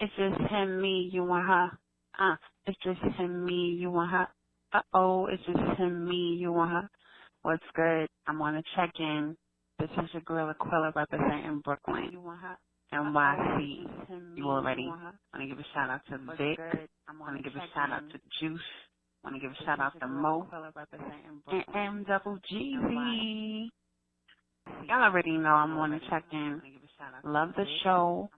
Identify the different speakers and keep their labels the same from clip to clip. Speaker 1: It's just him, me, you and her. Uh, it's just him, me, you and her. Uh oh, it's just him, me, you and her. What's good? I'm on a check in. This is your girl Aquila representing Brooklyn. You want her? NYC. You already. Want to give a shout out to Vic. Want to give a shout out to Juice. Want to give a shout out to Mo and M Double G. Y'all already know I'm on a check in. Love the show.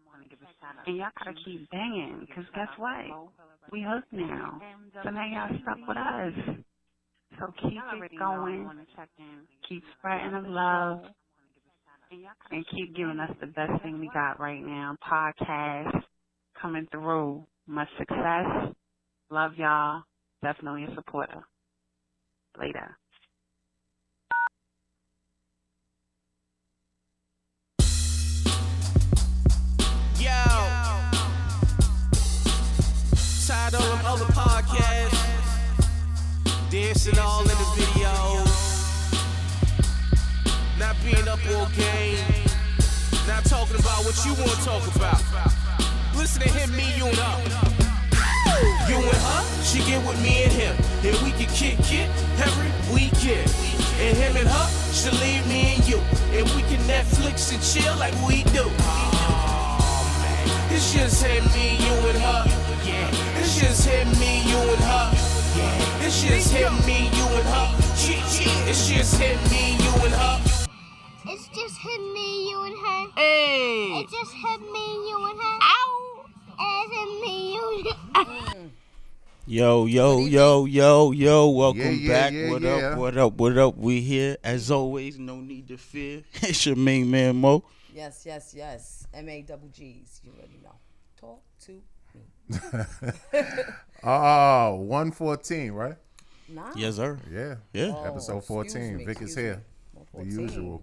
Speaker 1: And y'all gotta keep banging, cause guess what? We hooked now. So now y'all stuck with us. So keep it going. Keep spreading the
Speaker 2: Uh,
Speaker 1: love. And keep giving us the best thing we got right now. Podcast coming through. Much success. Love y'all. Definitely a supporter. Later.
Speaker 3: Yo. Tired of them other podcasts. Dancing all in the videos. Not being up all game. Not talking about what you want to talk about. Listen to him, me, you, and her. You and her, she get with me and him. And we can kick it every weekend. And him and her, she leave me and you. And we can Netflix and chill like we do. It's just him, me, you and her. Yeah. It's just him, me, you and her. Yeah. It's just him, me, you and her. Gee, gee. It's just him, me, you and her.
Speaker 4: It's just him, me, you, and her.
Speaker 3: Hey.
Speaker 4: It's just him, me, you, and her. Ow! It's him, me, you.
Speaker 5: Yo, yo, yo, yo, yo, welcome
Speaker 6: Yeah, yeah,
Speaker 5: back.
Speaker 6: yeah,
Speaker 5: what
Speaker 6: yeah.
Speaker 5: up, what up, what up? We here. As always, no need to fear. it's your main man Mo.
Speaker 2: Yes, yes, yes. M A double G's. You already know. Talk to me.
Speaker 6: Oh, 114, right?
Speaker 2: Nah.
Speaker 5: Yes, sir.
Speaker 6: Yeah.
Speaker 5: Yeah.
Speaker 2: Oh,
Speaker 6: Episode
Speaker 2: excuse
Speaker 6: 14.
Speaker 2: me,
Speaker 6: Vic is
Speaker 2: excuse
Speaker 6: here.
Speaker 2: me.
Speaker 6: The
Speaker 2: 14.
Speaker 6: usual.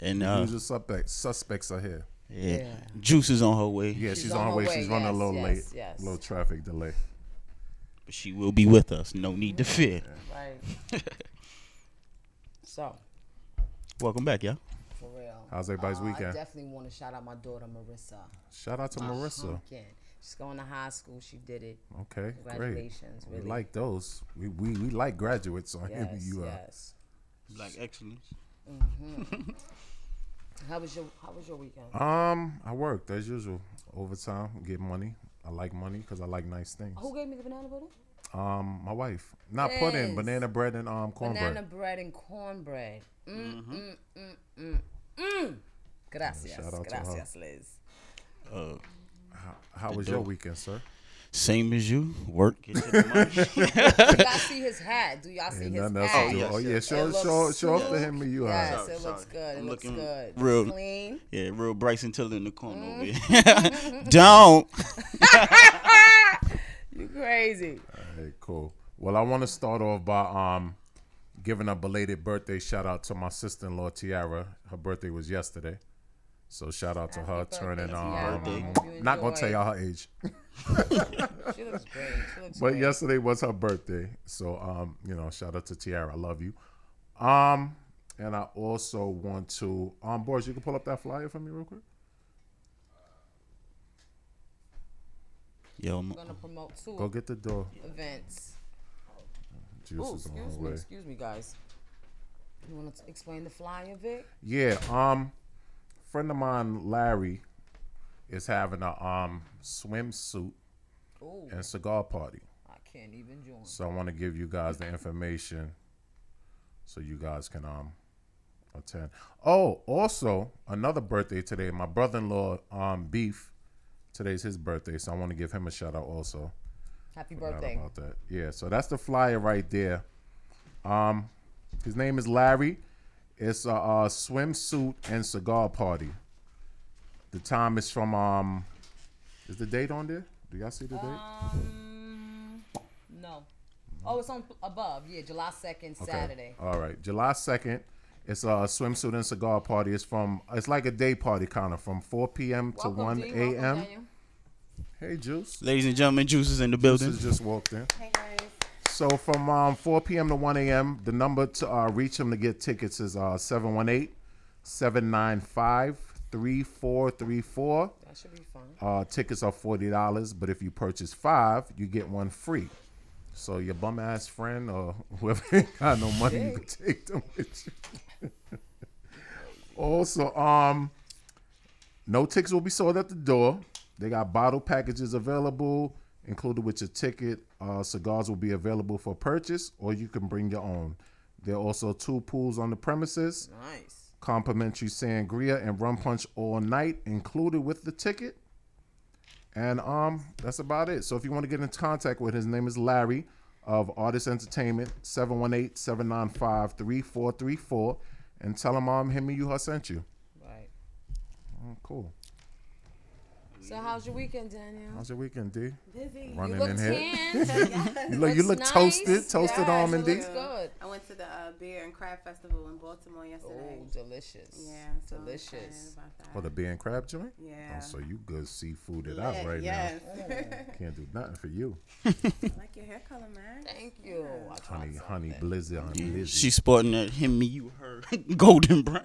Speaker 5: And uh
Speaker 6: usual suspects, suspects are here.
Speaker 5: yeah.
Speaker 2: Yeah.
Speaker 5: Juice is on her way.
Speaker 6: Yeah, she's, on her way. She's running a
Speaker 2: yes,
Speaker 6: little
Speaker 2: yes,
Speaker 6: late.
Speaker 2: yes.
Speaker 6: little traffic delay.
Speaker 5: But she will be with us. No need to fear.
Speaker 2: Right. so,
Speaker 5: Welcome back, y'all.
Speaker 2: for real.
Speaker 6: How's everybody's
Speaker 2: Uh, I
Speaker 6: weekend?
Speaker 2: definitely want to shout out my daughter, Marissa.
Speaker 6: Shout out to Marissa.
Speaker 2: Pumpkin. She's going to high school. She did it.
Speaker 6: Okay, great.
Speaker 2: Congratulations.
Speaker 6: We
Speaker 2: Really.
Speaker 6: like those. We we, we like graduates on uh,
Speaker 2: yes,
Speaker 6: MBU.
Speaker 2: yes. Hmm.
Speaker 5: Black excellence.
Speaker 2: How was your How was your weekend?
Speaker 6: Um, I worked as usual, overtime, get money. I like money because I like nice things.
Speaker 2: Who gave me the banana pudding?
Speaker 6: Um, my wife, not pudding,
Speaker 2: Oh. Yes.
Speaker 6: banana bread and um cornbread.
Speaker 2: Banana bread and cornbread. Mm, mm, mm, mm, mm. Gracias.
Speaker 6: shout out to her.
Speaker 2: Gracias, Liz.
Speaker 5: Uh,
Speaker 6: How was your weekend, sir?
Speaker 5: Same as you. Work. Get to the money.
Speaker 2: y'all see his hat? Do y'all see
Speaker 6: Ain't
Speaker 2: his
Speaker 6: nothing else
Speaker 2: hat?
Speaker 6: to do.
Speaker 5: yes,
Speaker 6: Oh yeah,
Speaker 5: yes.
Speaker 6: show
Speaker 2: It
Speaker 6: show
Speaker 2: looks
Speaker 6: show off to
Speaker 2: smooth.
Speaker 6: him and you.
Speaker 2: Yes,
Speaker 6: huh?
Speaker 2: it looks good. It
Speaker 5: I'm
Speaker 2: looks
Speaker 5: looking
Speaker 2: good.
Speaker 5: real-
Speaker 2: It's clean. Mm-hmm.
Speaker 5: yeah, real Bryson Tiller in the corner over here. Don't
Speaker 2: You crazy?
Speaker 6: Hey, cool. Well, I want to start off by um giving a belated birthday shout out to my sister in law Tiara. Her birthday was yesterday, so shout out to her
Speaker 2: birthday,
Speaker 6: turning
Speaker 2: Tiara.
Speaker 6: um.
Speaker 5: Birthday.
Speaker 2: You
Speaker 6: Not gonna
Speaker 2: enjoy.
Speaker 6: tell y'all her age,
Speaker 2: She looks great. She looks
Speaker 6: but
Speaker 2: great.
Speaker 6: yesterday was her birthday, so um you know shout out to Tiara. I love you. Um, and I also want to um boys, you can pull up that flyer for me real quick.
Speaker 5: Yo, I'm-
Speaker 2: We're gonna promote two
Speaker 6: Go get the door.
Speaker 2: events.
Speaker 6: Juice
Speaker 2: Ooh,
Speaker 6: is on
Speaker 2: excuse
Speaker 6: her
Speaker 2: me,
Speaker 6: way.
Speaker 2: excuse me, guys. You wanna t- explain the flyer, Vic?
Speaker 6: Yeah, um, friend of mine, Larry, is having a um swimsuit
Speaker 2: Ooh,
Speaker 6: and cigar party.
Speaker 2: I can't even join.
Speaker 6: So I want to give you guys the information so you guys can um attend. Oh, also another birthday today. My brother-in-law, um, Beef. Today's his birthday, so I want to give him a shout out also.
Speaker 2: Happy
Speaker 6: Forgot
Speaker 2: birthday.
Speaker 6: about that. Yeah, so that's the flyer right there. Um, his name is Larry. It's a, uh swimsuit and cigar party. The time is from um, is the date on there? Do y'all see the date?
Speaker 2: Um, no. Oh, it's on above. Yeah, July second, Saturday.
Speaker 6: All right, July second. It's a swimsuit and cigar party. It's from it's like a day party kind of from 4 p.m.
Speaker 2: Welcome,
Speaker 6: to 1
Speaker 2: G. Welcome,
Speaker 6: a.m.
Speaker 2: Daniel.
Speaker 6: Hey, Juice.
Speaker 5: ladies and gentlemen, Juice is in the building.
Speaker 6: Juice has just walked in.
Speaker 2: Hey guys.
Speaker 6: So from um, 4 p.m. to 1 a.m., the number to uh, reach him to get tickets is uh, 718-795-3434.
Speaker 2: That should be fun.
Speaker 6: Uh, tickets are forty dollars, but if you purchase five, you get one free. So your bum ass friend or whoever ain't got no money, you can take them with you. also, um, no tickets will be sold at the door. They got bottle packages available, included with your ticket. Uh, cigars will be available for purchase, or you can bring your own. There are also two pools on the premises
Speaker 2: Nice.
Speaker 6: complimentary sangria and rum punch all night included with the ticket. And um, that's about it. So if you want to get in contact with his name is Larry of Artist Entertainment, 718-795-3434 and tell him um him and you her sent you.
Speaker 2: Right.
Speaker 6: Oh, cool.
Speaker 2: So how's your weekend, Daniel?
Speaker 6: How's your weekend, D?
Speaker 7: Busy.
Speaker 6: Running
Speaker 2: You look
Speaker 6: in here.
Speaker 2: tan.
Speaker 6: You look you look
Speaker 2: nice.
Speaker 6: toasted, toasted
Speaker 2: Yes,
Speaker 6: almond
Speaker 2: it
Speaker 6: D.
Speaker 2: looks good.
Speaker 7: I went to the uh, beer and crab festival in Baltimore yesterday.
Speaker 2: Oh, delicious.
Speaker 7: yeah, so I'm excited
Speaker 2: delicious.
Speaker 7: about that.
Speaker 6: For the beer and crab joint?
Speaker 7: Yeah.
Speaker 6: Oh, so you good seafood it
Speaker 7: Yeah,
Speaker 6: out right
Speaker 7: yes.
Speaker 6: now. Can't do nothing for you.
Speaker 7: I like your hair color, man.
Speaker 2: Thank you. I tried
Speaker 6: Honey,
Speaker 2: some.
Speaker 6: honey, blizzard, honey, blizzard.
Speaker 5: She's sporting that him me you her golden brown.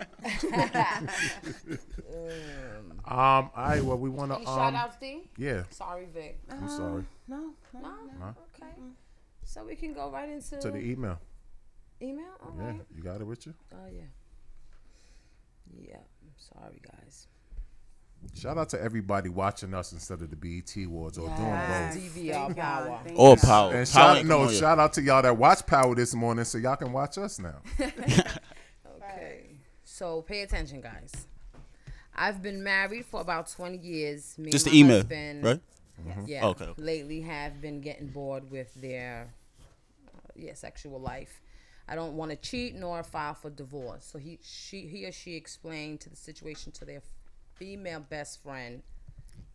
Speaker 6: Um, all right, well, we want to.
Speaker 2: Any shout
Speaker 6: Um,
Speaker 2: outs, D?
Speaker 6: yeah,
Speaker 2: Sorry, Vic. Uh-huh.
Speaker 6: I'm sorry.
Speaker 7: Uh-huh. No, no.
Speaker 2: No, okay. So we can go right into
Speaker 6: To the email.
Speaker 2: email? All
Speaker 6: Yeah,
Speaker 2: right.
Speaker 6: you got it with you?
Speaker 2: Oh, yeah. Yeah. I'm sorry, guys.
Speaker 6: Shout out to everybody watching us instead of the BET Awards or doing both.
Speaker 2: DVR
Speaker 7: Thank
Speaker 2: power.
Speaker 7: God, thank
Speaker 5: All
Speaker 7: God.
Speaker 5: power.
Speaker 6: And
Speaker 5: Power
Speaker 6: shout,
Speaker 5: ain't
Speaker 6: no,
Speaker 5: come on
Speaker 6: shout out to y'all that watch Power this morning so y'all can watch us now.
Speaker 2: Okay. So pay attention, guys. I've been married for about 20 years. Me
Speaker 5: yet. Just
Speaker 2: and
Speaker 5: the
Speaker 2: my
Speaker 5: email,
Speaker 2: husband-
Speaker 5: right?
Speaker 2: Yeah.
Speaker 5: Okay, okay.
Speaker 2: Lately have been getting bored with their uh, yeah, sexual life. I don't want to cheat nor file for divorce. So he she he or she explained to the situation to their female best friend,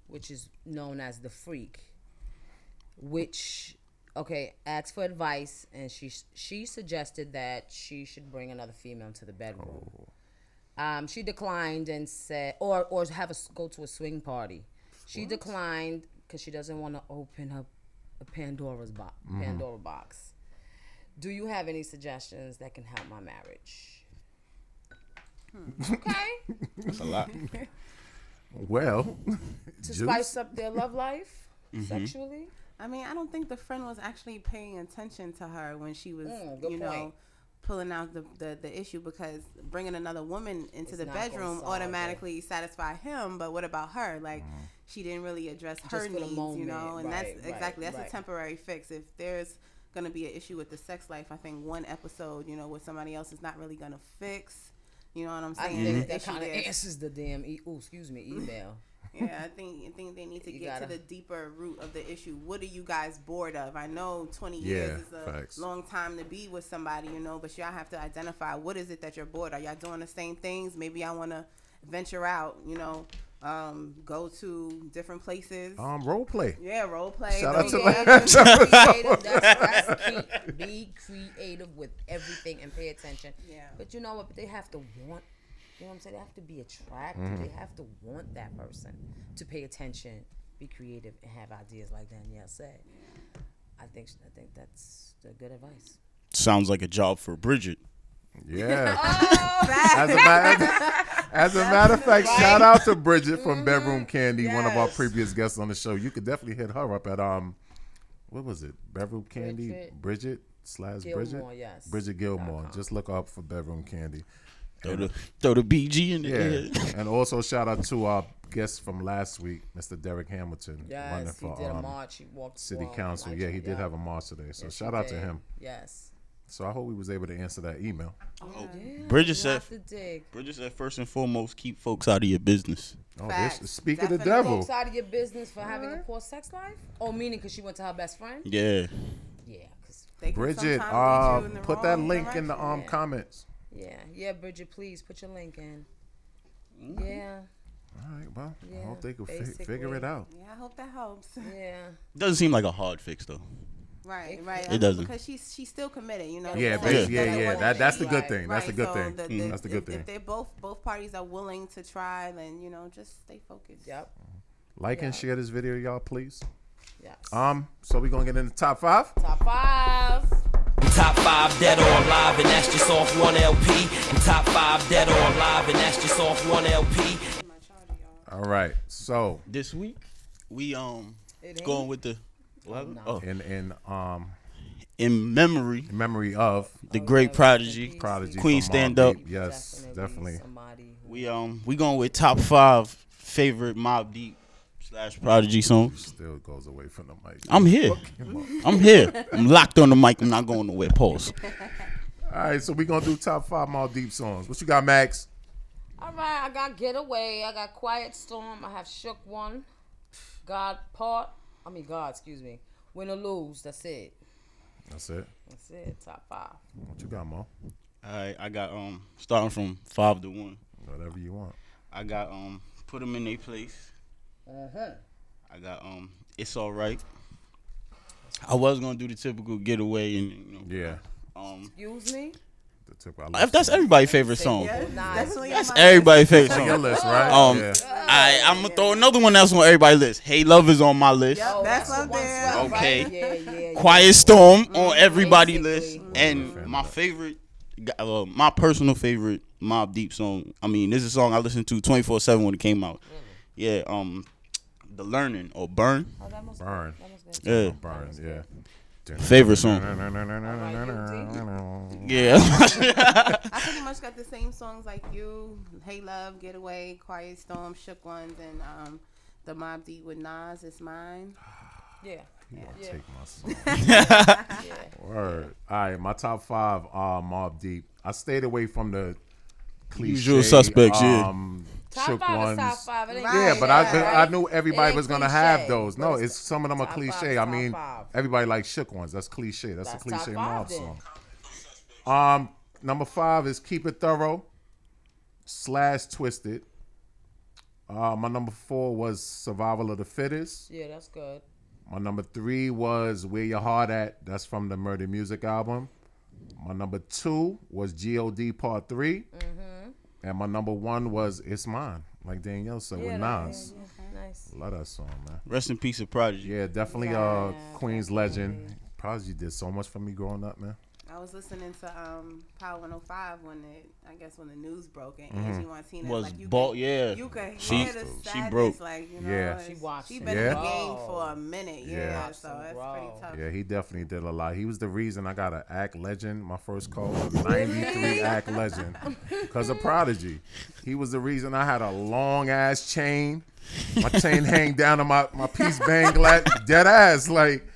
Speaker 2: which is known as the freak, which okay, asked for advice and she she suggested that she should bring another female to the bedroom. Um, she declined and said, or or have us go to a swing party. She declined because she doesn't want to open up a Pandora's box. Pandora box. Do you have any suggestions that can help my marriage?
Speaker 7: Hmm.
Speaker 2: Okay,
Speaker 5: That's a lot.
Speaker 6: Well,
Speaker 2: to
Speaker 6: Juice?
Speaker 2: spice up their love life sexually.
Speaker 7: I mean, I don't think the friend was actually paying attention to her when she was,
Speaker 2: Mm, good
Speaker 7: you know,
Speaker 2: point.
Speaker 7: pulling out the, the, the issue because bringing another woman into the
Speaker 2: not gonna
Speaker 7: bedroom
Speaker 2: solve it.
Speaker 7: automatically satisfy him. But what about her? Like, she didn't really address her
Speaker 2: for the
Speaker 7: needs, you know, and
Speaker 2: moment, right,
Speaker 7: that's
Speaker 2: right,
Speaker 7: exactly that's
Speaker 2: right.
Speaker 7: a temporary fix. If there's gonna be an issue with the sex life, I think one episode, you know, with somebody else is not really gonna fix. You know what I'm
Speaker 2: I
Speaker 7: saying?
Speaker 2: think
Speaker 7: The
Speaker 2: that
Speaker 7: issue
Speaker 2: kind of
Speaker 7: there.
Speaker 2: answers the damn. E- oh, excuse me, email.
Speaker 7: Yeah, I think I think they need to
Speaker 2: You
Speaker 7: get to
Speaker 2: gotta-
Speaker 7: the deeper root of the issue. What are you guys bored of? I know twenty years
Speaker 6: Yeah,
Speaker 7: is a
Speaker 6: facts.
Speaker 7: long time to be with somebody, you know, but y'all have to identify what is it that you're bored. Are y'all doing the same things? Maybe y'all want to venture out, you know, um, go to different places.
Speaker 6: um, role play.
Speaker 7: yeah, role play.
Speaker 6: Shout
Speaker 7: throw
Speaker 6: out to
Speaker 7: games.
Speaker 2: creative. That's, that's key. Be creative with everything and pay attention.
Speaker 7: Yeah.
Speaker 2: But you know what? They have to want. You know what I'm saying? They have to be attracted.
Speaker 6: Mm-hmm.
Speaker 2: They have to want that person to pay attention, be creative, and have ideas like Danielle said. I think I think that's the good advice.
Speaker 5: Sounds like a job for Bridget.
Speaker 6: Yeah.
Speaker 2: Oh.
Speaker 6: as, a matter, as a matter of fact, shout out to Bridget from
Speaker 2: Mm-hmm.
Speaker 6: Bedroom Candy, one of our
Speaker 7: Yes.
Speaker 6: previous guests on the show. You could definitely hit her up at um, what was it? Bedroom Candy,
Speaker 2: Bridget.
Speaker 6: Bridget, slash
Speaker 2: Gilmore,
Speaker 6: Bridget,
Speaker 2: yes.
Speaker 6: Bridget Gilmore. Just look her up for Bedroom Candy.
Speaker 5: Throw the throw the BG in the
Speaker 6: Yeah,
Speaker 5: air.
Speaker 6: and also shout out to our guest from last week, Mr. Derek Hamilton, running
Speaker 2: Yes, he
Speaker 6: for
Speaker 2: did a
Speaker 6: um,
Speaker 2: march. He walked.
Speaker 6: city
Speaker 2: well,
Speaker 6: council.
Speaker 2: like,
Speaker 6: Yeah, he did
Speaker 2: yeah.
Speaker 6: have a march today, so
Speaker 2: Yes, he
Speaker 6: shout out to
Speaker 2: did.
Speaker 6: him.
Speaker 2: Yes.
Speaker 6: So I hope we was able to answer that email.
Speaker 7: Oh,
Speaker 6: Oh.
Speaker 5: Bridget
Speaker 2: You
Speaker 5: said
Speaker 2: have to dig.
Speaker 5: Bridget said first and foremost, keep folks out of your business.
Speaker 6: Oh,
Speaker 7: Facts.
Speaker 6: this speak of the
Speaker 7: Definitely Uh-huh.
Speaker 6: devil.
Speaker 2: Folks out of your business for having a poor sex life? Oh, meaning because she went to her best friend?
Speaker 5: Yeah.
Speaker 2: Yeah, 'cause-
Speaker 7: They can
Speaker 6: Bridget,
Speaker 7: sometimes lead you
Speaker 6: um,
Speaker 7: in the
Speaker 6: put that
Speaker 7: wrong
Speaker 6: link in the
Speaker 7: direction.
Speaker 6: um comments.
Speaker 2: yeah, yeah, Bridget, please put your link in. Yeah,
Speaker 6: All right, well, I hope they
Speaker 2: Yeah,
Speaker 6: can fi- figure
Speaker 2: basically.
Speaker 6: it out.
Speaker 7: Yeah, I hope that helps.
Speaker 2: yeah.
Speaker 5: Doesn't seem like a hard fix though.
Speaker 7: Right, right.
Speaker 5: It doesn't.
Speaker 7: because she's she's still committed. You know.
Speaker 6: Yeah,
Speaker 7: That's-
Speaker 6: basi- yeah,
Speaker 7: that's
Speaker 6: yeah.
Speaker 7: what
Speaker 6: That that's the good
Speaker 2: Right,
Speaker 6: thing. That's the
Speaker 7: Right,
Speaker 6: good
Speaker 7: so
Speaker 6: thing. Mm,
Speaker 7: the- the-
Speaker 6: That's the good
Speaker 7: if,
Speaker 6: thing.
Speaker 7: If they're both both parties are willing to try, then you know, just stay focused.
Speaker 2: Yep,
Speaker 6: Like and
Speaker 2: Yeah.
Speaker 6: share this video, y'all, please.
Speaker 2: yes.
Speaker 6: Um, so we gonna get into top five.
Speaker 2: Top five.
Speaker 8: Top five dead or alive, and that's just off one LP. And top five dead or alive, and that's just off one LP.
Speaker 7: My charger, y'all.
Speaker 6: All right. So
Speaker 5: This week we um
Speaker 2: It
Speaker 5: going
Speaker 2: ain't.
Speaker 5: with the oh,
Speaker 6: in in um
Speaker 5: in memory
Speaker 6: in memory of
Speaker 5: the great prodigy.
Speaker 6: Prodigy
Speaker 5: Queen
Speaker 6: from
Speaker 5: stand
Speaker 6: Mobb
Speaker 5: up.
Speaker 6: Deep. Yes, definitely.
Speaker 2: Somebody who
Speaker 5: We um we going with top five favorite Mob Deep slash Prodigy songs.
Speaker 6: Still goes away from the mic.
Speaker 5: I'm here. I'm here. I'm locked on the mic. I'm not going nowhere. Pause.
Speaker 6: All right, so we gonna do top five Mobb Deep songs. What you got, Max?
Speaker 2: All right, I got Getaway. I got Quiet Storm. I have Shook One. God Part. I mean, God, excuse me. Win or Lose. That's it.
Speaker 6: That's it.
Speaker 2: That's it. Top five.
Speaker 6: What you got, Mo?
Speaker 5: All right, I got um starting from five to one.
Speaker 6: Whatever you want.
Speaker 5: I got um put them in their place.
Speaker 2: Uh-huh.
Speaker 5: I got um it's all right. I was gonna do the typical getaway and you know,
Speaker 6: Yeah.
Speaker 5: um
Speaker 2: Excuse me?
Speaker 6: The tip I
Speaker 5: if
Speaker 6: left
Speaker 5: that's everybody's favorite song.
Speaker 2: Nice.
Speaker 5: That's everybody's favorite
Speaker 6: on your
Speaker 5: song.
Speaker 6: list, right?
Speaker 5: Um,
Speaker 6: yeah.
Speaker 5: I I'm gonna throw another one that's on everybody's list. Hey, love is on my list.
Speaker 6: Oh,
Speaker 7: Yep, that's,
Speaker 2: the
Speaker 7: up
Speaker 2: one
Speaker 7: there.
Speaker 2: swell, right?
Speaker 5: Okay.
Speaker 2: Yeah, yeah, yeah.
Speaker 5: Quiet Storm on everybody list,
Speaker 2: Basically.
Speaker 5: and my favorite, uh, my personal favorite Mob Deep song. I mean, this is a song I listened to twenty four seven when it came out. Yeah, um, the Learning or Burn.
Speaker 2: Oh, that must
Speaker 6: Burn.
Speaker 2: that must be-
Speaker 5: Yeah,
Speaker 6: Burns, yeah.
Speaker 5: favorite song. Yeah,
Speaker 7: I pretty much got the same songs like you, Hey Love, Getaway, Quiet Storm, Shook Ones, and um, the Mob D with Nas is mine.
Speaker 2: Yeah.
Speaker 6: You wanna
Speaker 2: Yeah.
Speaker 6: take my song. Word. All right, my top five uh Mob Deep. I stayed away from the cliche,
Speaker 5: Usual suspects, yeah.
Speaker 6: um,
Speaker 2: Top
Speaker 6: shook
Speaker 2: five
Speaker 6: ones.
Speaker 2: is top five. It ain't
Speaker 6: Yeah,
Speaker 7: Right,
Speaker 6: but
Speaker 7: yeah,
Speaker 6: I, I
Speaker 2: right.
Speaker 6: knew
Speaker 2: It
Speaker 6: everybody
Speaker 2: ain't
Speaker 6: was gonna
Speaker 2: cliche,
Speaker 6: have those.
Speaker 2: but
Speaker 6: No,
Speaker 2: it's
Speaker 6: it's some of them are
Speaker 2: top five,
Speaker 6: cliche.
Speaker 2: top
Speaker 6: I mean,
Speaker 2: five.
Speaker 6: everybody like shook ones. That's cliche. That's,
Speaker 2: That's
Speaker 6: a cliche
Speaker 2: top
Speaker 6: mob
Speaker 2: five then.
Speaker 6: song. Um, number five is Keep It Thorough slash Twisted. Uh, my number four was Survival of the Fittest.
Speaker 2: Yeah, that's good.
Speaker 6: My number three was Where Your Heart At. That's from the Murder Music album. My number two was G.O.D. Part 3
Speaker 2: Mm-hmm.
Speaker 6: And my number one was It's Mine, like Danielle said,
Speaker 2: Yeah,
Speaker 6: with
Speaker 2: that-
Speaker 6: Nas.
Speaker 2: yeah, yeah. Nice.
Speaker 6: Love that song, man.
Speaker 5: rest in peace of Prodigy.
Speaker 6: Yeah, definitely uh Queen's legend. Prodigy did so much for me growing up, man.
Speaker 7: I was listening to um, Power 105 when it, I guess when the news broke and
Speaker 6: Mm-hmm.
Speaker 7: Angie Martinez
Speaker 5: Was
Speaker 7: like you
Speaker 5: bald,
Speaker 7: could,
Speaker 5: yeah.
Speaker 7: you could hear
Speaker 5: She-
Speaker 7: the
Speaker 5: she
Speaker 7: sadness,
Speaker 5: broke.
Speaker 7: like you know,
Speaker 6: Yeah.
Speaker 7: it's-
Speaker 2: She watched
Speaker 7: she
Speaker 2: it
Speaker 7: been in the
Speaker 6: grow.
Speaker 7: game for a minute, yeah.
Speaker 6: Yeah.
Speaker 7: so that's
Speaker 2: Grow.
Speaker 7: pretty tough.
Speaker 6: Yeah, he definitely did a lot. He was the reason I got an act legend. My first call was 93 act legend because of Prodigy. He was the reason I had a long ass chain. My chain hang down on my, my piece bang gla- dead ass. Like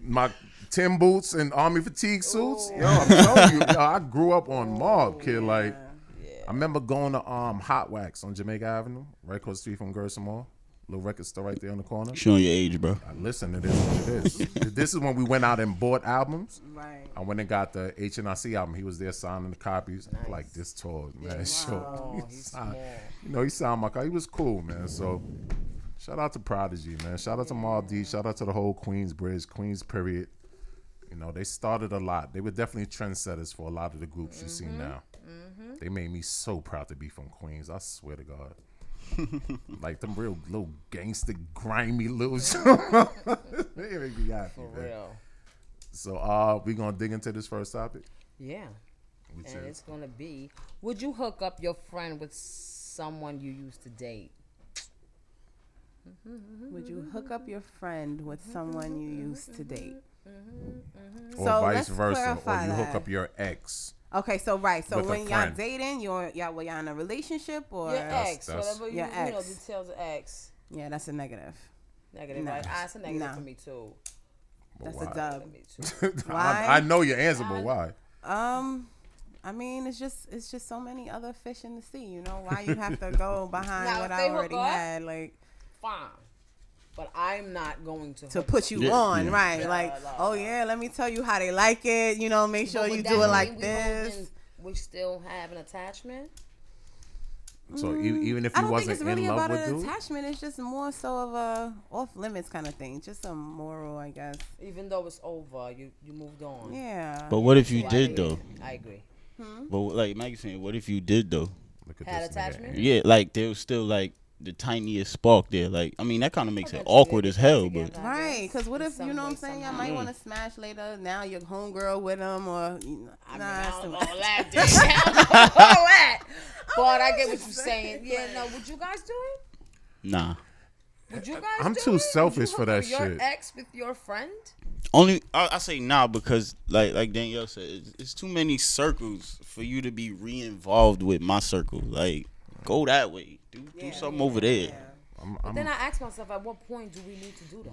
Speaker 6: my Tim boots and army fatigue suits. Yo, I'm telling you, yo, I grew up on mob, kid. Like, I remember going to um Hot Wax on Jamaica Avenue, right across the street from Gerson Mall. Little record store right there on the corner.
Speaker 5: Showing your age, bro.
Speaker 6: Listen, it is what it is. this is when we went out and bought albums.
Speaker 7: Right.
Speaker 6: I went and got the H and I C album. He was there signing the copies. Like this tall, man. Short.
Speaker 2: Oh,
Speaker 6: He
Speaker 2: he's
Speaker 6: signed-
Speaker 2: small.
Speaker 6: you know, he signed my car. He was cool, man. So shout out to Prodigy, man. Shout out to Mob D. Shout out to the whole Queens Bridge, Queens period. You know, they started a lot. They were definitely trendsetters for a lot of the groups you
Speaker 7: Mm-hmm.
Speaker 6: see now. They made me so proud to be from Queens. I swear to God. like them real little gangster, grimy little. They make me happy,
Speaker 2: For
Speaker 6: man.
Speaker 2: real.
Speaker 6: So uh we gonna dig into this first topic.
Speaker 2: Yeah.
Speaker 6: Which
Speaker 2: And
Speaker 6: is
Speaker 2: it's gonna be Would you hook up your friend with someone you used to date?
Speaker 7: Would you hook up your friend with someone you used to date?
Speaker 6: or
Speaker 7: So
Speaker 6: vice
Speaker 7: let's
Speaker 6: versa. Or
Speaker 7: clarify
Speaker 6: you hook
Speaker 7: that.
Speaker 6: up your ex.
Speaker 7: Okay, so right, so
Speaker 6: With a
Speaker 7: when y'all
Speaker 6: friend.
Speaker 7: dating, you're y'all were y'all in a relationship or
Speaker 2: Your ex,
Speaker 6: that's-
Speaker 2: whatever you,
Speaker 7: Your
Speaker 2: you know,
Speaker 7: ex.
Speaker 2: details of ex.
Speaker 7: yeah, that's a negative.
Speaker 2: Negative,
Speaker 7: No.
Speaker 2: right? Ah, it's a negative
Speaker 7: No.
Speaker 2: for me too.
Speaker 6: But
Speaker 7: That's
Speaker 6: why?
Speaker 7: a dub.
Speaker 2: For me too.
Speaker 7: Why?
Speaker 6: I, I know your answer, but why?
Speaker 7: Um, I mean, it's just it's just so many other fish in the sea. You know why you have to go behind
Speaker 2: Now,
Speaker 7: what
Speaker 2: if
Speaker 7: I
Speaker 2: they hook
Speaker 7: already
Speaker 2: up-
Speaker 7: had, like
Speaker 2: Fine. But I'm not going to,
Speaker 7: to
Speaker 2: hook
Speaker 7: put you
Speaker 5: Yeah,
Speaker 7: on,
Speaker 5: yeah.
Speaker 7: right? like, oh yeah, let me tell you how they like it. You know, make sure
Speaker 2: But
Speaker 7: you
Speaker 2: that
Speaker 7: do it
Speaker 2: mean
Speaker 7: like
Speaker 2: we
Speaker 7: this.
Speaker 2: holding- We still have an attachment.
Speaker 6: So e- even if you
Speaker 7: Mm-hmm. Mm, I don't think
Speaker 6: wasn't
Speaker 7: it's really
Speaker 6: in love
Speaker 7: about
Speaker 6: with
Speaker 7: an
Speaker 6: dude,
Speaker 7: attachment. It's just more so of a off limits kind of thing. Just a moral, I guess.
Speaker 2: Even though it's over, you you moved on.
Speaker 7: Yeah.
Speaker 5: But what if you
Speaker 2: So I
Speaker 5: did
Speaker 2: agree.
Speaker 5: though?
Speaker 2: I agree.
Speaker 7: Hmm?
Speaker 5: But like Maggie saying, what if you did though?
Speaker 6: look at
Speaker 2: Hmm? Had
Speaker 6: this nigga.
Speaker 2: attachment?
Speaker 5: Yeah, like there was still like the tiniest spark there. Like I mean, that kind of makes it
Speaker 2: Eventually
Speaker 5: awkward
Speaker 2: they
Speaker 5: as
Speaker 2: get back
Speaker 5: hell. But
Speaker 2: together, I
Speaker 7: Right,
Speaker 2: guess,
Speaker 7: because what
Speaker 2: in
Speaker 7: if you
Speaker 2: some
Speaker 7: know what I'm
Speaker 2: way,
Speaker 7: saying? Y'all
Speaker 2: somehow.
Speaker 7: might want to smash later. Now your homegirl with him, or you know,
Speaker 2: I mean,
Speaker 7: nah,
Speaker 2: I
Speaker 7: it's
Speaker 2: don't
Speaker 7: too
Speaker 2: know
Speaker 7: much.
Speaker 2: all that. dick.
Speaker 7: Oh,
Speaker 2: I don't know all that. But I get what you're saying. Yeah, no, would you guys do it?
Speaker 5: Nah.
Speaker 2: Would you guys?
Speaker 6: I'm
Speaker 2: do
Speaker 6: too
Speaker 2: it? Would
Speaker 6: selfish
Speaker 2: you
Speaker 6: for
Speaker 2: hook
Speaker 6: that
Speaker 2: up your
Speaker 6: shit.
Speaker 2: ex with your friend?
Speaker 5: Only I, I say nah because like like Danielle said, it's, it's too many circles for you to be re-involved with my circle. Like, go that way. Do do something over there.
Speaker 6: I'm,
Speaker 2: Then
Speaker 6: I'm
Speaker 2: I ask myself, at what point do we need to do that?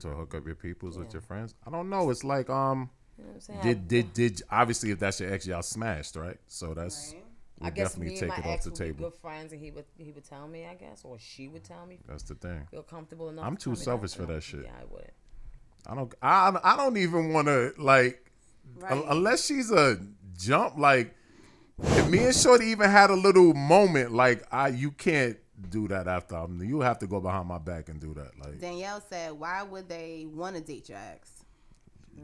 Speaker 6: to hook up your peoples with your friends. I don't know. It's like um,
Speaker 2: You know what I'm saying?
Speaker 6: did did did obviously if that's your ex, y'all smashed, right? So that's
Speaker 2: I, I
Speaker 6: we
Speaker 2: guess
Speaker 6: definitely
Speaker 2: me and
Speaker 6: take
Speaker 2: my
Speaker 6: it off
Speaker 2: ex
Speaker 6: the
Speaker 2: would be
Speaker 6: table.
Speaker 2: good friends, and he would he would tell me, I guess, or she would tell me.
Speaker 6: That's the thing.
Speaker 2: Feel comfortable enough.
Speaker 6: I'm
Speaker 2: to
Speaker 6: too
Speaker 2: tell me
Speaker 6: selfish
Speaker 2: that.
Speaker 6: for that shit.
Speaker 2: Yeah, I would.
Speaker 6: I don't I I don't even want to like
Speaker 7: Right.
Speaker 6: un- unless she's a jump like if me and Shorty even had a little moment like I you can't do that after I'm you have to go behind my back and do that like
Speaker 7: Danielle said, "Why would they want to date your ex?"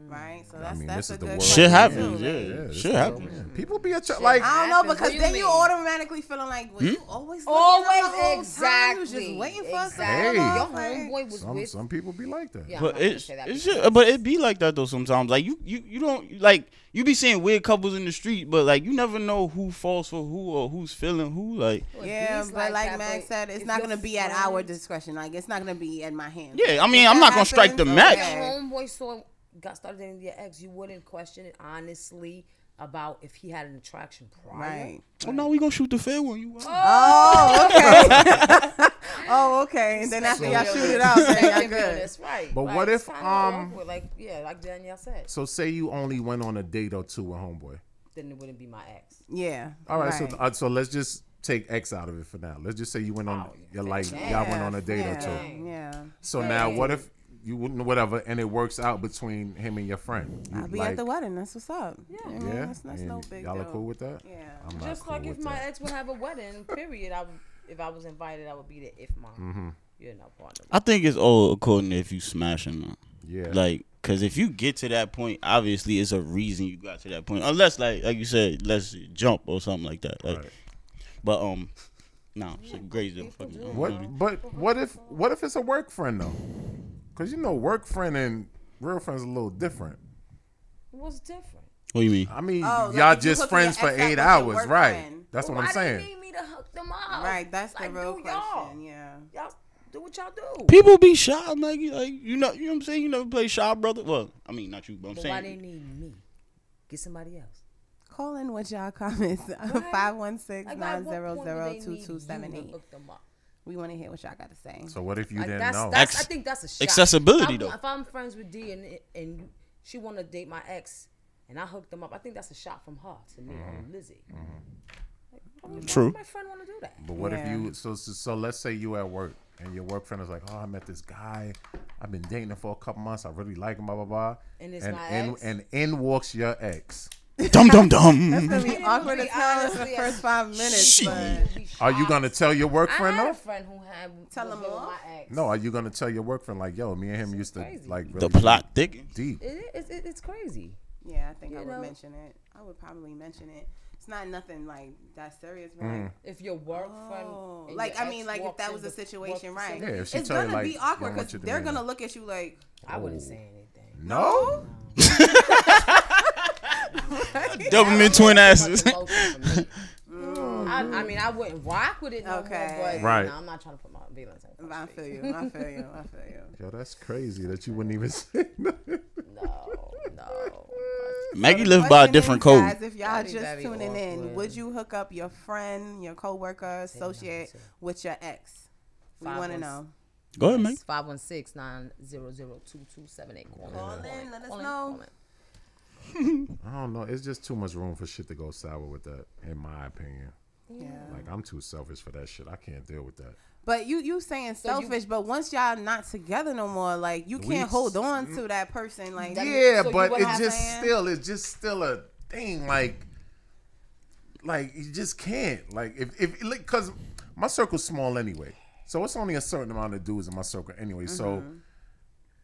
Speaker 7: Right. So that's
Speaker 6: mean, this is
Speaker 7: that's a
Speaker 6: the
Speaker 7: good
Speaker 6: world
Speaker 7: question,
Speaker 5: Shit
Speaker 6: Shit
Speaker 5: happens.
Speaker 7: too.
Speaker 5: Yeah,
Speaker 6: this
Speaker 5: shit
Speaker 6: is
Speaker 5: happens.
Speaker 6: yeah. people be a ch- like
Speaker 7: I don't know
Speaker 2: Happens.
Speaker 7: because
Speaker 2: What do you
Speaker 7: then you
Speaker 2: mean?
Speaker 7: automatically feeling like well,
Speaker 5: Hmm?
Speaker 7: you always looking
Speaker 2: Always,
Speaker 7: at the whole time. You was
Speaker 2: exactly.
Speaker 7: just waiting for us. to
Speaker 6: Hey.
Speaker 7: come
Speaker 2: Exactly. Your
Speaker 7: off, like-
Speaker 2: homeboy was
Speaker 6: some
Speaker 2: with.
Speaker 6: some people be like that
Speaker 2: yeah, I'm not
Speaker 5: But
Speaker 2: gonna
Speaker 5: it's,
Speaker 2: say that
Speaker 5: it's
Speaker 2: because-
Speaker 5: just, but it be like that though sometimes. Like you you you don't like you be seeing weird couples in the street, but like you never know who falls for who or who's feeling who. Like
Speaker 2: Well,
Speaker 7: Yeah,
Speaker 2: he's
Speaker 7: but like
Speaker 2: that,
Speaker 7: Max
Speaker 2: but
Speaker 7: said, it's
Speaker 2: if
Speaker 7: not
Speaker 2: your
Speaker 7: gonna be at our
Speaker 2: friend-
Speaker 7: discretion. Like it's not gonna be at my hands.
Speaker 5: yeah, I mean
Speaker 7: If
Speaker 5: I'm
Speaker 7: that
Speaker 5: not gonna strike the
Speaker 7: happens,
Speaker 2: If your
Speaker 7: okay.
Speaker 5: match.
Speaker 2: homeboy saw got started dating your ex, you wouldn't question it honestly about if he had an attraction prior.
Speaker 7: Right.
Speaker 5: Oh no, we gonna shoot the fair one. You wild.
Speaker 7: Oh, okay. oh, okay. And then after y'all shoot it out, then y'all good.
Speaker 2: That's right.
Speaker 6: But
Speaker 2: Like,
Speaker 6: what
Speaker 2: it's
Speaker 6: if,
Speaker 2: kinda
Speaker 6: um,
Speaker 2: awkward, like yeah, like Danielle said,
Speaker 6: so say you only went on a date or two with homeboy
Speaker 2: then it wouldn't be my ex.
Speaker 7: Yeah.
Speaker 6: all right, so uh, so let's just take X out of it for now let's just say you went on you're like y'all went on a date or two
Speaker 7: Oh, yeah, yeah.
Speaker 6: So now, what if you wouldn't, whatever, and it works out between him and your friend? You
Speaker 7: I'll be at the wedding. That's what's up. Yeah.
Speaker 6: Yeah,
Speaker 7: That's, that's no
Speaker 6: and
Speaker 7: big
Speaker 6: Y'all
Speaker 7: deal.
Speaker 6: are cool with that?
Speaker 7: Yeah.
Speaker 6: I'm not
Speaker 2: Just
Speaker 6: cool
Speaker 2: like if
Speaker 6: with
Speaker 2: my
Speaker 6: that.
Speaker 2: ex would have a wedding, period. I would, if I was invited, I would be there. If my,
Speaker 6: Mm-hmm.
Speaker 2: you know, partner.
Speaker 5: I think it's all according to if you smashing them.
Speaker 6: Yeah.
Speaker 5: Like, cause if you get to that point, obviously it's a reason you got to that point. Unless, like, like you said, let's jump or something like that. Like,
Speaker 6: Right.
Speaker 5: but um, nah, it's a great deal. Fucking,
Speaker 6: What? But what if? What if it's a work friend though? Because you know, work friend and real friends are a little different.
Speaker 2: What's different?
Speaker 5: What do you mean?
Speaker 6: I mean,
Speaker 7: Oh, like
Speaker 6: y'all
Speaker 7: if you
Speaker 6: just
Speaker 7: hooking
Speaker 6: friends
Speaker 7: your
Speaker 6: for
Speaker 7: ex up with
Speaker 6: eight
Speaker 7: your
Speaker 6: hours,
Speaker 7: work
Speaker 6: right?
Speaker 7: friend.
Speaker 6: That's what
Speaker 2: Why
Speaker 6: I'm
Speaker 2: do you
Speaker 6: saying.
Speaker 2: need me to hook them up?
Speaker 7: Right. That's the
Speaker 2: Like,
Speaker 7: real
Speaker 2: do
Speaker 7: question.
Speaker 2: y'all.
Speaker 7: Yeah.
Speaker 2: Y'all do what y'all do.
Speaker 5: People be shy. I'm like, you- like you know, you know what I'm saying. You never play shy brother. Well, I mean, not you, but I'm
Speaker 2: But why they
Speaker 5: saying.
Speaker 2: need me? Get somebody else.
Speaker 7: Call in with y'all comments. 516
Speaker 2: by what point do they
Speaker 7: 900
Speaker 2: need you to
Speaker 7: 2278.
Speaker 2: hook them up?
Speaker 7: We want to hear what y'all got to say.
Speaker 6: So what if you
Speaker 2: Like,
Speaker 6: didn't
Speaker 2: that's,
Speaker 6: know?
Speaker 2: that's I
Speaker 5: Ex-
Speaker 2: think that's a shot.
Speaker 5: accessibility,
Speaker 2: if I'm,
Speaker 5: though.
Speaker 2: If I'm friends with D and and she want to date my ex, and I hooked them up, I think that's a shot from her to me
Speaker 6: Mm-hmm.
Speaker 2: on Lizzie. Like, why would- why
Speaker 5: True.
Speaker 2: would My friend want to do that.
Speaker 6: But what if
Speaker 7: Yeah.
Speaker 6: you so, so so let's say you at work and your work friend is like, oh, I met this guy, I've been dating him for a couple months, I really like him, blah blah blah.
Speaker 2: And it's
Speaker 6: and
Speaker 2: my
Speaker 6: in,
Speaker 2: ex?
Speaker 6: and in walks your ex.
Speaker 5: Dum dum dum.
Speaker 7: It's going to be awkward
Speaker 2: be
Speaker 7: as hell for the
Speaker 2: honestly
Speaker 7: first five minutes.
Speaker 5: Shit.
Speaker 7: But
Speaker 2: You'd be
Speaker 6: Are you
Speaker 2: shocked.
Speaker 6: gonna tell your work
Speaker 2: I
Speaker 6: friend
Speaker 2: had a
Speaker 6: though?
Speaker 2: friend who had
Speaker 7: Tell
Speaker 2: was
Speaker 7: them
Speaker 2: dating
Speaker 7: off?
Speaker 2: my ex.
Speaker 6: No, are you gonna tell your work friend like, yo, me and him used to
Speaker 2: crazy.
Speaker 6: like really
Speaker 5: The plot thickens.
Speaker 6: deep?
Speaker 2: It, it, it, it's crazy.
Speaker 7: yeah, I think I
Speaker 2: You
Speaker 7: would
Speaker 2: know.
Speaker 7: mention it. I would probably mention it. It's not nothing like that serious, but
Speaker 6: Mm.
Speaker 7: like,
Speaker 2: If your work friend,
Speaker 7: Oh,
Speaker 2: and
Speaker 7: like
Speaker 2: your
Speaker 7: I mean,
Speaker 2: ex
Speaker 7: like if
Speaker 2: walked
Speaker 7: that
Speaker 2: in
Speaker 7: was a
Speaker 2: the-
Speaker 7: situation,
Speaker 2: walked-
Speaker 7: right?
Speaker 6: Yeah, if she
Speaker 7: it's
Speaker 6: tell you,
Speaker 7: gonna
Speaker 6: like,
Speaker 7: be awkward
Speaker 6: "Don't want
Speaker 7: because
Speaker 6: you to
Speaker 7: they're
Speaker 6: do
Speaker 7: gonna
Speaker 6: that."
Speaker 7: look at you like,
Speaker 2: I wouldn't say anything.
Speaker 6: No?
Speaker 5: Doberman twin asses.
Speaker 2: Fucking lotion for me. I, I mean, I wouldn't rock with it no
Speaker 7: Okay.
Speaker 2: more, but
Speaker 6: Right.
Speaker 2: you know, I'm not trying to put my feelings in.
Speaker 7: I
Speaker 2: front of
Speaker 7: feel you, I feel you, I feel you.
Speaker 6: Yo, that's crazy that you wouldn't even say nothing.
Speaker 2: you. No, no.
Speaker 5: Maggie lived by a
Speaker 7: Question
Speaker 5: different
Speaker 7: is,
Speaker 5: code.
Speaker 7: Guys, if y'all
Speaker 2: That'd be
Speaker 7: just
Speaker 2: very
Speaker 7: tuning in,
Speaker 2: awkward.
Speaker 7: would you hook up your friend, your coworker, associate with your ex? We
Speaker 2: Five
Speaker 7: want to
Speaker 2: ones.
Speaker 7: know.
Speaker 5: Go ahead, Maggie.
Speaker 2: 516 900 2278. Call in. Call
Speaker 7: in, let us
Speaker 2: call in,
Speaker 7: know.
Speaker 2: call in.
Speaker 6: I don't know. It's just too much room for shit to go sour with that, in my opinion.
Speaker 7: Yeah.
Speaker 6: Like I'm too selfish for that shit. I can't deal with that.
Speaker 7: But you you saying
Speaker 2: you-
Speaker 7: selfish, but once y'all not together no more, like you can't hold
Speaker 5: Mm.
Speaker 7: on to that person. Like
Speaker 6: Yeah,
Speaker 2: so you
Speaker 6: but
Speaker 2: would
Speaker 6: it
Speaker 2: have
Speaker 6: just
Speaker 7: plans?
Speaker 6: still it's just still a thing. Like, like you just can't. Like if if like, cause my circle's small anyway, so it's only a certain amount of dudes in my circle anyway. So. Them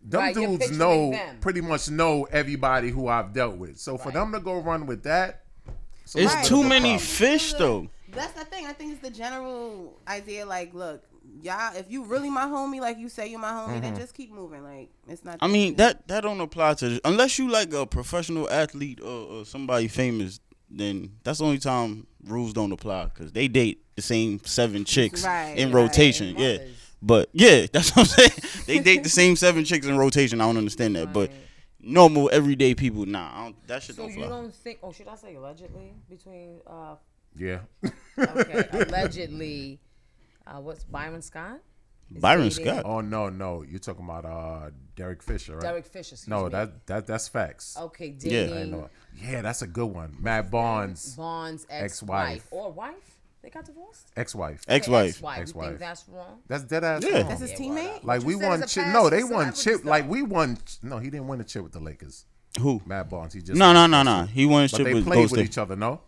Speaker 2: Mm-hmm. Right, you're
Speaker 6: dudes
Speaker 2: picturing
Speaker 6: know
Speaker 2: them.
Speaker 6: pretty much know everybody who I've dealt with. So for them to go run with that, a
Speaker 5: It's
Speaker 6: little bit
Speaker 5: too
Speaker 6: of a
Speaker 5: many
Speaker 6: problem.
Speaker 5: fish though.
Speaker 7: That's the thing. I think it's the general idea. Like, look, y'all, if you really my homie, like you say you're my homie,
Speaker 5: Mm-hmm.
Speaker 7: then just keep moving. Like, it's not.
Speaker 5: I mean that that don't apply to unless you like a professional athlete or, or somebody famous. then that's the only time rules don't apply because they date the same seven chicks
Speaker 7: Right,
Speaker 5: in
Speaker 7: right.
Speaker 5: rotation. Yeah.
Speaker 2: Mothers.
Speaker 5: But yeah, that's what I'm saying. they date the same seven chicks in rotation. I don't understand that. But normal everyday people, nah, I don't, that shit
Speaker 2: So
Speaker 5: don't
Speaker 2: you
Speaker 5: fly.
Speaker 2: don't think? Oh, should I say allegedly between? Uh,
Speaker 6: Yeah.
Speaker 2: okay, allegedly, uh, what's Byron Scott? Is
Speaker 5: Byron
Speaker 2: dating
Speaker 5: Scott.
Speaker 6: oh no, no. You're talking about uh Derek Fisher, right?
Speaker 2: Derek Fisher. excuse
Speaker 6: no,
Speaker 2: me.
Speaker 6: that that that's facts.
Speaker 2: Okay,
Speaker 5: Yeah. I
Speaker 2: dating
Speaker 6: No. Yeah, that's a good one. Matt Bonds,
Speaker 2: Bond's ex-wife
Speaker 6: Ex-wife.
Speaker 2: or wife. They got divorced.
Speaker 6: ex-wife.
Speaker 5: Ex-wife.
Speaker 2: Ex-wife. You
Speaker 6: Ex-wife.
Speaker 2: think that's wrong?
Speaker 6: That's dead ass.
Speaker 5: Yeah.
Speaker 6: wrong.
Speaker 7: That's his teammate.
Speaker 6: Like we
Speaker 2: You said
Speaker 6: won
Speaker 2: it's a
Speaker 6: chip.
Speaker 2: pass,
Speaker 6: No, they
Speaker 2: so I
Speaker 6: won
Speaker 2: would
Speaker 6: chip.
Speaker 2: stop.
Speaker 6: Like we won. No, he didn't win a chip with the Lakers.
Speaker 5: Who?
Speaker 6: Matt Bonds. He just
Speaker 5: No,
Speaker 6: won
Speaker 5: no,
Speaker 6: the
Speaker 5: no,
Speaker 6: first
Speaker 5: no.
Speaker 6: chip.
Speaker 5: He won a
Speaker 6: But
Speaker 5: ship
Speaker 6: they
Speaker 5: with
Speaker 6: played
Speaker 5: Ghost
Speaker 6: with
Speaker 5: State.
Speaker 6: each other. No.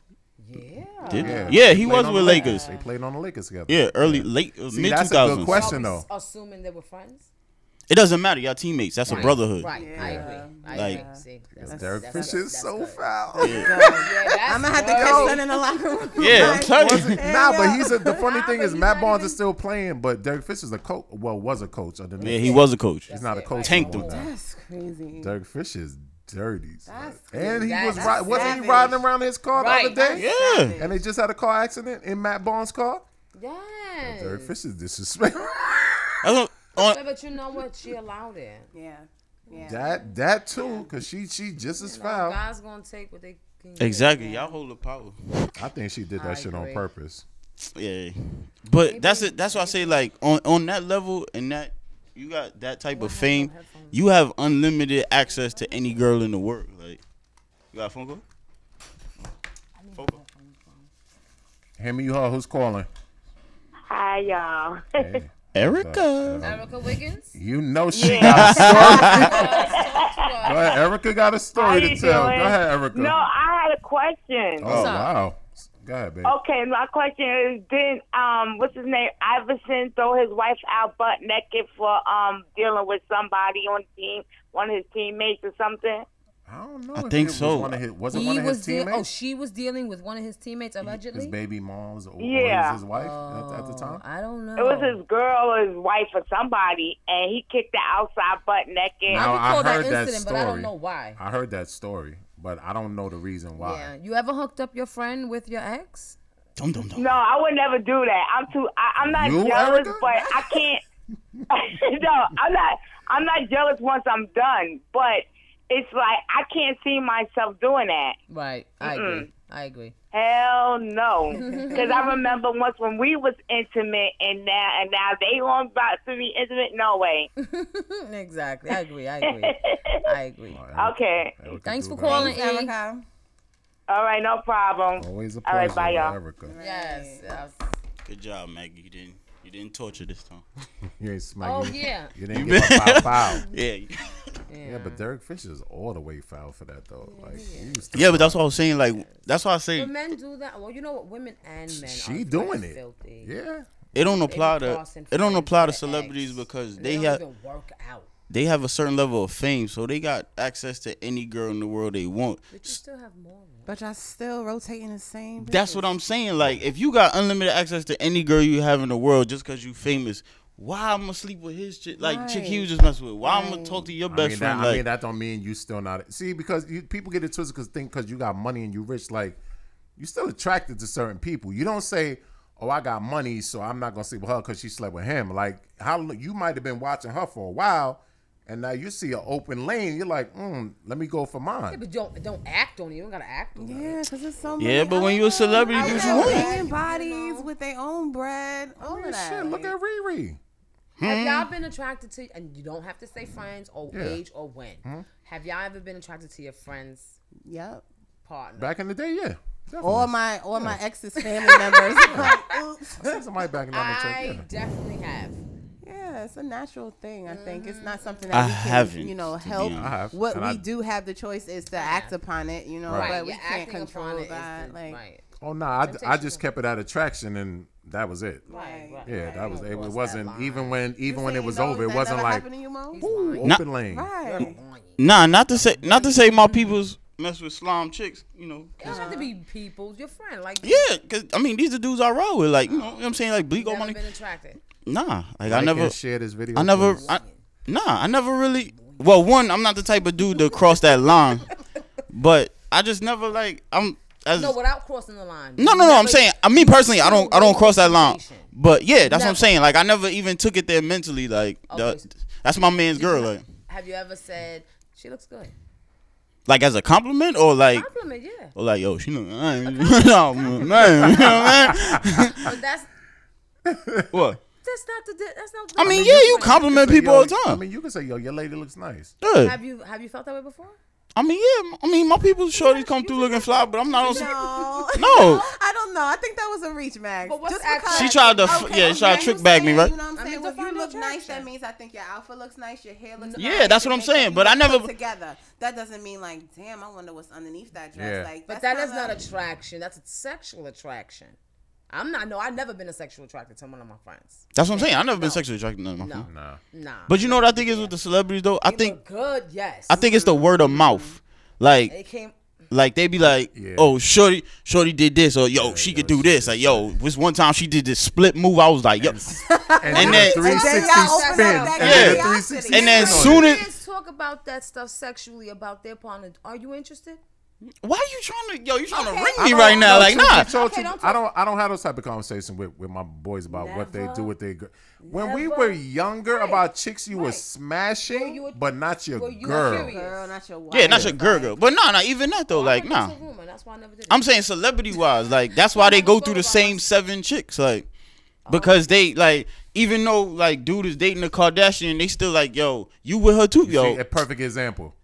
Speaker 2: Yeah.
Speaker 5: Did they?
Speaker 6: Yeah.
Speaker 5: Yeah,
Speaker 6: They
Speaker 5: he
Speaker 6: played
Speaker 5: was
Speaker 6: on
Speaker 5: with
Speaker 6: the Lakers.
Speaker 5: Lakers.
Speaker 6: They played on the Lakers together.
Speaker 5: Yeah, early, late, uh,
Speaker 6: See,
Speaker 5: mid
Speaker 6: that's a
Speaker 5: two
Speaker 6: good
Speaker 5: thousands.
Speaker 6: question.
Speaker 2: Are we
Speaker 6: though.
Speaker 2: Assuming they were friends.
Speaker 5: It doesn't matter. Y'all teammates. That's a brotherhood.
Speaker 2: Right. I
Speaker 6: Yeah.
Speaker 2: agree. I
Speaker 5: Like-
Speaker 2: agree. See, that's-
Speaker 6: Derek
Speaker 2: that's
Speaker 6: Fisher
Speaker 2: good,
Speaker 6: is
Speaker 2: that's
Speaker 6: so
Speaker 2: good.
Speaker 6: foul.
Speaker 2: Yeah, that's
Speaker 7: I'm gonna have to
Speaker 2: good.
Speaker 7: catch that in the locker room.
Speaker 5: Yeah, I'm telling you.
Speaker 7: Hell
Speaker 6: nah, but
Speaker 7: yeah.
Speaker 6: he's a, the funny thing is
Speaker 2: he's
Speaker 6: Matt
Speaker 2: not
Speaker 6: Bonds
Speaker 2: even-
Speaker 6: is still playing, but Derek Fisher's a coach. Well, was a coach. Of the
Speaker 5: Yeah,
Speaker 6: Knicks.
Speaker 5: he was a coach.
Speaker 6: He's not a
Speaker 2: it,
Speaker 6: coach.
Speaker 2: right.
Speaker 5: Tanked
Speaker 6: anymore.
Speaker 5: him.
Speaker 7: That's crazy.
Speaker 6: Derek Fisher's dirty. son.
Speaker 7: That's
Speaker 6: and he
Speaker 2: crazy.
Speaker 6: was
Speaker 2: That's
Speaker 6: ri- wasn't he
Speaker 7: savage.
Speaker 6: riding around in his car
Speaker 2: Right.
Speaker 6: the other day?
Speaker 5: Yeah.
Speaker 6: And they just had a car accident in Matt Bonds' car.
Speaker 2: Yes.
Speaker 6: Derek Fisher's disrespectful.
Speaker 5: That's what- on-
Speaker 2: Yeah, but you know what? She allowed it.
Speaker 7: Yeah. Yeah.
Speaker 6: that that too, because she she just as foul.
Speaker 2: Guys gonna take what they can. get.
Speaker 5: exactly. Y'all hold the power.
Speaker 6: I think she did that
Speaker 2: I
Speaker 6: shit on
Speaker 2: agree.
Speaker 6: purpose.
Speaker 5: Yeah. But that's it. That's why I say like on on that level and that you got that type of fame, you have unlimited access to any girl in the world. Like you got a phone call? Phone call?
Speaker 6: Hammy, you who's calling?
Speaker 9: Hi, y'all.
Speaker 6: Hey.
Speaker 5: Erica.
Speaker 2: Erica Wiggins.
Speaker 6: um, You know she got a story. Go ahead, Erica got a
Speaker 9: How
Speaker 6: story to
Speaker 9: you
Speaker 6: tell.
Speaker 9: doing?
Speaker 6: Go ahead, Erica.
Speaker 9: No, I Oh, had a question.
Speaker 6: oh wow. Go ahead, baby.
Speaker 9: Okay, my question is: Did um, what's his name, Iverson, throw his wife out butt naked for um dealing with somebody on the team, one of his teammates or something?
Speaker 6: I don't know.
Speaker 5: I
Speaker 6: if it
Speaker 5: think
Speaker 6: was
Speaker 5: so.
Speaker 6: One of his, wasn't one
Speaker 2: He
Speaker 6: of
Speaker 2: was
Speaker 6: his
Speaker 2: dealing.
Speaker 6: teammates?
Speaker 2: Oh, she was dealing with one of his teammates
Speaker 6: his
Speaker 2: allegedly.
Speaker 6: baby mom's or, or
Speaker 9: Yeah.
Speaker 6: his wife at, at the time.
Speaker 2: Oh, I don't know.
Speaker 9: It was his girl or his wife or somebody, and he kicked her outside butt naked.
Speaker 6: No, I
Speaker 2: recall that
Speaker 6: heard that
Speaker 2: incident, but I
Speaker 6: story.
Speaker 2: don't know why.
Speaker 6: I heard that story, but I don't know the reason why.
Speaker 2: Yeah. You ever hooked up your friend with your ex?
Speaker 5: Dum dum dum.
Speaker 9: No, I would never do that. I'm too. I, I'm not
Speaker 6: You,
Speaker 9: jealous,
Speaker 6: Erica?
Speaker 9: but I can't. no, I'm not. I'm not jealous once I'm done. But it's like I can't see myself doing that.
Speaker 2: Right. I agree. I agree.
Speaker 9: Hell no, because I remember once when we was intimate, and now and now they on about to be intimate. No way.
Speaker 2: exactly. I agree. I agree. I agree.
Speaker 9: Okay.
Speaker 6: Erica
Speaker 2: Thanks for
Speaker 6: Duval.
Speaker 2: calling. E.
Speaker 7: Erica.
Speaker 9: All right. No problem.
Speaker 6: Always a
Speaker 9: All
Speaker 6: pleasure,
Speaker 9: right, bye, y'all.
Speaker 6: Erica.
Speaker 2: Yes. yes.
Speaker 5: Good job, Maggie. You didn't you didn't torture this time.
Speaker 6: You ain't smacking.
Speaker 2: Oh
Speaker 6: me.
Speaker 2: yeah.
Speaker 6: You didn't give a foul. foul.
Speaker 5: Yeah.
Speaker 6: Yeah, but Derek Fisher's all the way foul for that though. Like he was still,
Speaker 5: Yeah, but that's what I was saying. Like that's why I say
Speaker 2: But men do that. Well, you know what? Women and men.
Speaker 6: She
Speaker 2: are
Speaker 6: doing
Speaker 2: very
Speaker 6: it.
Speaker 2: Filthy.
Speaker 6: yeah.
Speaker 5: it don't apply
Speaker 2: be
Speaker 5: to
Speaker 2: crossing
Speaker 5: it don't
Speaker 2: friends
Speaker 5: apply to
Speaker 2: with their
Speaker 5: celebrities
Speaker 2: ex.
Speaker 5: because
Speaker 2: And
Speaker 5: they
Speaker 2: don't
Speaker 5: have
Speaker 2: even work out.
Speaker 5: they have a certain level of fame, so they got access to any girl in the world they want.
Speaker 2: But you still have more. right?
Speaker 7: But y'all still rotating the same.
Speaker 5: That's what I'm saying. Like, if you got unlimited access to any girl you have in the world just because you famous, why I'm gonna sleep with his chick? Like, chick
Speaker 7: Right.
Speaker 5: Hughes just mess with. Why I'm gonna talk to your best
Speaker 6: I mean,
Speaker 5: friend?
Speaker 6: that, I
Speaker 5: like,
Speaker 6: mean, that don't mean you still not see because you, people get it twisted because think because you got money and you rich, like you still attracted to certain people. You don't say, "Oh, I got money, so I'm not gonna sleep with her because she slept with him." Like how l- you might have been watching her for a while, and now you see an open lane, you're like, mm, "Let me go for
Speaker 2: Yeah,
Speaker 6: mine."
Speaker 2: but don't don't act on it. You don't gotta act on it.
Speaker 7: Yeah, because it's so many.
Speaker 5: yeah, but when you a celebrity, do what you want?
Speaker 7: Human bodies with their own bread. All of that.
Speaker 6: Shit, look at Riri.
Speaker 5: hmm?
Speaker 2: Have y'all been attracted to? And you don't have to say friends or
Speaker 6: Yeah.
Speaker 2: age or when.
Speaker 5: Hmm?
Speaker 2: Have y'all ever been attracted to your friend's
Speaker 7: Yep.
Speaker 2: partner?
Speaker 6: Back in the day, yeah.
Speaker 7: All
Speaker 6: Definitely.
Speaker 7: my all my ex's family members. Like, oops.
Speaker 6: Somebody back in the day,
Speaker 2: I
Speaker 6: yeah.
Speaker 2: definitely have. Mm-hmm.
Speaker 7: Yeah, it's a natural thing. I think it's not something
Speaker 5: I
Speaker 7: that we can,
Speaker 5: haven't,
Speaker 7: you know,
Speaker 5: to be
Speaker 7: help.
Speaker 5: honest.
Speaker 6: I have,
Speaker 7: What
Speaker 6: and
Speaker 7: we
Speaker 6: I-
Speaker 7: do have the choice is to act upon it, you know,
Speaker 6: Right.
Speaker 7: but we
Speaker 2: Yeah,
Speaker 7: can't
Speaker 2: acting upon
Speaker 7: control
Speaker 2: it is
Speaker 7: that.
Speaker 2: the-
Speaker 7: Like,
Speaker 2: right,
Speaker 6: Oh no, I, I just kept it at attraction, and that was it.
Speaker 2: right, right.
Speaker 6: Yeah, that was it.
Speaker 2: Cross
Speaker 6: wasn't
Speaker 2: line.
Speaker 6: even when even
Speaker 7: You
Speaker 6: when
Speaker 7: say
Speaker 6: it
Speaker 7: you
Speaker 6: was
Speaker 7: know
Speaker 6: over. It
Speaker 7: that
Speaker 6: wasn't
Speaker 7: never
Speaker 6: like
Speaker 7: happened to you, Mo?
Speaker 6: ooh, open
Speaker 5: Nah.
Speaker 6: lane.
Speaker 7: Right.
Speaker 5: nah, not to say not to say my people's mess with slime chicks, you know.
Speaker 2: You don't have to be people. Your friend, like,
Speaker 5: Yeah, cause I mean these are dudes I roll with, like you know, what I'm saying like Bleak
Speaker 2: never
Speaker 5: on money.
Speaker 2: been attracted.
Speaker 5: Nah, like I
Speaker 6: Like
Speaker 5: never
Speaker 6: and share this video.
Speaker 5: I never,
Speaker 6: please.
Speaker 5: I, nah, I never really. Well, one, I'm not the type of dude to cross that line, but I just never like. I'm As,
Speaker 2: no, without crossing the line.
Speaker 5: No, no, no. I'm
Speaker 2: Never-
Speaker 5: saying, I me personally, I don't, I don't cross that line. But yeah, that's what I'm
Speaker 2: Never.
Speaker 5: saying. Like, I never even took it there mentally. Like,
Speaker 2: Okay.
Speaker 5: the- that's my man's girl. Like,
Speaker 2: Have you ever said she looks good?
Speaker 5: like as a compliment or like,
Speaker 2: Compliment, yeah.
Speaker 5: or like, yo, she look, I ain't- no, man, no, you know what I mean?
Speaker 2: But that's
Speaker 5: What?
Speaker 2: that's not the di- that's not.
Speaker 5: I mean, yeah, you compliment people all the
Speaker 6: I
Speaker 5: time.
Speaker 6: mean, you can say, "Yo, your lady looks nice."
Speaker 5: Yeah.
Speaker 2: Have you have you felt that way before?
Speaker 5: I mean, yeah. I mean, my people shorties come through looking fly, but I'm not on. some-
Speaker 7: No.
Speaker 5: No.
Speaker 7: Oh, I don't know. I think that was a reach, Max.
Speaker 2: But what's
Speaker 7: Just
Speaker 2: actually-
Speaker 7: because-
Speaker 5: She tried to, f yeah,
Speaker 7: Okay,
Speaker 5: she tried
Speaker 7: you
Speaker 5: to trick bag me,
Speaker 7: saying,
Speaker 5: right?
Speaker 7: You know what
Speaker 2: I
Speaker 7: I'm
Speaker 2: mean,
Speaker 7: saying? if
Speaker 2: define
Speaker 7: you look nice,
Speaker 2: attraction.
Speaker 7: that means I think your outfit looks nice, your hair looks
Speaker 5: Yeah,
Speaker 7: nice.
Speaker 5: that's what
Speaker 7: your
Speaker 5: I'm
Speaker 7: makeup
Speaker 5: saying, but
Speaker 7: looks
Speaker 5: I never-
Speaker 7: put together. That doesn't mean like, damn, I wonder what's underneath that dress.
Speaker 6: Yeah.
Speaker 7: Like,
Speaker 2: But
Speaker 7: that's
Speaker 2: that is not
Speaker 7: a-
Speaker 2: attraction. That's sexual attraction. I'm not. No, I've never been a sexual attracted to one of my friends.
Speaker 5: That's what I'm saying. I've never been sexually attracted to none of my
Speaker 2: No.
Speaker 5: friends.
Speaker 6: Nah.
Speaker 2: Nah.
Speaker 5: But you know what I think is with the celebrities though? I
Speaker 2: They
Speaker 5: think
Speaker 2: look good. Yes.
Speaker 5: I think it's the word of mouth.
Speaker 2: it
Speaker 5: Like
Speaker 2: came.
Speaker 5: like they be like,
Speaker 6: Yeah.
Speaker 5: oh shorty, shorty did this, or yo, she could do this. Like yo, this one time she did this split move. I was like, yo,
Speaker 6: And,
Speaker 5: And
Speaker 6: then
Speaker 5: then-
Speaker 6: a 360
Speaker 7: And then y'all open
Speaker 6: spin.
Speaker 7: up that
Speaker 6: And then a
Speaker 5: Yeah.
Speaker 6: 360
Speaker 5: and then
Speaker 6: spin on
Speaker 5: soon
Speaker 6: it.
Speaker 5: as
Speaker 2: Kids talk about that stuff sexually about their partner. Are you interested?
Speaker 5: why are you trying to yo, you trying
Speaker 2: Okay. Oh,
Speaker 5: to ring me right now? Like nah,
Speaker 6: Told
Speaker 2: Okay,
Speaker 6: you-
Speaker 2: don't
Speaker 6: I don't. I don't have those type of conversations with, with my boys about what they do
Speaker 2: Never.
Speaker 6: with their. Gr- when we
Speaker 2: Never.
Speaker 6: were younger,
Speaker 2: Right.
Speaker 6: about chicks you were
Speaker 2: Right.
Speaker 6: smashing,
Speaker 2: you a-
Speaker 6: but not your
Speaker 2: were you a
Speaker 6: girl.
Speaker 2: curious?
Speaker 7: Girl, not your wife.
Speaker 5: yeah, not your girl, girl. But nah, nah, even that though,
Speaker 2: I
Speaker 5: like
Speaker 2: heard that's
Speaker 5: nah.
Speaker 2: a rumor. That's why I never did it.
Speaker 5: I'm saying celebrity wise, like that's why they go through the same seven chicks, like
Speaker 2: Oh.
Speaker 5: because they like even though like dude is dating a Kardashian, they still like yo, you with her too,
Speaker 6: Yo,
Speaker 5: yo,
Speaker 6: a perfect example.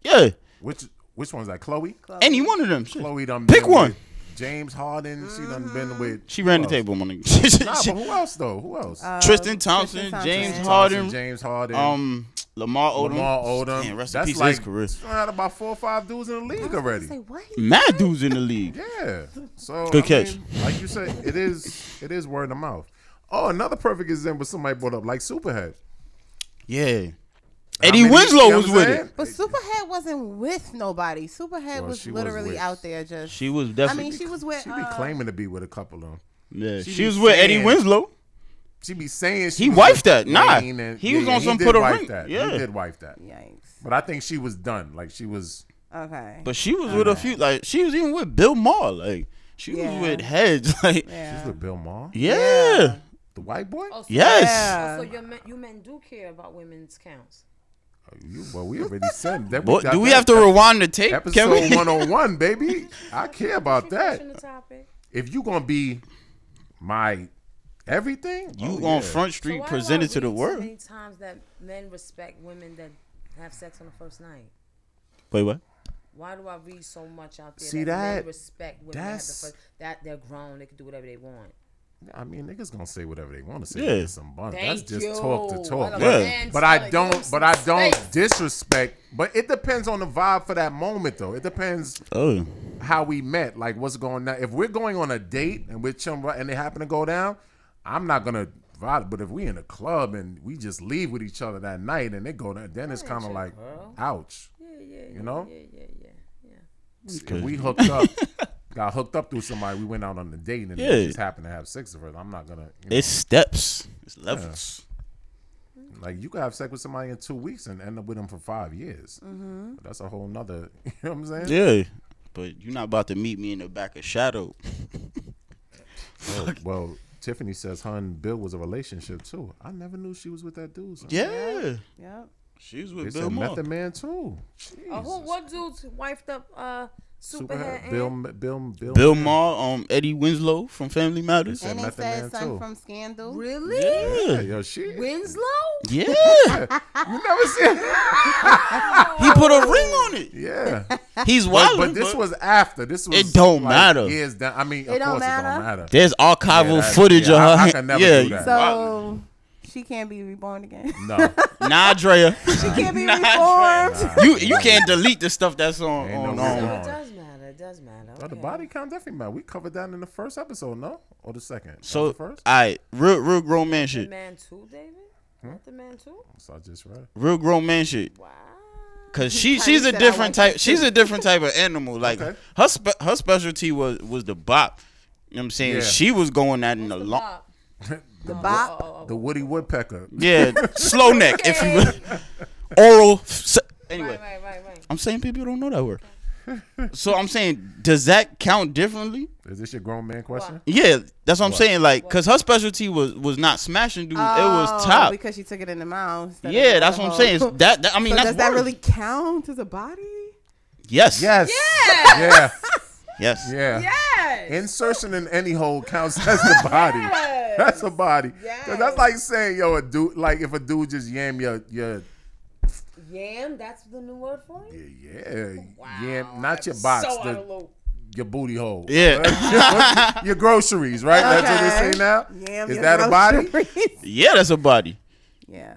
Speaker 5: yeah,
Speaker 6: Which which one's that? Chloe.
Speaker 5: any one of them. shit.
Speaker 6: Chloe done
Speaker 5: Pick
Speaker 6: been
Speaker 5: one.
Speaker 6: with James Harden. She done been with.
Speaker 5: She
Speaker 6: who
Speaker 5: ran the
Speaker 6: else?
Speaker 5: table, my nigga.
Speaker 6: Nah, but who else though? Who else?
Speaker 5: Tristan Thompson,
Speaker 7: Thompson.
Speaker 5: James
Speaker 7: James
Speaker 6: Harden,
Speaker 5: Harden,
Speaker 6: James Harden.
Speaker 5: um, Lamar Odom.
Speaker 6: Lamar Odom.
Speaker 5: Damn, rest
Speaker 6: That's
Speaker 5: in peace to
Speaker 6: like
Speaker 5: his career.
Speaker 6: out about four or five dudes in the league already.
Speaker 2: Say what?
Speaker 5: Mad dudes in the league.
Speaker 6: Yeah. So
Speaker 5: Good
Speaker 6: I
Speaker 5: catch.
Speaker 6: mean, like you said, it is it is word of mouth. Oh, another perfect example somebody brought up, like Superhead.
Speaker 5: Yeah.
Speaker 6: How
Speaker 5: Eddie
Speaker 6: many-
Speaker 5: Winslow
Speaker 6: you know what
Speaker 5: was
Speaker 6: I'm
Speaker 5: with it.
Speaker 6: saying?
Speaker 7: But Superhead wasn't with nobody. Superhead
Speaker 6: Well,
Speaker 7: was
Speaker 6: she was
Speaker 7: literally
Speaker 6: with-
Speaker 7: out there just.
Speaker 5: She was
Speaker 7: I
Speaker 5: definitely.
Speaker 7: mean, she was with.
Speaker 6: She be
Speaker 7: uh,
Speaker 6: claiming to be with a couple of them.
Speaker 5: yeah,
Speaker 6: she
Speaker 5: she,
Speaker 6: be
Speaker 5: was with Eddie
Speaker 6: saying-
Speaker 5: Winslow.
Speaker 6: She be saying she
Speaker 5: He
Speaker 6: was
Speaker 5: wifed
Speaker 6: with
Speaker 5: that. Nah.
Speaker 6: Wayne and-
Speaker 5: He was on some
Speaker 6: did
Speaker 5: put a
Speaker 6: wife
Speaker 5: ring.
Speaker 6: That.
Speaker 5: Yeah.
Speaker 6: he did wife that.
Speaker 7: Yikes.
Speaker 6: But I think she was done. Like she was.
Speaker 7: Okay.
Speaker 5: But she was with a few. Like she was even with Bill Maher. Like she
Speaker 7: Yeah.
Speaker 5: was with Heads. Like yeah.
Speaker 6: She's
Speaker 7: yeah.
Speaker 6: with Bill Maher,
Speaker 5: yeah.
Speaker 6: the white boy.
Speaker 2: Oh, so
Speaker 5: Yes.
Speaker 7: Yeah.
Speaker 2: So your men, you men do care about women's counts.
Speaker 6: You, well, we already said that.
Speaker 5: What,
Speaker 6: got
Speaker 5: do we
Speaker 6: that.
Speaker 5: have to rewind the tape? Can
Speaker 6: Episode
Speaker 5: we?
Speaker 6: one hundred and one, baby. I care about that.
Speaker 2: Pushing the topic.
Speaker 6: If you gonna be my everything,
Speaker 5: You
Speaker 6: oh,
Speaker 5: on
Speaker 6: yeah.
Speaker 5: Front
Speaker 2: So
Speaker 5: Street
Speaker 2: why do I
Speaker 5: presented to
Speaker 2: read
Speaker 5: the
Speaker 2: so
Speaker 5: world.
Speaker 2: Many times that men respect women that have sex on the first night.
Speaker 5: Wait, what?
Speaker 2: Why do I read so much out there?
Speaker 6: See that?
Speaker 2: men respect women that have the
Speaker 6: That's-
Speaker 2: first, that they're grown, they can do whatever they want.
Speaker 6: I mean, niggas gonna say whatever they want to say.
Speaker 5: Yeah.
Speaker 6: Yeah, some bun. That's
Speaker 2: Thank
Speaker 6: just
Speaker 2: you.
Speaker 6: talk to talk.
Speaker 2: What a
Speaker 5: Yeah.
Speaker 2: man
Speaker 6: But I
Speaker 2: telling you
Speaker 6: don't.
Speaker 2: some
Speaker 6: But I don't
Speaker 2: space.
Speaker 6: disrespect. But it depends on the vibe for that moment, though. It depends
Speaker 5: Oh,
Speaker 6: how we met. Like what's going on. If we're going on a date and we're chilling right- and they happen to go down, I'm not gonna vibe. But if we in a club and we just leave with each other that night and they go down, then it's kind of like, ouch.
Speaker 2: Yeah, yeah, yeah,
Speaker 6: You know?
Speaker 2: yeah, yeah, yeah, yeah.
Speaker 6: If we hooked up, got hooked up through somebody, we went out on a date and they
Speaker 5: Yeah.
Speaker 6: just happened to have sex with her. I'm not gonna. You know,
Speaker 5: it's steps. It's levels.
Speaker 6: Like you could have sex with somebody in two weeks and end up with them for five years. Mm-hmm. That's a whole nother. You know what I'm saying?
Speaker 5: Yeah. But you're not about to meet me in the back of shadow.
Speaker 6: Oh, well, Tiffany says her and Bill was a relationship too. I never knew she was with that dude. son.
Speaker 5: Yeah.
Speaker 7: Yep.
Speaker 5: She was
Speaker 6: they
Speaker 5: with Bill
Speaker 6: said
Speaker 5: Maher.
Speaker 6: Method Man too. Jeez.
Speaker 2: Uh, who, what dudes wifed up uh, Superhead?
Speaker 6: Superhead.
Speaker 2: and
Speaker 6: Bill, Bill, Bill,
Speaker 5: Bill Maher, um, Eddie Winslow from Family Matters.
Speaker 6: said
Speaker 7: And they
Speaker 6: Method
Speaker 7: said
Speaker 6: Man
Speaker 7: something
Speaker 6: too.
Speaker 7: from Scandal.
Speaker 2: Really?
Speaker 6: Yeah, yo, she.
Speaker 2: Winslow?
Speaker 5: Yeah.
Speaker 6: You never seen.
Speaker 5: he put a ring on it.
Speaker 6: yeah,
Speaker 5: He's
Speaker 6: but,
Speaker 5: wild.
Speaker 6: but this was after. This was.
Speaker 5: It don't
Speaker 6: like,
Speaker 5: matter.
Speaker 6: Years down. I mean, of
Speaker 7: It don't
Speaker 6: course it
Speaker 7: matter.
Speaker 6: don't matter.
Speaker 5: There's
Speaker 6: Yeah,
Speaker 5: archival
Speaker 6: that-
Speaker 5: footage
Speaker 6: yeah,
Speaker 5: of
Speaker 6: I-
Speaker 5: her.
Speaker 6: I could never
Speaker 5: yeah.
Speaker 6: do that.
Speaker 7: So she can't be reborn again.
Speaker 6: No,
Speaker 5: Nah, Drea.
Speaker 7: she can't be reformed.
Speaker 5: you you can't delete the stuff that's on
Speaker 6: Ain't
Speaker 5: on,
Speaker 6: no
Speaker 2: So
Speaker 6: reason.
Speaker 5: on
Speaker 2: it does matter. It does matter. Okay.
Speaker 6: Oh, the body count definitely matter. We covered that in the first episode, no, or the second. That
Speaker 5: So
Speaker 6: was the first.
Speaker 5: I real real grown man
Speaker 2: The
Speaker 5: shit.
Speaker 2: man too, David? Not the man too?
Speaker 6: Hmm? So I just read.
Speaker 5: Real grown man shit.
Speaker 2: Wow.
Speaker 5: Cause she
Speaker 7: Kylie
Speaker 5: she's a
Speaker 7: said I
Speaker 5: different
Speaker 7: like that
Speaker 5: type. She's a different type of animal. Like
Speaker 6: Okay.
Speaker 5: her spe- her specialty was was the bop. You know what I'm saying?
Speaker 6: Yeah.
Speaker 5: She was going at in the long
Speaker 2: Bob.
Speaker 7: The bop.
Speaker 6: The Woody Woodpecker.
Speaker 5: yeah slow neck if you will. oral. Se- anyway,
Speaker 2: Right, right, right, right.
Speaker 5: I'm saying people don't know that word. so I'm saying, does that count differently?
Speaker 6: Is this your grown man question?
Speaker 5: Yeah, that's what, I'm saying. Like, cause her specialty was was not smashing dudes; it was
Speaker 7: Oh,
Speaker 5: top.
Speaker 7: because she took it in the mouth. instead of
Speaker 5: yeah, that's what I'm
Speaker 7: alcohol.
Speaker 5: saying. It's that, that I mean,
Speaker 7: so
Speaker 5: that's
Speaker 7: does that
Speaker 5: worse.
Speaker 7: really count as a body?
Speaker 5: yes,
Speaker 6: Yes.
Speaker 2: Yeah.
Speaker 6: Yeah.
Speaker 5: yes.
Speaker 6: Yeah.
Speaker 2: Yes.
Speaker 6: Insertion in any hole counts as a body. That's a body. 'Cause That's like saying, yo, a dude, like if a dude just yam your, your
Speaker 2: Yam, that's the new word for it?
Speaker 6: yeah, yam, not your box,
Speaker 2: So out
Speaker 6: the-
Speaker 2: of loop.
Speaker 6: your booty hole.
Speaker 5: yeah,
Speaker 6: your groceries, right? That's what they
Speaker 7: Okay.
Speaker 6: say now.
Speaker 7: Yam
Speaker 6: Is
Speaker 7: your
Speaker 6: that a body?
Speaker 7: groceries.
Speaker 5: yeah. That's a body.
Speaker 7: yeah,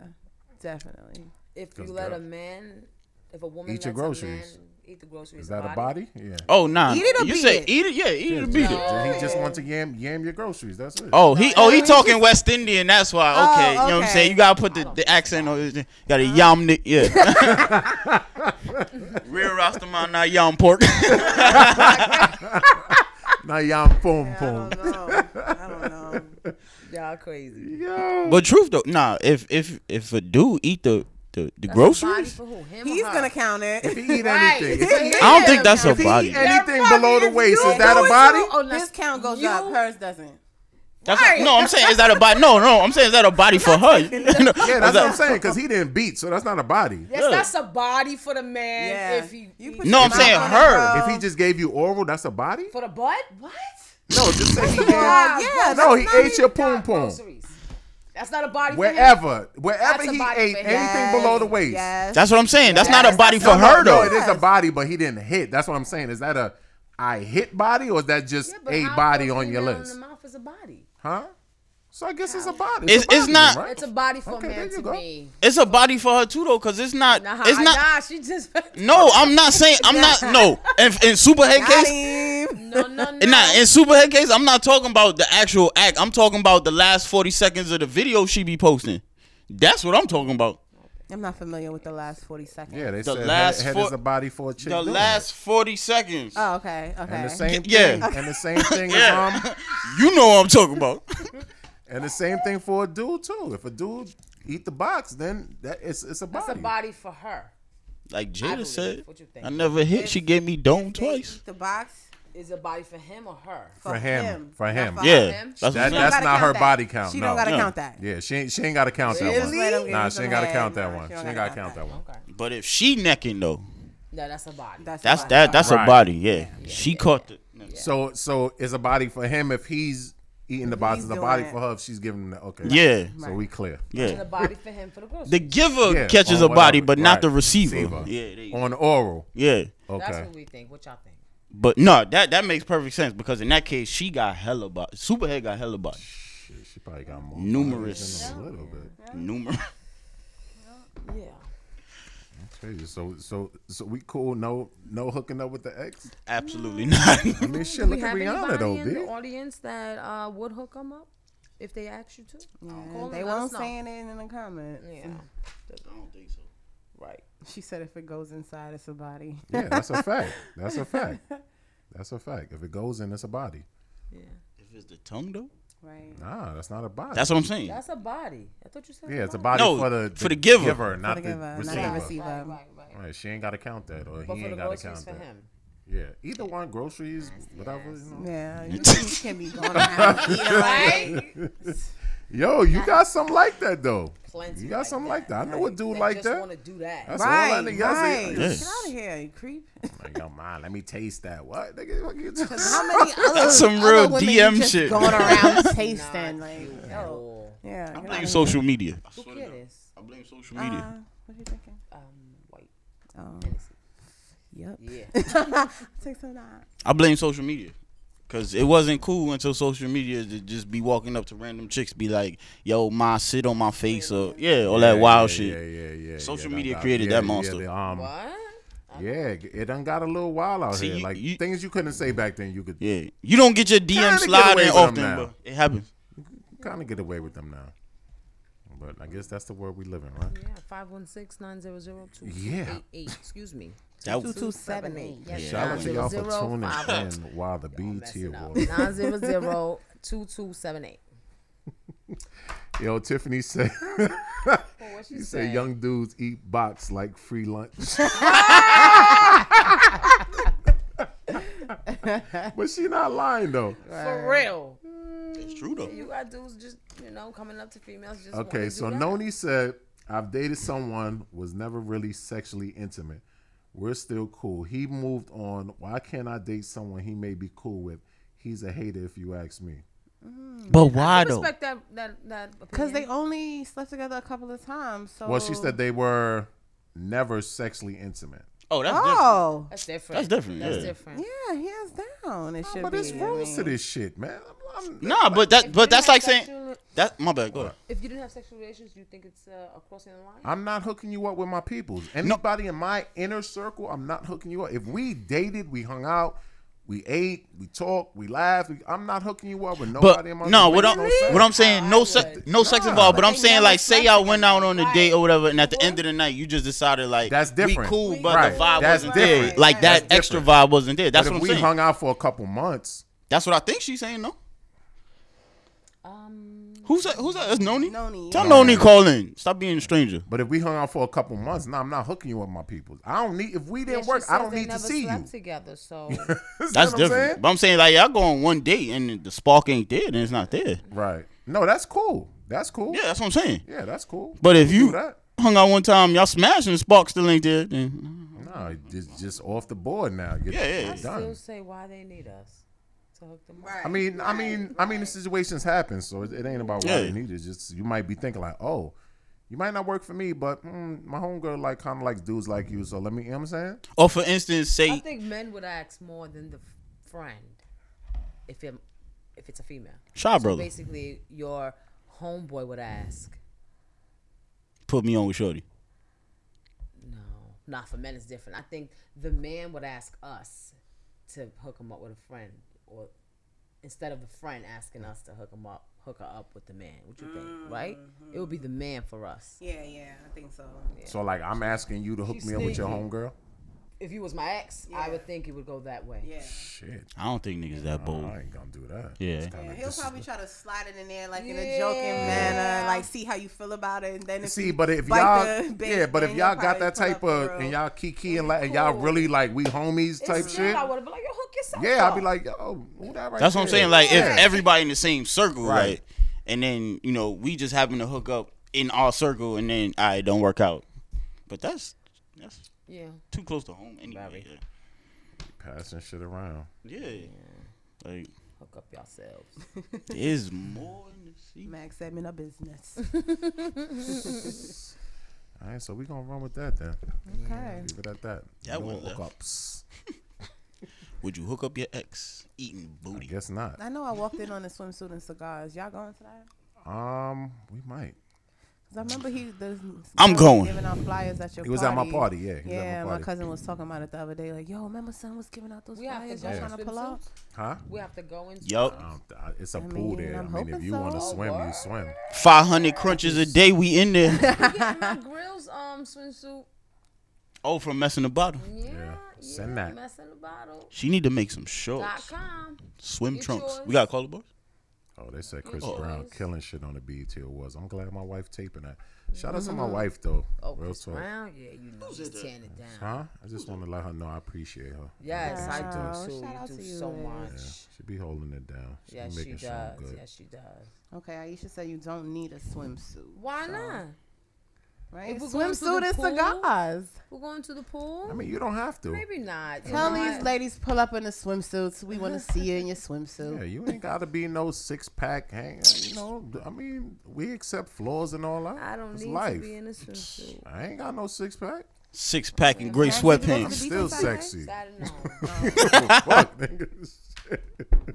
Speaker 7: definitely.
Speaker 2: If you
Speaker 6: Cause
Speaker 2: let
Speaker 6: girl-
Speaker 2: a man, if a woman
Speaker 6: Eat
Speaker 2: lets
Speaker 6: your
Speaker 2: a
Speaker 6: groceries.
Speaker 2: man eat the groceries,
Speaker 6: Is that a body? Yeah.
Speaker 5: Oh nah,
Speaker 7: Eat it or
Speaker 5: you
Speaker 7: beat
Speaker 5: say
Speaker 7: it?
Speaker 5: eat it, yeah, eat it, or beat it.
Speaker 6: Did he just want to yam yam your groceries? That's it.
Speaker 5: Oh he, oh he talking West Indian. That's why. Okay, you know what I'm
Speaker 7: Oh, okay. Uh-huh.
Speaker 5: saying. You gotta put the, the accent on. it. Got a yam, ni- yeah. Real Rastaman, not yam pork.
Speaker 6: Now y'all boom
Speaker 7: I
Speaker 6: boom.
Speaker 7: don't know. I don't know.
Speaker 2: Y'all crazy.
Speaker 6: Yo.
Speaker 5: but truth though, nah. If if if a dude eat the the, the
Speaker 2: Body
Speaker 5: groceries,
Speaker 2: for who? Him
Speaker 7: He's
Speaker 2: or her?
Speaker 7: gonna count it.
Speaker 6: If he eat
Speaker 2: Right.
Speaker 6: anything, if he
Speaker 5: I don't think that's a
Speaker 6: if he
Speaker 5: body.
Speaker 6: eat anything
Speaker 2: Everybody
Speaker 6: below the
Speaker 2: is
Speaker 6: waist,
Speaker 2: doing
Speaker 6: is that a
Speaker 2: it.
Speaker 6: body?
Speaker 2: Oh, now,
Speaker 7: His count goes
Speaker 2: you-
Speaker 7: up, hers doesn't.
Speaker 5: That's not- no, I'm saying is that a body? No, no, I'm saying is that a body for her?
Speaker 6: Yeah, that's what I'm saying. Because he didn't beat, so that's not a body.
Speaker 2: Yes, that's a body for the man.
Speaker 7: Yeah.
Speaker 2: If he,
Speaker 7: You
Speaker 2: eat-
Speaker 7: put
Speaker 5: No,
Speaker 7: your
Speaker 5: I'm
Speaker 7: mouth
Speaker 5: saying
Speaker 7: on it,
Speaker 5: her.
Speaker 7: bro.
Speaker 6: If he just gave you oral, that's a body.
Speaker 2: for the butt. What?
Speaker 6: No, just say he had.
Speaker 7: yeah, yeah,
Speaker 6: No,
Speaker 7: that's
Speaker 6: he
Speaker 7: not
Speaker 6: ate your
Speaker 7: even-
Speaker 6: poom poom.
Speaker 2: Groceries. That's not a body. for him.
Speaker 6: Wherever, wherever
Speaker 2: That's a
Speaker 6: he
Speaker 2: body
Speaker 6: ate
Speaker 2: for him.
Speaker 6: anything below the waist.
Speaker 7: Yes.
Speaker 5: That's what I'm saying. That's not a body for
Speaker 6: No, no,
Speaker 5: her
Speaker 6: no,
Speaker 5: though.
Speaker 6: it is a body, but he didn't hit. That's what I'm saying. Is that a I hit body, or is that just
Speaker 2: Yeah, but
Speaker 6: a
Speaker 2: how
Speaker 6: body
Speaker 2: close
Speaker 6: on
Speaker 2: you
Speaker 6: your
Speaker 2: down in
Speaker 6: list?
Speaker 2: The mouth is a body.
Speaker 6: Huh? So I guess it's a body.
Speaker 5: It's-
Speaker 6: a body
Speaker 5: it's
Speaker 6: then,
Speaker 5: not-
Speaker 6: right?
Speaker 2: It's a body for
Speaker 6: Okay,
Speaker 2: a
Speaker 6: there
Speaker 2: man
Speaker 6: you
Speaker 2: to
Speaker 6: go.
Speaker 2: me.
Speaker 5: It's a body for her too though, cause it's not.
Speaker 2: Nah,
Speaker 5: It's not.
Speaker 2: Nah, she just.
Speaker 5: No, I'm not saying. I'm not. No, in, in Superhead case,
Speaker 7: Him.
Speaker 2: no, no, no.
Speaker 5: And Nah, in Superhead case, I'm not talking about the actual act. I'm talking about the last 40 seconds of the video she be posting. That's what I'm talking about.
Speaker 7: I'm not familiar with the last 40 seconds.
Speaker 6: Yeah, they
Speaker 5: The
Speaker 6: said
Speaker 5: last
Speaker 6: head, head
Speaker 5: four-
Speaker 6: is a body for a chick.
Speaker 5: The
Speaker 6: doing
Speaker 5: last 40 seconds.
Speaker 7: Oh, okay. Okay.
Speaker 6: it. and the same
Speaker 5: Yeah.
Speaker 6: thing, and the same thing
Speaker 5: Yeah.
Speaker 6: is um,
Speaker 5: you know what I'm talking about.
Speaker 6: and the same thing for a dude too. If a dude eat the box, then that it's it's a body.
Speaker 2: That's a body for her.
Speaker 5: like
Speaker 2: I
Speaker 5: Jada
Speaker 2: believe.
Speaker 5: said,
Speaker 2: What you think?
Speaker 5: I never hit. She gave me dome
Speaker 7: They
Speaker 5: twice.
Speaker 7: eat The box
Speaker 2: Is a body for him or her?
Speaker 7: for,
Speaker 6: him. For
Speaker 7: not
Speaker 6: him.
Speaker 7: for her.
Speaker 5: Yeah. That's what
Speaker 6: That-
Speaker 5: I'm saying.
Speaker 6: that's
Speaker 7: Gotta
Speaker 6: not
Speaker 7: count
Speaker 6: her
Speaker 7: that.
Speaker 6: body count.
Speaker 7: She
Speaker 6: no.
Speaker 7: don't gotta
Speaker 5: No.
Speaker 7: count that.
Speaker 6: yeah, she ain't she ain't got to count that
Speaker 7: Just let him
Speaker 6: one.
Speaker 7: give
Speaker 6: Nah,
Speaker 7: you
Speaker 6: she
Speaker 7: some
Speaker 6: ain't got to
Speaker 7: head.
Speaker 6: count that
Speaker 7: Nah,
Speaker 6: one. She
Speaker 7: don't
Speaker 6: ain't got
Speaker 7: gotta
Speaker 6: to count that one.
Speaker 2: Okay.
Speaker 5: but if she necking though,
Speaker 2: No, that's a body.
Speaker 7: That's,
Speaker 5: that's
Speaker 7: fine.
Speaker 5: that. That's
Speaker 6: Right.
Speaker 5: a body. Yeah. she caught the.
Speaker 6: So so it's a body for him if he's eating the box.
Speaker 7: He's
Speaker 6: It's a
Speaker 7: doing
Speaker 6: body
Speaker 7: it.
Speaker 6: for her if she's giving him the okay.
Speaker 5: Yeah.
Speaker 6: So we clear.
Speaker 2: And a
Speaker 5: Yeah.
Speaker 2: body for him for the groceries.
Speaker 5: The giver
Speaker 6: Yeah,
Speaker 5: catches
Speaker 6: or
Speaker 5: a body,
Speaker 6: whatever.
Speaker 5: but not
Speaker 6: Right.
Speaker 5: the receiver.
Speaker 6: Receiver.
Speaker 5: Yeah. They,
Speaker 6: On oral.
Speaker 5: yeah.
Speaker 2: That's
Speaker 6: Okay.
Speaker 2: what we think. What y'all think?
Speaker 5: But no, that that makes perfect sense because in that case, she got hella body. Superhead got hella body.
Speaker 6: She probably got more.
Speaker 5: Numerous.
Speaker 6: A little bit.
Speaker 5: Numerous.
Speaker 2: Yeah.
Speaker 6: Crazy. So so so we cool. No no hooking up with the ex.
Speaker 5: Absolutely not.
Speaker 6: I mean shit. Look
Speaker 2: Have
Speaker 6: at Rihanna
Speaker 2: anybody
Speaker 6: though,
Speaker 2: in the
Speaker 6: bitch.
Speaker 2: audience that uh, would hook them up if they asked you to? Call
Speaker 7: Yeah,
Speaker 2: them,
Speaker 7: They
Speaker 2: let us
Speaker 7: won't
Speaker 2: know.
Speaker 7: saying it in the comments.
Speaker 2: Yeah. Right.
Speaker 7: She said if it goes inside, it's a body.
Speaker 6: Yeah, that's a fact. That's a fact. That's a fact. If it goes in, it's a body.
Speaker 2: Yeah.
Speaker 5: If it's the tongue though,
Speaker 7: Right.
Speaker 6: Nah, that's not a body.
Speaker 5: that's what I'm saying.
Speaker 2: That's a body. I thought you said.
Speaker 6: yeah, it's a body
Speaker 5: No,
Speaker 6: for the,
Speaker 5: for the giver.
Speaker 6: not
Speaker 7: For the
Speaker 6: the
Speaker 7: giver, not the
Speaker 6: receiver.
Speaker 7: receiver.
Speaker 2: Right, right, right.
Speaker 6: Right, she ain't got to count that, or
Speaker 2: But
Speaker 6: he
Speaker 2: for the
Speaker 6: ain't got to count
Speaker 2: groceries for
Speaker 6: that.
Speaker 2: him.
Speaker 6: Yeah, either one, groceries, whatever. You know.
Speaker 7: Yeah. You can be going around and eating like-
Speaker 2: Right?
Speaker 6: Yo, you got something like that though.
Speaker 2: Plenty
Speaker 6: You got
Speaker 2: like
Speaker 6: something
Speaker 2: that.
Speaker 6: like that. I know a dude
Speaker 2: They
Speaker 6: like
Speaker 2: just want
Speaker 6: that.
Speaker 2: to do that.
Speaker 6: That's all I
Speaker 7: Right.
Speaker 6: know.
Speaker 7: Right.
Speaker 6: Y'all say-
Speaker 5: Yes.
Speaker 7: Get out of here, you creep.
Speaker 6: Like, yo, man, let me taste that. What? Nigga, what you just-
Speaker 7: How many other
Speaker 5: That's some
Speaker 7: other
Speaker 5: real
Speaker 7: women you
Speaker 5: DM
Speaker 7: just
Speaker 5: shit.
Speaker 7: Going around tasting
Speaker 2: Not
Speaker 7: like,
Speaker 2: cute at
Speaker 7: yo,
Speaker 2: all.
Speaker 7: yeah. get
Speaker 5: I
Speaker 7: out
Speaker 5: blame
Speaker 7: of
Speaker 5: social media.
Speaker 2: Who cares?
Speaker 5: I blame social
Speaker 7: here.
Speaker 5: media.
Speaker 7: Uh, what are you thinking?
Speaker 2: Um, white.
Speaker 7: Oh, yep.
Speaker 2: Yeah.
Speaker 7: Take some time.
Speaker 5: I blame social media. Cause it wasn't cool until social media to just be walking up to random chicks, be like, "Yo, ma, sit on my face," or yeah, all that
Speaker 6: Yeah,
Speaker 5: wild
Speaker 6: yeah,
Speaker 5: shit.
Speaker 6: Yeah, yeah, yeah.
Speaker 5: Social
Speaker 6: yeah,
Speaker 5: media
Speaker 6: done got-
Speaker 5: created
Speaker 6: yeah,
Speaker 5: that
Speaker 6: yeah,
Speaker 5: monster.
Speaker 6: the, um,
Speaker 2: what?
Speaker 6: Yeah, it done got a little wild out
Speaker 5: See,
Speaker 6: here.
Speaker 5: you-
Speaker 6: like
Speaker 5: you-
Speaker 6: things you couldn't say back then, you could
Speaker 5: Yeah, you don't get your
Speaker 6: Kinda
Speaker 5: DM
Speaker 6: get away
Speaker 5: sliding
Speaker 6: with
Speaker 5: often,
Speaker 6: them now.
Speaker 5: but it happens.
Speaker 6: kind of get away with them now. But I guess that's the world we live in, right?
Speaker 2: Yeah. Five one six nine zero zero two
Speaker 6: Yeah.
Speaker 2: eight eight. Excuse me.
Speaker 5: That
Speaker 7: Two
Speaker 5: was
Speaker 7: two seven eight. Yes.
Speaker 5: Yeah.
Speaker 6: Shout out to y'all for
Speaker 2: 900
Speaker 6: tuning
Speaker 2: five-
Speaker 6: in while the BT
Speaker 2: Messing up.
Speaker 6: Awards.
Speaker 2: Nine zero zero two two seven eight.
Speaker 6: Yo, Tiffany said,
Speaker 2: What she
Speaker 6: she said, young dudes eat box like free lunch. but she not lying though.
Speaker 2: For real.
Speaker 5: It's true though.
Speaker 2: You got dudes just, you know, coming up to females just. wanna
Speaker 6: Okay,
Speaker 2: do
Speaker 6: so
Speaker 2: that.
Speaker 6: Noni said, I've dated someone, was never really sexually intimate. We're still cool. He moved on. Why can't I date someone he may be cool with? He's a hater if you ask me.
Speaker 5: But why
Speaker 2: Mm. I
Speaker 5: though?
Speaker 2: respect that that that
Speaker 7: Because
Speaker 2: because
Speaker 7: they only slept together a couple of times. So
Speaker 6: Well, she said they were never sexually intimate.
Speaker 5: Oh, that's different.
Speaker 7: Oh,
Speaker 2: that's different.
Speaker 5: That's different.
Speaker 2: That's
Speaker 5: yeah.
Speaker 2: different.
Speaker 7: yeah, hands down. It should
Speaker 6: Oh, But
Speaker 7: be.
Speaker 6: there's
Speaker 7: I
Speaker 6: rules to
Speaker 7: mean,
Speaker 6: this shit, man. I'm- I'm-
Speaker 5: Nah, but that but that's like saying
Speaker 2: Sexual-
Speaker 5: that. My bad. Go ahead.
Speaker 2: If you didn't have sexual relations, you think it's uh, a crossing the line?
Speaker 6: I'm not hooking you up with my peoples. Anybody in my inner circle, I'm not hooking you up. If we dated, we hung out, we ate, we talked, we laughed. we- I'm not hooking you up with
Speaker 5: But
Speaker 6: nobody in my
Speaker 5: no, what
Speaker 6: makes
Speaker 5: I'm
Speaker 6: sense.
Speaker 5: what I'm saying, no
Speaker 2: I
Speaker 5: sex,
Speaker 2: would.
Speaker 5: no sex
Speaker 6: Nah.
Speaker 5: involved. But I'm
Speaker 7: They
Speaker 5: saying
Speaker 7: never
Speaker 5: like, say
Speaker 7: slept
Speaker 5: y'all went out on a
Speaker 2: Right.
Speaker 5: date or whatever, and at the end of the night, you just decided like
Speaker 6: That's
Speaker 5: We
Speaker 6: different.
Speaker 5: cool, but
Speaker 6: Right.
Speaker 5: the vibe
Speaker 6: That's
Speaker 5: wasn't
Speaker 6: different.
Speaker 5: there. Like
Speaker 6: That's
Speaker 5: that extra
Speaker 6: different.
Speaker 5: vibe wasn't there. That's
Speaker 6: but
Speaker 5: what
Speaker 6: if
Speaker 5: I'm
Speaker 6: we
Speaker 5: saying.
Speaker 6: hung out for a couple months,
Speaker 5: That's what I think she's saying. No.
Speaker 2: Um,
Speaker 5: Who's that? Who's that? That's Noni.
Speaker 7: Noni,
Speaker 5: Tell Noni call in. Stop being a stranger.
Speaker 6: but if we hung out for a couple months, no, I'm not hooking you up with my peoples. I don't need if we
Speaker 2: yeah,
Speaker 6: didn't
Speaker 2: she
Speaker 6: work, I
Speaker 2: said
Speaker 6: don't
Speaker 2: they
Speaker 6: need to
Speaker 2: never
Speaker 6: see you.
Speaker 2: slept together, so
Speaker 6: That's
Speaker 5: That's different. But I'm saying like y'all go on one date and the spark ain't there, then it's not there.
Speaker 6: Right. No, that's cool. That's cool.
Speaker 5: Yeah,
Speaker 6: Yeah,
Speaker 5: that's what I'm saying.
Speaker 6: that's cool.
Speaker 5: But if
Speaker 6: We do
Speaker 5: you
Speaker 6: that.
Speaker 5: hung out one time, y'all smashed and the spark still ain't there. Then
Speaker 6: No, it's just off the board now. You're,
Speaker 5: Yeah, yeah,
Speaker 6: you're
Speaker 5: yeah.
Speaker 2: I
Speaker 6: done.
Speaker 2: still say why they need us to hook them up.
Speaker 7: Right.
Speaker 6: I mean, I mean, I mean, the situations happen, so it, it ain't about why
Speaker 5: Yeah.
Speaker 6: you need it. It's just you might be thinking like, oh, you might not work for me, but mm, my homegirl like kind of likes dudes like you, so let me. You know what I'm saying,
Speaker 5: or Oh, for instance,
Speaker 2: I
Speaker 5: say
Speaker 2: think men would ask more than the f- friend if it, if it's a female.
Speaker 5: Shy
Speaker 2: So
Speaker 5: brother
Speaker 2: basically, your homeboy would ask.
Speaker 5: put me on with Shorty.
Speaker 2: No, not for men. It's different. I think the man would ask us to hook him up with a friend, or instead of the friend asking us to hook him up, hook her up with the man. What you think? Right? It would be the man for us.
Speaker 7: Yeah, yeah, I think so.
Speaker 6: so like I'm asking you to hook me up with your homegirl.
Speaker 2: If you was my ex, I
Speaker 7: Yeah.
Speaker 2: would think it would go that way.
Speaker 7: Yeah.
Speaker 6: Shit,
Speaker 5: I don't think niggas that bold.
Speaker 6: I ain't gonna do that.
Speaker 5: Yeah.
Speaker 6: It's kinda
Speaker 7: Yeah, he'll
Speaker 6: dis-
Speaker 7: probably try to slide it in there like in a joking manner, like see how you feel about it, and then if
Speaker 6: See,
Speaker 7: you
Speaker 6: but if
Speaker 7: bite
Speaker 6: y'all,
Speaker 7: the bait,
Speaker 6: yeah, but if
Speaker 7: then
Speaker 6: y'all
Speaker 7: he'll
Speaker 6: got
Speaker 7: probably
Speaker 6: that
Speaker 7: pull
Speaker 6: type
Speaker 7: up the
Speaker 6: of
Speaker 7: real-
Speaker 6: and y'all kiki and like and y'all
Speaker 2: cool.
Speaker 6: really like we homies
Speaker 2: It's
Speaker 6: type
Speaker 2: still,
Speaker 6: shit.
Speaker 2: I would have been like, yo, hook yourself
Speaker 6: Yeah,
Speaker 2: up.
Speaker 6: I'd be like, oh, who that right
Speaker 5: That's what I'm
Speaker 6: there?
Speaker 5: saying. Like
Speaker 6: Yeah.
Speaker 5: if everybody in the same circle, right.
Speaker 6: Right.
Speaker 5: And then you know we just happen to hook up in our circle, and then I don't work out. But that's that's
Speaker 2: yeah.
Speaker 5: too close to home anyway.
Speaker 6: passing shit around.
Speaker 5: Yeah. yeah. Like
Speaker 2: hook up yourselves.
Speaker 5: there's more in the sea.
Speaker 7: Max said, "Man, a business."
Speaker 6: All right, so we gonna run with that then.
Speaker 7: Okay.
Speaker 6: Leave it at that. no
Speaker 5: That one left.
Speaker 6: hookups.
Speaker 5: Would you hook up your ex eating
Speaker 6: I
Speaker 5: booty?
Speaker 6: guess not.
Speaker 7: I know I walked in on a swimsuit and cigars. Y'all going to that?
Speaker 6: Um, we might.
Speaker 7: Cause I remember he. The,
Speaker 5: I'm going.
Speaker 7: Giving out flyers at your.
Speaker 6: He was at
Speaker 7: party.
Speaker 6: my party, yeah, he was at
Speaker 7: Yeah,
Speaker 6: my
Speaker 7: my,
Speaker 6: party.
Speaker 7: cousin was talking about it the other day. Like, yo, remember son was giving out those
Speaker 2: We have to
Speaker 7: flyers.
Speaker 2: go
Speaker 7: Y'all
Speaker 2: in
Speaker 7: trying to pull out?
Speaker 2: swimsuits.
Speaker 6: Huh?
Speaker 2: We have to go in.
Speaker 5: Yup.
Speaker 6: Um, th- I- it's a
Speaker 7: I
Speaker 6: pool
Speaker 7: mean,
Speaker 6: there.
Speaker 7: I'm
Speaker 6: I mean, if
Speaker 7: hoping
Speaker 6: you want to
Speaker 7: so.
Speaker 6: swim, you
Speaker 2: Word.
Speaker 6: swim.
Speaker 5: Five hundred crunches a day. We in there.
Speaker 2: swimsuits. You get my grills um swimsuit.
Speaker 5: oh, from messing the bottle.
Speaker 2: Yeah.
Speaker 6: Send
Speaker 2: yeah,
Speaker 6: that.
Speaker 2: Mess in the bottle.
Speaker 5: She need to make some
Speaker 2: Dot
Speaker 5: shorts.
Speaker 2: com.
Speaker 5: Swim
Speaker 2: Get
Speaker 5: trunks.
Speaker 2: yours.
Speaker 5: We gotta call the boys.
Speaker 6: Oh, they said Chris
Speaker 2: Oh.
Speaker 6: Brown
Speaker 2: Boys.
Speaker 6: killing shit on the BET Awards. I'm glad my wife taping that. Shout out to my wife though.
Speaker 2: Oh,
Speaker 6: Real
Speaker 2: Chris
Speaker 6: talk.
Speaker 2: Brown. Yeah, you know he's tearing it down.
Speaker 6: Huh? I just want to let her know I appreciate her.
Speaker 2: Yes, I
Speaker 7: Wow,
Speaker 2: do too.
Speaker 7: shout out
Speaker 2: you do
Speaker 7: to you,
Speaker 2: so
Speaker 7: Liz.
Speaker 2: much.
Speaker 6: She be holding it down. She be
Speaker 2: Yes, she
Speaker 6: making sure I'm
Speaker 2: does.
Speaker 6: good.
Speaker 2: Yes, she does.
Speaker 7: Okay, Aisha said you don't need a swimsuit.
Speaker 2: Why
Speaker 7: So,
Speaker 2: not?
Speaker 7: Right?
Speaker 2: If we're going to the
Speaker 7: Swimsuit and
Speaker 2: pool,
Speaker 7: cigars.
Speaker 2: We're going to the pool.
Speaker 6: I mean, you don't have to.
Speaker 2: Maybe not. You
Speaker 7: Tell
Speaker 2: know
Speaker 7: these
Speaker 2: what?
Speaker 7: ladies pull up in the swimsuits. We want to see you in your swimsuit.
Speaker 6: Yeah, you ain't gotta be no six pack hang. You know, I mean, we accept flaws and all that.
Speaker 2: I don't
Speaker 6: It's
Speaker 2: need
Speaker 6: life.
Speaker 2: to be in a swimsuit.
Speaker 6: I ain't got no six pack.
Speaker 5: Six pack and gray
Speaker 6: I'm
Speaker 5: sweatpants.
Speaker 6: still
Speaker 7: Decent size.
Speaker 6: sexy.
Speaker 2: Saturday night.
Speaker 6: Fuck, nigga.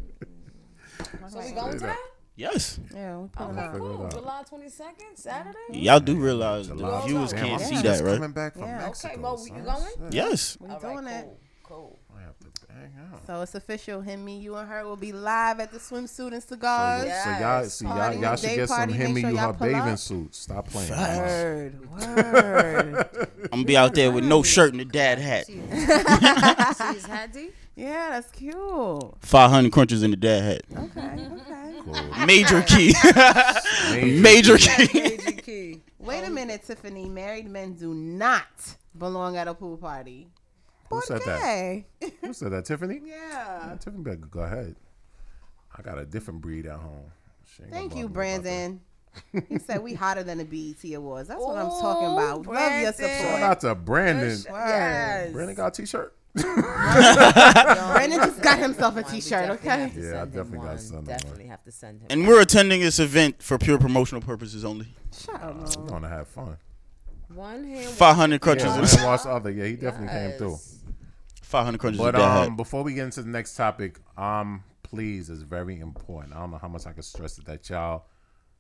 Speaker 2: so we going to that?
Speaker 5: Yes.
Speaker 7: Yeah, we pulling
Speaker 2: Okay,
Speaker 7: up.
Speaker 2: cool.
Speaker 6: out.
Speaker 2: July twenty second, Saturday.
Speaker 5: Y'all do realize the
Speaker 6: July.
Speaker 5: viewers
Speaker 6: Damn,
Speaker 5: can't
Speaker 6: I'm
Speaker 5: see
Speaker 6: just
Speaker 5: that, right?
Speaker 6: Coming back from
Speaker 7: Yeah. Okay,
Speaker 6: Mexico.
Speaker 2: well,
Speaker 6: son.
Speaker 2: you going?
Speaker 6: Shit,
Speaker 5: Yes.
Speaker 7: We
Speaker 2: All right,
Speaker 7: doing it.
Speaker 2: cool, Cool.
Speaker 6: I have to bang out.
Speaker 7: So it's official. Him, me, you, and her will be live at the swimsuit and cigars.
Speaker 2: yeah.
Speaker 6: So y'all,
Speaker 2: Yes.
Speaker 6: see, y'all,
Speaker 7: Party,
Speaker 6: y'all should
Speaker 7: day
Speaker 6: get some
Speaker 7: party,
Speaker 6: him
Speaker 7: make
Speaker 6: and
Speaker 7: sure
Speaker 6: you
Speaker 7: y'all
Speaker 6: her
Speaker 7: pull
Speaker 6: bathing
Speaker 7: up.
Speaker 6: suits. Stop playing.
Speaker 7: Word, word.
Speaker 5: I'm gonna be out there with no shirt and a dad hat.
Speaker 2: See his hat, D?
Speaker 7: yeah, that's cute. Okay,
Speaker 5: Five hundred crunches in the dad hat.
Speaker 7: okay.
Speaker 6: Cool.
Speaker 5: Major key. Major key.
Speaker 2: Major key.
Speaker 7: Wait a minute, Tiffany. Married men do not belong at a pool party.
Speaker 6: Who said that?
Speaker 7: Okay.
Speaker 6: Who said that? Tiffany?
Speaker 7: yeah.
Speaker 6: Tiffany better go ahead. I got a different breed at home. She ain't gonna
Speaker 7: Thank
Speaker 6: bother me
Speaker 7: you,
Speaker 6: about that.
Speaker 7: Brandon. he said we hotter than the BET Awards. That's what I'm talking about.
Speaker 2: Ooh,
Speaker 7: Love your
Speaker 2: Brandon.
Speaker 6: Shout
Speaker 7: support.
Speaker 6: out to Brandon.
Speaker 2: Yes.
Speaker 6: Brandon got a t-shirt.
Speaker 7: Brandon just got himself a
Speaker 2: One, we
Speaker 7: T-shirt.
Speaker 2: definitely
Speaker 7: Okay.
Speaker 2: have to
Speaker 6: Yeah, I
Speaker 2: send him
Speaker 6: definitely gotta
Speaker 2: one.
Speaker 6: send him one.
Speaker 2: Definitely have to send him.
Speaker 5: And we're attending this event for pure promotional purposes only.
Speaker 6: We're gonna have fun.
Speaker 2: one hand.
Speaker 5: Five hundred crunches.
Speaker 6: Yeah,
Speaker 5: is-
Speaker 6: and watch the other. Yeah, he definitely came through.
Speaker 5: Five hundred crunches.
Speaker 6: But
Speaker 5: is bad.
Speaker 6: um, before we get into the next topic, um, please is very important. I don't know how much I can stress it that y'all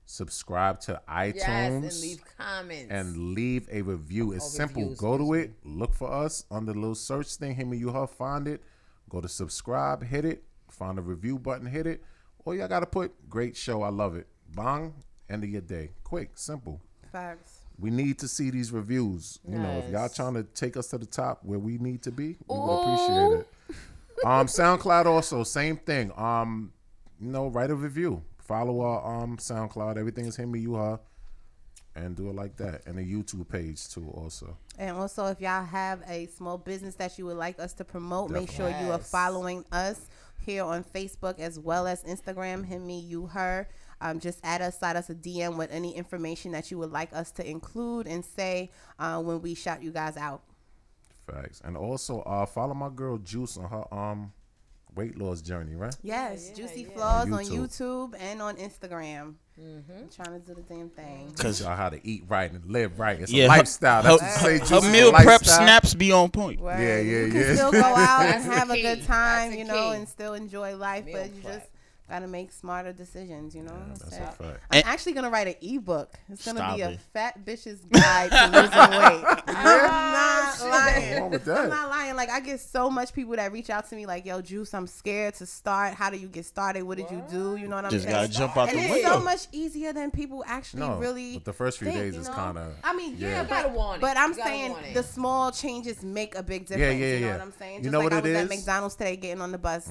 Speaker 6: subscribe to iTunes
Speaker 2: Yes, and leave comments.
Speaker 6: and leave a review. It's simple.
Speaker 2: reviews,
Speaker 6: Go to it, look for us on the little search thing. Hit me, you her. Find it. Go to subscribe. Hit it. Find the review button. Hit it. Or y'all gotta put great show. I love it. Bang. End of your day. Quick. Simple.
Speaker 7: Facts.
Speaker 6: We need to see these reviews. You know, if y'all
Speaker 2: Yes.
Speaker 6: trying to take us to the top where we need to be, we would appreciate it. Um, SoundCloud also same thing. Um, you know, write a review. Follow our um SoundCloud. Everything is him me you her, and do it like that. And a YouTube page too. Also,
Speaker 7: And also, if y'all have a small business that you would like us to promote, make sure
Speaker 6: Definitely.
Speaker 7: you are
Speaker 2: Yes.
Speaker 7: following us here on Facebook as well as Instagram. Him, me, you, her. Um, just add us, slide us a DM with any information that you would like us to include and say uh, when we shout you guys out.
Speaker 6: facts. And also, uh, follow my girl Juice on her um weight loss journey. Right.
Speaker 7: Yes, Juicy Flaws
Speaker 6: On
Speaker 7: on
Speaker 6: YouTube.
Speaker 7: YouTube and on Instagram.
Speaker 2: Mm-hmm.
Speaker 7: I'm trying to do the damn thing.
Speaker 5: Cause
Speaker 6: Y'all how to eat right and live right. It's
Speaker 5: Yeah,
Speaker 6: a
Speaker 5: her-
Speaker 6: lifestyle. That's
Speaker 5: her-
Speaker 6: what you say,
Speaker 5: her
Speaker 6: Juice.
Speaker 5: meal
Speaker 6: It's a
Speaker 5: prep
Speaker 6: lifestyle.
Speaker 5: snaps be on point.
Speaker 6: Yeah,
Speaker 7: Word.
Speaker 6: yeah,
Speaker 7: You
Speaker 6: yeah.
Speaker 7: can still go out and
Speaker 2: That's the
Speaker 7: have a
Speaker 2: key.
Speaker 7: good time,
Speaker 2: That's the
Speaker 7: you know,
Speaker 2: key.
Speaker 7: and still enjoy life,
Speaker 2: Meal
Speaker 7: but you
Speaker 2: prep.
Speaker 7: just gotta make smarter decisions, you know.
Speaker 6: That's
Speaker 7: So-
Speaker 6: a fact.
Speaker 7: I'm
Speaker 5: And-
Speaker 7: actually gonna write an ebook. It's gonna
Speaker 5: Stop
Speaker 7: be a
Speaker 5: it.
Speaker 7: fat bitch's guide to losing weight. I'm not
Speaker 6: Ah, What's wrong
Speaker 7: lying.
Speaker 6: with
Speaker 7: I'm
Speaker 6: that?
Speaker 7: not lying. Like I get so much people that reach out to me like, "Yo, Juice, I'm scared to start. How do you get started? What did you do? You know what I'm
Speaker 5: Just gotta
Speaker 7: saying?"
Speaker 5: jump out
Speaker 7: and
Speaker 5: the
Speaker 7: it's so
Speaker 5: window.
Speaker 7: much easier than people actually
Speaker 6: No,
Speaker 7: really.
Speaker 6: but the first few
Speaker 7: think,
Speaker 6: days
Speaker 7: you
Speaker 6: is
Speaker 7: know?
Speaker 6: kinda-
Speaker 7: I mean, yeah,
Speaker 6: yeah.
Speaker 2: You gotta
Speaker 7: but,
Speaker 2: want it.
Speaker 7: but I'm
Speaker 2: You gotta
Speaker 7: saying
Speaker 2: want it.
Speaker 7: the small changes make a big difference.
Speaker 6: yeah,
Speaker 7: you know
Speaker 6: yeah.
Speaker 7: what I'm saying?
Speaker 6: You
Speaker 7: Just
Speaker 6: know
Speaker 7: like
Speaker 6: what
Speaker 7: I
Speaker 6: it
Speaker 7: was at
Speaker 6: is? Mm-hmm.
Speaker 7: McDonald's today getting on the bus.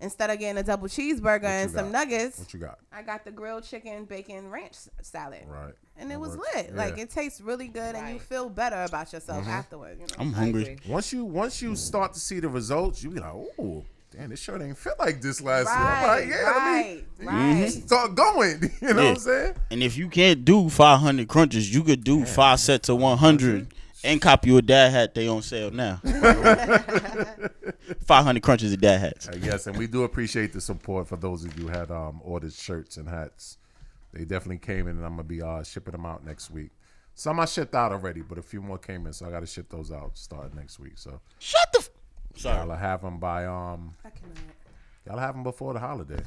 Speaker 7: Instead of getting a double cheeseburger and
Speaker 6: you
Speaker 7: some
Speaker 6: got?
Speaker 7: nuggets,
Speaker 6: What you got?
Speaker 7: I got the grilled chicken bacon ranch s- salad.
Speaker 6: Right.
Speaker 7: And it was
Speaker 6: works.
Speaker 7: lit. Like
Speaker 6: Yeah. Mm-hmm.
Speaker 7: it tastes really good and you
Speaker 2: Right.
Speaker 7: feel better about yourself afterward. You know?
Speaker 5: I'm hungry.
Speaker 6: Once you once you start to see the results, you be like, oh, damn, this shirt ain't fit like this last
Speaker 7: Right,
Speaker 6: year. I'm like, yeah, let me
Speaker 7: right, right.
Speaker 6: start going. You know
Speaker 5: Mm-hmm.
Speaker 6: what
Speaker 5: Yeah.
Speaker 6: I'm saying?
Speaker 5: And if you can't do 500 crunches, you could do five sets of 100 and copy your dad hat. They on sale now. 500 crunches of dad hats.
Speaker 6: Uh, yes, and we do appreciate the support for those of you who had um, ordered shirts and hats. They definitely came in, and I'm gonna be uh, shipping them out next week. Some I shipped out already, but a few more came in, so I gotta ship those out starting next week. So
Speaker 5: Shut the. F- Sorry.
Speaker 6: y'all have them by um,
Speaker 7: I cannot.
Speaker 6: y'all have them before the holiday.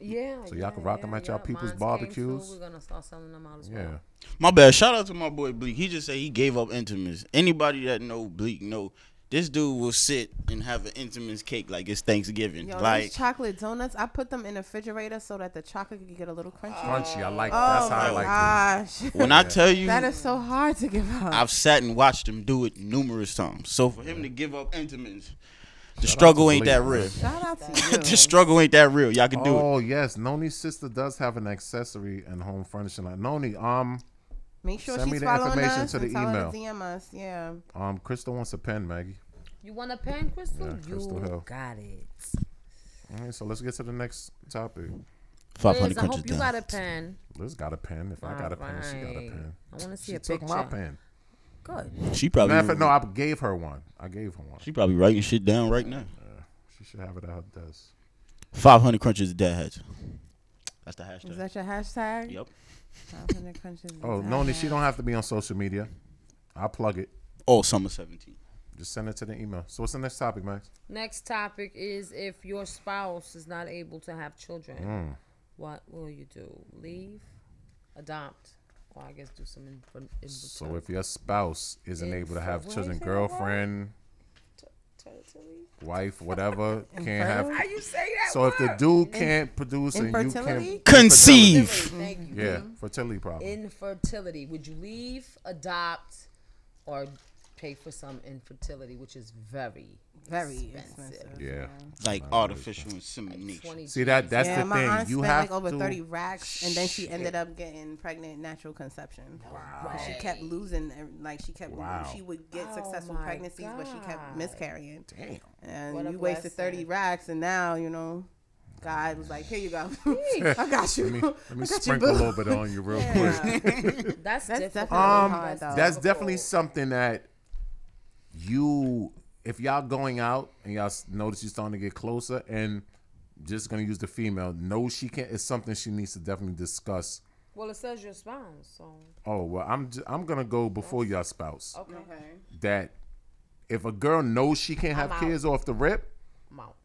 Speaker 2: yeah.
Speaker 6: So y'all can rock 'em at y'all people's
Speaker 2: Mine's came
Speaker 6: barbecues.
Speaker 2: through. We're gonna start selling them out as well.
Speaker 6: Yeah,
Speaker 5: My bad. Shout out to my boy Bleak. He just said he gave up Intimus. Anybody that know Bleak know this dude will sit and have an Intimus cake like it's Thanksgiving.
Speaker 7: Yo,
Speaker 5: like
Speaker 7: these chocolate donuts, I put them in the refrigerator so that the chocolate could get a little crunchy.
Speaker 6: crunchy. I like.
Speaker 7: oh
Speaker 6: that's how I
Speaker 7: my
Speaker 6: like. it.
Speaker 7: gosh.
Speaker 5: when I tell you,
Speaker 7: that is so hard to give up.
Speaker 5: I've sat and watched him do it numerous times. So for him to give up Intimus, the struggle ain't
Speaker 6: Bleak,
Speaker 5: that
Speaker 6: man.
Speaker 5: real.
Speaker 7: Shout out to you.
Speaker 5: the struggle ain't that real. Y'all can do it.
Speaker 6: Oh yes, Noni's sister does have an accessory and home furnishing line. Noni, um,
Speaker 7: Make sure
Speaker 6: Send me
Speaker 7: she's
Speaker 6: the
Speaker 7: following
Speaker 6: information
Speaker 7: us
Speaker 6: to the
Speaker 7: and tell her to
Speaker 6: email.
Speaker 7: DM us. Yeah.
Speaker 6: um, Crystal wants a pen, Maggie.
Speaker 2: You want a pen, Crystal?
Speaker 6: Yeah, Crystal
Speaker 2: you
Speaker 6: Hill.
Speaker 2: got it.
Speaker 6: All right, so let's get to the next topic.
Speaker 5: Five
Speaker 2: Liz,
Speaker 5: hundred
Speaker 2: I hope
Speaker 5: crunches
Speaker 2: you
Speaker 5: down.
Speaker 2: got a pen.
Speaker 6: Liz got a pen. If I got a pen, she got a
Speaker 2: Alright.
Speaker 6: pen.
Speaker 2: I want to see
Speaker 6: She
Speaker 2: a
Speaker 6: took
Speaker 2: picture.
Speaker 6: my pen.
Speaker 2: Good.
Speaker 5: She probably
Speaker 6: Matter of fact, no, I gave her one. I gave her one.
Speaker 5: She probably writing shit down right now.
Speaker 6: She should have it at her desk.
Speaker 5: Five hundred crunches dad hats. That's the hashtag.
Speaker 7: Is that your hashtag?
Speaker 5: Yep.
Speaker 7: 500 crunches.
Speaker 6: Oh, Noni, she don't have to be on social media. I'll plug it.
Speaker 5: Oh, summer seventeen.
Speaker 6: Just send it to the email. So what's the next topic, Max?
Speaker 2: Next topic is if your spouse is not able to have children,
Speaker 6: Hmm.
Speaker 2: what will you do? Leave, adopt, or I guess do some in- in-
Speaker 6: So if your spouse isn't able to have
Speaker 2: Info-
Speaker 6: children,
Speaker 2: what is it about?
Speaker 6: girlfriend,
Speaker 2: infertility.
Speaker 6: wife, whatever, can't have.
Speaker 2: How you say that?
Speaker 6: So if the
Speaker 2: word?
Speaker 6: dude can't produce and you
Speaker 7: Infertility?
Speaker 6: can't
Speaker 5: Conceive.
Speaker 2: Thank
Speaker 7: Mm-hmm.
Speaker 2: you. Mm-hmm.
Speaker 6: Yeah, fertility problem.
Speaker 2: Infertility. Would you leave, adopt, or pay for some infertility, which is very
Speaker 7: Very
Speaker 2: expensive.
Speaker 7: expensive.
Speaker 6: Yeah.
Speaker 5: like artificial insemination.
Speaker 2: 20
Speaker 6: See that? That's
Speaker 7: yeah,
Speaker 6: the
Speaker 7: my
Speaker 6: thing.
Speaker 7: aunt
Speaker 6: you
Speaker 7: spent
Speaker 6: have
Speaker 7: like over
Speaker 6: to.
Speaker 7: thirty racks, and then she ended up getting pregnant natural conception. Wow. She kept losing, ev- like she kept,
Speaker 6: Wow.
Speaker 7: she would get
Speaker 2: Oh
Speaker 7: successful
Speaker 2: my
Speaker 7: pregnancies, but she
Speaker 2: God.
Speaker 7: kept miscarrying.
Speaker 6: Damn.
Speaker 7: And
Speaker 2: What a
Speaker 7: you wasted thirty
Speaker 2: blessing.
Speaker 7: racks, and now you know, God was like, "Here you go, I got you."
Speaker 6: Let me, let me
Speaker 7: I got you,
Speaker 6: sprinkle a
Speaker 7: boo."
Speaker 6: little bit on you real quick.
Speaker 7: Yeah. That's
Speaker 2: That's, difficult.
Speaker 7: definitely Um, hard, though.
Speaker 6: That's definitely something that you, if y'all going out and y'all s- notice you're starting to get closer, and just gonna use the female. No, she can't. It's something she needs to definitely discuss.
Speaker 2: Well, it says your spouse, so
Speaker 6: Oh well, I'm j- I'm gonna go before y'all spouse.
Speaker 2: okay,
Speaker 6: That if a girl knows she can't have
Speaker 2: out.
Speaker 6: kids off the rip,
Speaker 2: I'm out.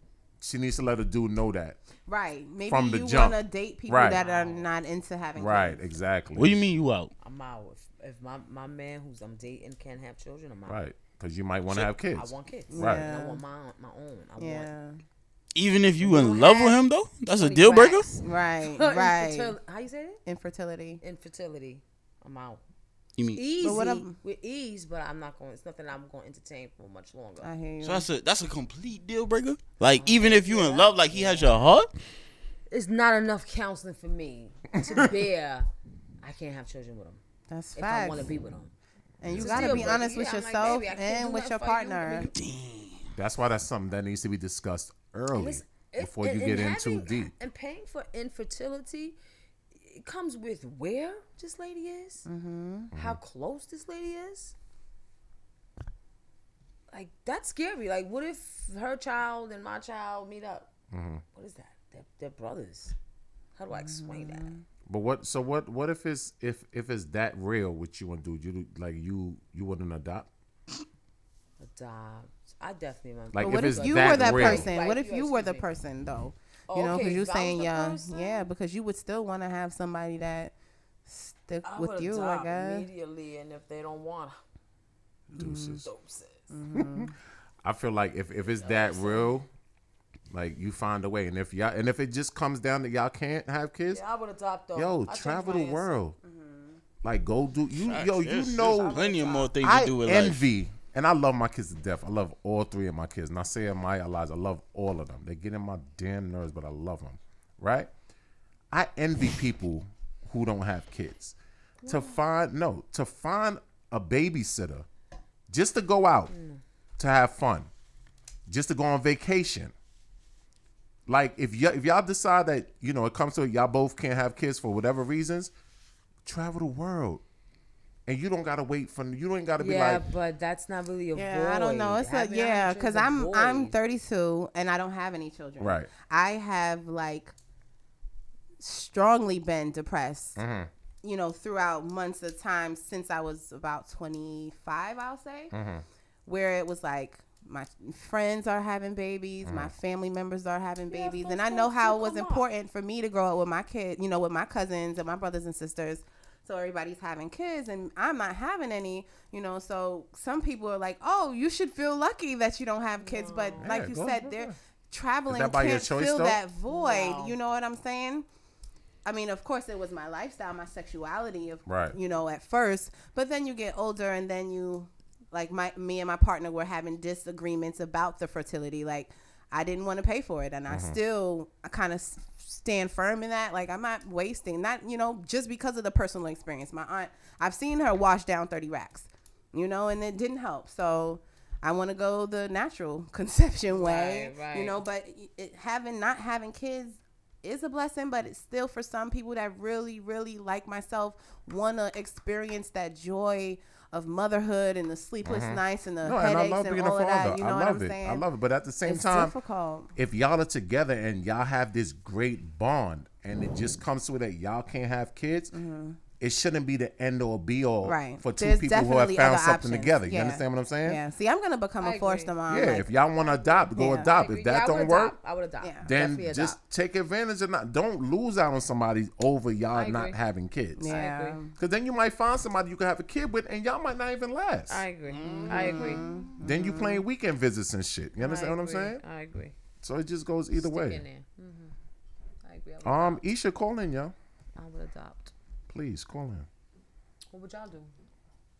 Speaker 6: she needs to let a dude know that.
Speaker 7: Right. Maybe
Speaker 6: From the
Speaker 7: you
Speaker 6: jump.
Speaker 7: want to date people
Speaker 6: Right.
Speaker 7: that are not into having
Speaker 6: Right,
Speaker 7: kids.
Speaker 6: exactly.
Speaker 5: What do you mean you out?
Speaker 2: I'm out. If, if my, my man who's I'm dating can't have children, I'm out.
Speaker 6: Right, because you might want to have
Speaker 2: I
Speaker 6: kids.
Speaker 2: want kids.
Speaker 6: Right.
Speaker 2: And I
Speaker 7: Yeah.
Speaker 2: want my own- my own. I want
Speaker 7: Yeah.
Speaker 5: Even if you in love with him though, that's a deal breaker.
Speaker 7: Right.
Speaker 2: Infertil-
Speaker 7: Right.
Speaker 2: How you say it?
Speaker 7: Infertility.
Speaker 2: Infertility. I'm out.
Speaker 5: You mean
Speaker 2: Easy
Speaker 7: what ab-
Speaker 2: with ease, but I'm not going. It's nothing I'm going to entertain for much longer.
Speaker 7: I hear you.
Speaker 5: so that's a that's a complete deal breaker. Like even if you in love, like he has your heart.
Speaker 2: It's not enough counseling for me to bear. I can't have children with him
Speaker 7: That's
Speaker 2: if I
Speaker 7: facts.
Speaker 2: want to be with him.
Speaker 7: And you
Speaker 2: It's a
Speaker 7: gotta
Speaker 2: deal
Speaker 7: be
Speaker 2: breaker.
Speaker 7: honest with
Speaker 2: Yeah, I'm like,
Speaker 7: yourself
Speaker 2: baby, I can't do
Speaker 7: and with
Speaker 2: nothing
Speaker 7: your
Speaker 2: for you. I mean,
Speaker 7: partner.
Speaker 6: That's why that's something that needs to be discussed early
Speaker 2: Listen, it-
Speaker 6: before you
Speaker 2: and-
Speaker 6: get
Speaker 2: and
Speaker 6: in too
Speaker 2: having-
Speaker 6: deep.
Speaker 2: And paying for infertility, it comes with where this lady is,
Speaker 7: Mm-hmm.
Speaker 6: Mm-hmm.
Speaker 2: how close this lady is. Like that's scary. Like, what if her child and my child meet up?
Speaker 6: Mm-hmm.
Speaker 2: What is that? They're, they're brothers. How do I explain that?
Speaker 6: But what? So what? What if it's if if it's that real? What you want to do? You do- like you you wouldn't adopt?
Speaker 2: Adopt. I definitely remember.
Speaker 6: Like
Speaker 7: Mm-hmm. But what
Speaker 6: if
Speaker 7: if
Speaker 6: it's
Speaker 7: you
Speaker 6: that
Speaker 7: were that
Speaker 6: real?
Speaker 7: person?
Speaker 2: Right,
Speaker 7: What if
Speaker 2: you-
Speaker 7: you were
Speaker 2: excuse
Speaker 7: the
Speaker 2: me.
Speaker 7: person though?
Speaker 2: Oh,
Speaker 7: You know,
Speaker 2: okay,
Speaker 7: because you're
Speaker 2: if I was
Speaker 7: saying
Speaker 2: the
Speaker 7: yeah,
Speaker 2: person?
Speaker 7: yeah, because you would still want to have somebody that stick
Speaker 2: I
Speaker 7: with
Speaker 2: would
Speaker 7: you, I
Speaker 2: adopt
Speaker 7: guess.
Speaker 2: immediately, and if they don't want,
Speaker 6: Deuces.
Speaker 2: doses.
Speaker 7: Mm-hmm.
Speaker 6: I feel like if if it's that real, like you find a way. And if y'all and if it just comes down that y'all can't have kids,
Speaker 2: Yeah, I would adopt though.
Speaker 6: yo,
Speaker 2: I Mm-hmm. changed
Speaker 6: travel
Speaker 2: my
Speaker 6: the
Speaker 2: answer.
Speaker 6: world. Like go do you yo you
Speaker 5: There's- there's
Speaker 6: know
Speaker 5: plenty of more things
Speaker 6: I
Speaker 5: to do with life.
Speaker 6: envy, and I love my kids to death. I love all three of my kids. Not saying my Elijah, I love all of them. They get in my damn nerves, but I love them, right? I envy people who don't have kids. To find no, to find a babysitter, just to go out,
Speaker 2: Mm.
Speaker 6: to have fun, just to go on vacation. Like if y- if y'all decide that you know it comes to it, y'all both can't have kids for whatever reasons, travel the world, and you don't gotta wait for you don't gotta be
Speaker 2: Yeah,
Speaker 6: like
Speaker 2: but that's not really a
Speaker 7: Yeah,
Speaker 2: void.
Speaker 7: I don't know. It's a
Speaker 2: Having
Speaker 7: yeah,
Speaker 2: children's
Speaker 7: because
Speaker 2: a
Speaker 7: I'm I'm
Speaker 2: void.
Speaker 7: 32 and I don't have any children.
Speaker 6: Right.
Speaker 7: I have like strongly been depressed. You know, throughout months of time since I was about 25, I'll say, where it was like my friends are having babies, my family members are having babies, and I know how it was important for me to grow up with my kid, you know, with my cousins and my brothers and sisters. So everybody's having kids and I'm not having any, you know. So some people are like, "Oh, you should feel lucky that you don't have kids," but like
Speaker 6: Yeah,
Speaker 7: you
Speaker 6: go-
Speaker 7: said, they're traveling
Speaker 6: that by your
Speaker 7: can't
Speaker 6: choice,
Speaker 7: fill
Speaker 6: though?
Speaker 7: that void. You know what I'm saying? I mean, of course, it was my lifestyle, my sexuality, of,
Speaker 6: Right.
Speaker 7: you know, at first. But then you get older, and then you, like my me and my partner were having disagreements about the fertility. Like, I didn't want to pay for it, and
Speaker 2: Mm-hmm.
Speaker 7: I still I kind of stand firm in that. Like, I'm not wasting not you know just because of the personal experience. My aunt, I've seen her wash down thirty racks, you know, and it didn't help. So. I want to go the natural conception way,
Speaker 2: Right, right.
Speaker 7: you know, but it, having not having kids is a blessing, but it's still for some people that really, really like myself want to experience that joy of motherhood and the sleepless nights and the
Speaker 6: mm-hmm. no, and I
Speaker 7: headaches
Speaker 6: love
Speaker 7: and,
Speaker 6: being a
Speaker 7: all of
Speaker 6: father.
Speaker 7: that. You know
Speaker 6: I
Speaker 7: what
Speaker 6: love
Speaker 7: I'm
Speaker 6: it.
Speaker 7: saying?
Speaker 6: I love it. But at the same
Speaker 7: It's
Speaker 6: time,
Speaker 7: difficult.
Speaker 6: if y'all are together and y'all have this great bond, and it just comes to it that y'all can't have kids. It shouldn't be the end or be all
Speaker 7: Mm-hmm. Right.
Speaker 6: for two
Speaker 7: There's
Speaker 6: people who have
Speaker 7: definitely
Speaker 6: found
Speaker 7: other
Speaker 6: something
Speaker 7: options.
Speaker 6: together. You
Speaker 7: Yeah.
Speaker 6: understand what I'm saying?
Speaker 7: Yeah. See, I'm gonna become
Speaker 2: I
Speaker 7: a
Speaker 2: agree.
Speaker 7: forced mom.
Speaker 6: Yeah,
Speaker 7: Um, like,
Speaker 6: if y'all want to adopt, go
Speaker 7: Yeah.
Speaker 6: adopt. If
Speaker 2: Yeah,
Speaker 6: that
Speaker 2: I would
Speaker 6: don't
Speaker 2: adopt.
Speaker 6: work,
Speaker 2: I would adopt.
Speaker 7: Yeah.
Speaker 6: then
Speaker 2: Definitely
Speaker 6: just
Speaker 2: adopt.
Speaker 6: take advantage of not. Don't lose out on somebody over y'all
Speaker 2: I
Speaker 6: not
Speaker 2: agree.
Speaker 6: having kids.
Speaker 7: yeah.
Speaker 2: agree.
Speaker 6: Because then you might find somebody you can have a kid with, and y'all might not even last.
Speaker 2: I agree. I agree.
Speaker 6: Then you playing weekend visits and shit. You understand what I'm saying?
Speaker 2: Mm-hmm. I agree.
Speaker 6: So it just goes either
Speaker 2: Stick in
Speaker 6: way.
Speaker 2: there. Mhm. I agree. I would,
Speaker 6: Um, Isha, call in, y'all.
Speaker 2: I would adopt.
Speaker 6: Please call in.
Speaker 2: What would y'all do?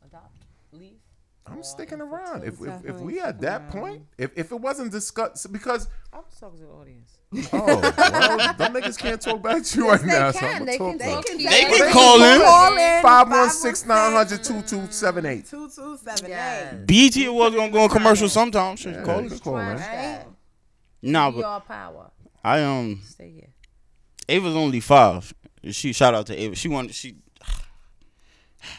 Speaker 2: Adopt? Leave?
Speaker 6: I'm sticking around. If, if, if
Speaker 7: definitely
Speaker 6: we at that point, if, if it wasn't discussed, because
Speaker 2: I'm just talking to the audience.
Speaker 6: oh, well, them niggas can't talk back to you right now. so I'm gonna talk back.
Speaker 2: can,
Speaker 5: They can call in.
Speaker 6: Five one six nine hundred two two seven eight.
Speaker 7: Two two seven
Speaker 2: Yes.
Speaker 7: eight.
Speaker 5: BT was gonna go on commercial sometime. Shit, call it.
Speaker 6: Call, man.
Speaker 2: Right?
Speaker 5: Nah,
Speaker 2: Your
Speaker 5: but
Speaker 2: power.
Speaker 5: I um
Speaker 2: Stay here.
Speaker 5: Ava's only five. She shout out to Ava. She wanted she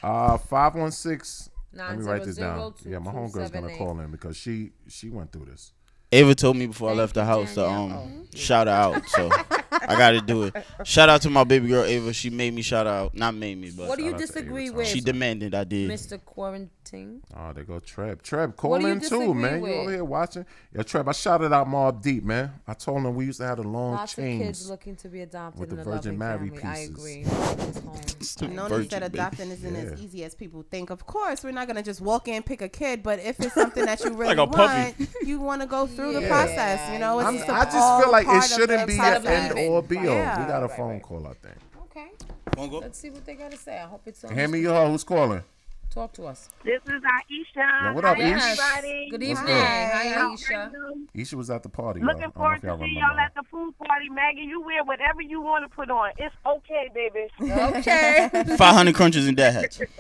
Speaker 6: Uh, five one six. Let
Speaker 2: Nine
Speaker 6: me
Speaker 2: zero
Speaker 6: write this
Speaker 2: zero
Speaker 6: down.
Speaker 2: two
Speaker 6: Yeah, my
Speaker 2: two
Speaker 6: homegirl's
Speaker 2: seven
Speaker 6: gonna
Speaker 2: eight.
Speaker 6: call in because she she went through this.
Speaker 5: Ava told me before I left
Speaker 2: Thank
Speaker 5: the
Speaker 2: you,
Speaker 5: house to um
Speaker 2: Danielle. Oh,
Speaker 5: shout her out. So I gotta do it. Shout out to my baby girl Ava. She made me shout out. Not made me, but
Speaker 2: What do you
Speaker 6: out to
Speaker 2: disagree
Speaker 6: Ava
Speaker 2: with,
Speaker 5: she demanded I did.
Speaker 2: Mr. Quarantine?
Speaker 6: Oh, they go Treb. Treb,
Speaker 2: What
Speaker 6: call
Speaker 2: do you
Speaker 6: in too,
Speaker 2: disagree
Speaker 6: man.
Speaker 2: with?
Speaker 6: You over here watching? Yeah, Treb. I shouted out Mob Deep, man. I told him we used to have the long
Speaker 2: Lots
Speaker 6: chains.
Speaker 2: of kids looking to be adopted
Speaker 6: with
Speaker 2: in
Speaker 6: the
Speaker 2: a
Speaker 6: Virgin
Speaker 2: loving
Speaker 6: Mary
Speaker 2: family. I
Speaker 6: pieces.
Speaker 2: agree. It's home.
Speaker 7: No
Speaker 5: Virgin,
Speaker 7: need that
Speaker 5: baby.
Speaker 7: adopting isn't as
Speaker 6: Yeah.
Speaker 7: easy as people think. Of course, we're not gonna just walk in, pick a kid, but if it's something that you really
Speaker 5: a puppy.
Speaker 7: want, you want to go through the
Speaker 6: Yeah.
Speaker 7: process. You know, it's
Speaker 6: I'm,
Speaker 7: just
Speaker 6: I just
Speaker 7: all
Speaker 6: feel like it
Speaker 7: part of the
Speaker 6: shouldn't be
Speaker 7: process.
Speaker 6: an end or be all.
Speaker 7: Yeah.
Speaker 6: We got a phone call, I think.
Speaker 2: Okay.
Speaker 5: Wanna go?
Speaker 2: Let's see what they got to say. I hope it's on.
Speaker 6: Hand me your hoe. Who's calling?
Speaker 2: Talk to us.
Speaker 9: This is Aisha.
Speaker 6: Yo, what up,
Speaker 9: Hi,
Speaker 6: Ish?
Speaker 9: everybody.
Speaker 2: Good
Speaker 6: What's
Speaker 2: evening.
Speaker 6: good?
Speaker 2: Hi,
Speaker 9: How
Speaker 2: Aisha.
Speaker 9: are you?
Speaker 6: Isha was at the party. y'all. I
Speaker 9: Looking
Speaker 6: don't know
Speaker 9: forward
Speaker 6: if y'all
Speaker 9: to see
Speaker 6: remember
Speaker 9: y'all
Speaker 6: that.
Speaker 9: at the food party, Maggie. You wear whatever you want to put on. It's okay, baby.
Speaker 2: Okay.
Speaker 5: Five hundred crunches and dad hats.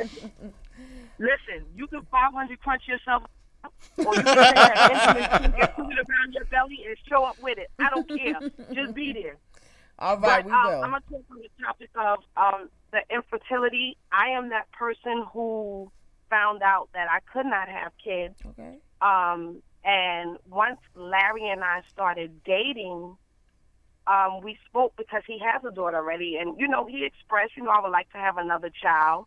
Speaker 9: Listen, you can 500 crunch yourself, or you can take that intimate finger, put it around your belly and show up with it. I don't care. Just be there.
Speaker 2: All right,
Speaker 9: but,
Speaker 2: we
Speaker 9: um,
Speaker 2: will.
Speaker 9: I'm gonna talk on the topic of um, the infertility. I am that person who found out that I could not have kids.
Speaker 2: okay.
Speaker 9: Um, and once Larry and I started dating, um, we spoke because he has a daughter already, and you know he expressed, you know, I would like to have another child.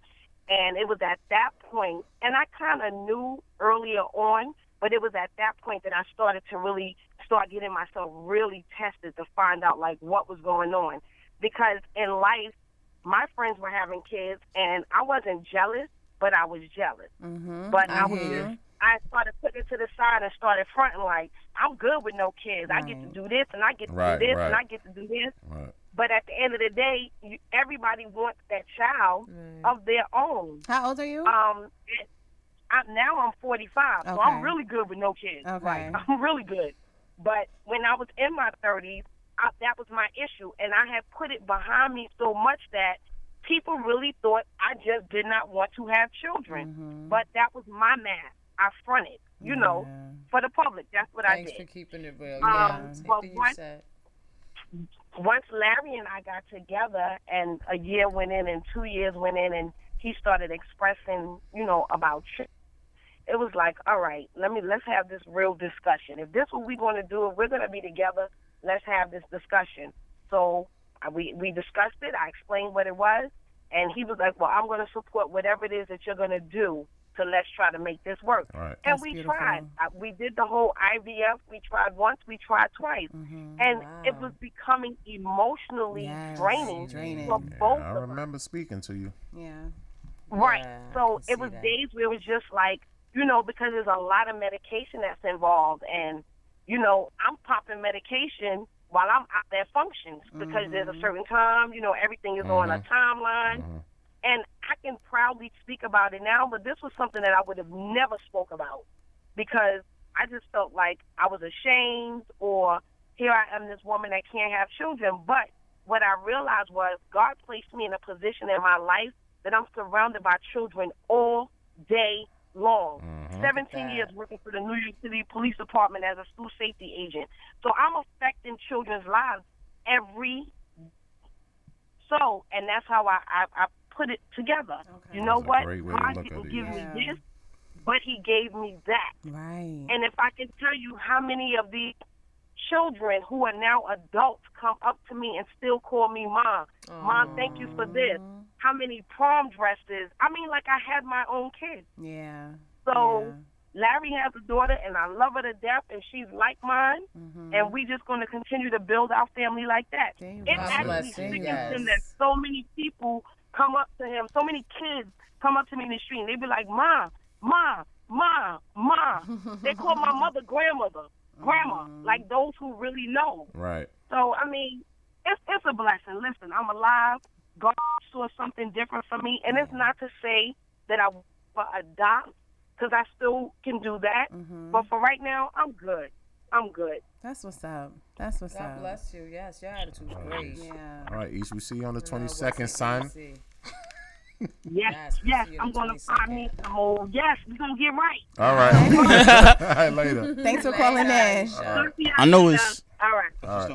Speaker 9: And it was at that point, and I kind of knew earlier on, but it was at that point that I started to really start getting myself really tested to find out like what was going on, because in life, my friends were having kids, and I wasn't jealous, but I was jealous. But I was just I started putting it to the side and started fronting like I'm good with no kids. I
Speaker 7: Mm.
Speaker 9: get to do this and I get to
Speaker 6: Right,
Speaker 9: do this
Speaker 6: right.
Speaker 9: and I get to do this.
Speaker 6: Right.
Speaker 9: But at the end of the day, you, everybody wants that child of their own.
Speaker 7: Mm. How old are you?
Speaker 9: Um, it, I, now I'm 45, so
Speaker 7: Okay.
Speaker 9: I'm really good with no kids.
Speaker 7: Okay.
Speaker 9: Like, I'm really good. But when I was in my 30s, I, that was my issue, and I had put it behind me so much that people really thought I just did not want to have children.
Speaker 2: Mm-hmm.
Speaker 9: But that was my math. I fronted, you know, for the public. That's what
Speaker 2: Thanks
Speaker 9: I
Speaker 2: for
Speaker 9: did.
Speaker 2: keeping it real.
Speaker 9: Um,
Speaker 2: yeah. Same
Speaker 9: but
Speaker 2: thing you
Speaker 9: one-
Speaker 2: said.
Speaker 9: once Larry and I got together, and a year went in, and two years went in, and he started expressing, you know, about children. It was like, all right, let me let's have this real discussion. If this what we're going to do, if we're going to be together, let's have this discussion. So I- we we discussed it. I explained what it was, and he was like, well, I'm going to support whatever it is that you're going to do. So let's try to make this work.
Speaker 6: All right.
Speaker 9: And we tried. Uh, We did the whole IVF. We tried once. We tried twice, and it was becoming emotionally
Speaker 7: Yes,
Speaker 9: draining,
Speaker 7: draining.
Speaker 9: for
Speaker 6: Yeah,
Speaker 9: both
Speaker 6: I
Speaker 9: of us.
Speaker 6: remember speaking to you.
Speaker 7: yeah.
Speaker 9: Right.
Speaker 2: Yeah, I
Speaker 9: so
Speaker 2: can
Speaker 9: it
Speaker 2: see
Speaker 9: was
Speaker 2: that.
Speaker 9: days where it was just like, you know, because there's a lot of medication that's involved, and you know, I'm popping medication while I'm out there functions because there's a certain time. You know, everything is on
Speaker 2: Mm-hmm.
Speaker 9: a timeline. And I can proudly speak about it now, but this was something that I would have never spoke about because I just felt like I was ashamed or here I am this woman that can't have children. But what I realized was God placed me in a position in my life that I'm surrounded by children all day long. 17 years working for the New York City Police Department as a school safety agent. So I'm affecting children's lives every so, and that's how I, I, I put it together. You know
Speaker 6: That's a
Speaker 9: what?
Speaker 6: great way to
Speaker 9: God
Speaker 6: look at
Speaker 9: didn't
Speaker 6: it,
Speaker 9: give
Speaker 7: yeah.
Speaker 9: me this, but he gave me that.
Speaker 7: Right.
Speaker 9: And if I can tell you how many of these children who are now adults come up to me and still call me mom. Mom, thank you for this. How many prom dresses? I mean, like I had my own kids.
Speaker 7: Yeah.
Speaker 9: So Larry has a daughter, and I love her to death, and she's like mine,
Speaker 7: Mm-hmm.
Speaker 3: Mm-hmm.
Speaker 9: and we just going to continue to build our family like that.
Speaker 7: Damn right.
Speaker 9: It actually
Speaker 2: Blessing,
Speaker 9: sickens
Speaker 2: yes.
Speaker 9: him that so many people come up to him, so many kids come up to me in the street, and they be like, "Mom, mom, mom, mom." they call my mother grandmother, grandma, like those who really know.
Speaker 6: Right.
Speaker 9: So I mean, it's it's a blessing. Listen, I'm alive. God saw something different for me, and it's not to say that I will adopt because I still can do that. But for right now, I'm good. I'm good.
Speaker 7: That's what's up. That's what's
Speaker 2: God
Speaker 7: up.
Speaker 2: bless you. Yes, your attitude's great.
Speaker 7: Yeah.
Speaker 6: All right, Ish, we see you on the 22nd, son.
Speaker 2: See.
Speaker 9: Yes,
Speaker 2: Yes, we
Speaker 9: yes.
Speaker 2: see you
Speaker 9: I'm
Speaker 2: the
Speaker 9: gonna find me. Oh, yes. We're gonna get right.
Speaker 6: All right. All right, later.
Speaker 7: Thanks for calling in.
Speaker 5: I know it's.
Speaker 9: All right.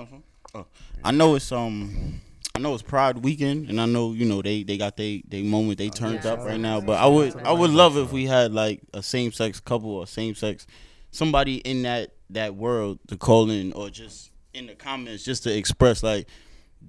Speaker 5: Oh, I know it's um. I know it's Pride Weekend, and I know you know they they got they they moment they turned up right now. But I would I would love if we had like a same sex couple or same sex somebody in that that world to call in or just in the comments just to express like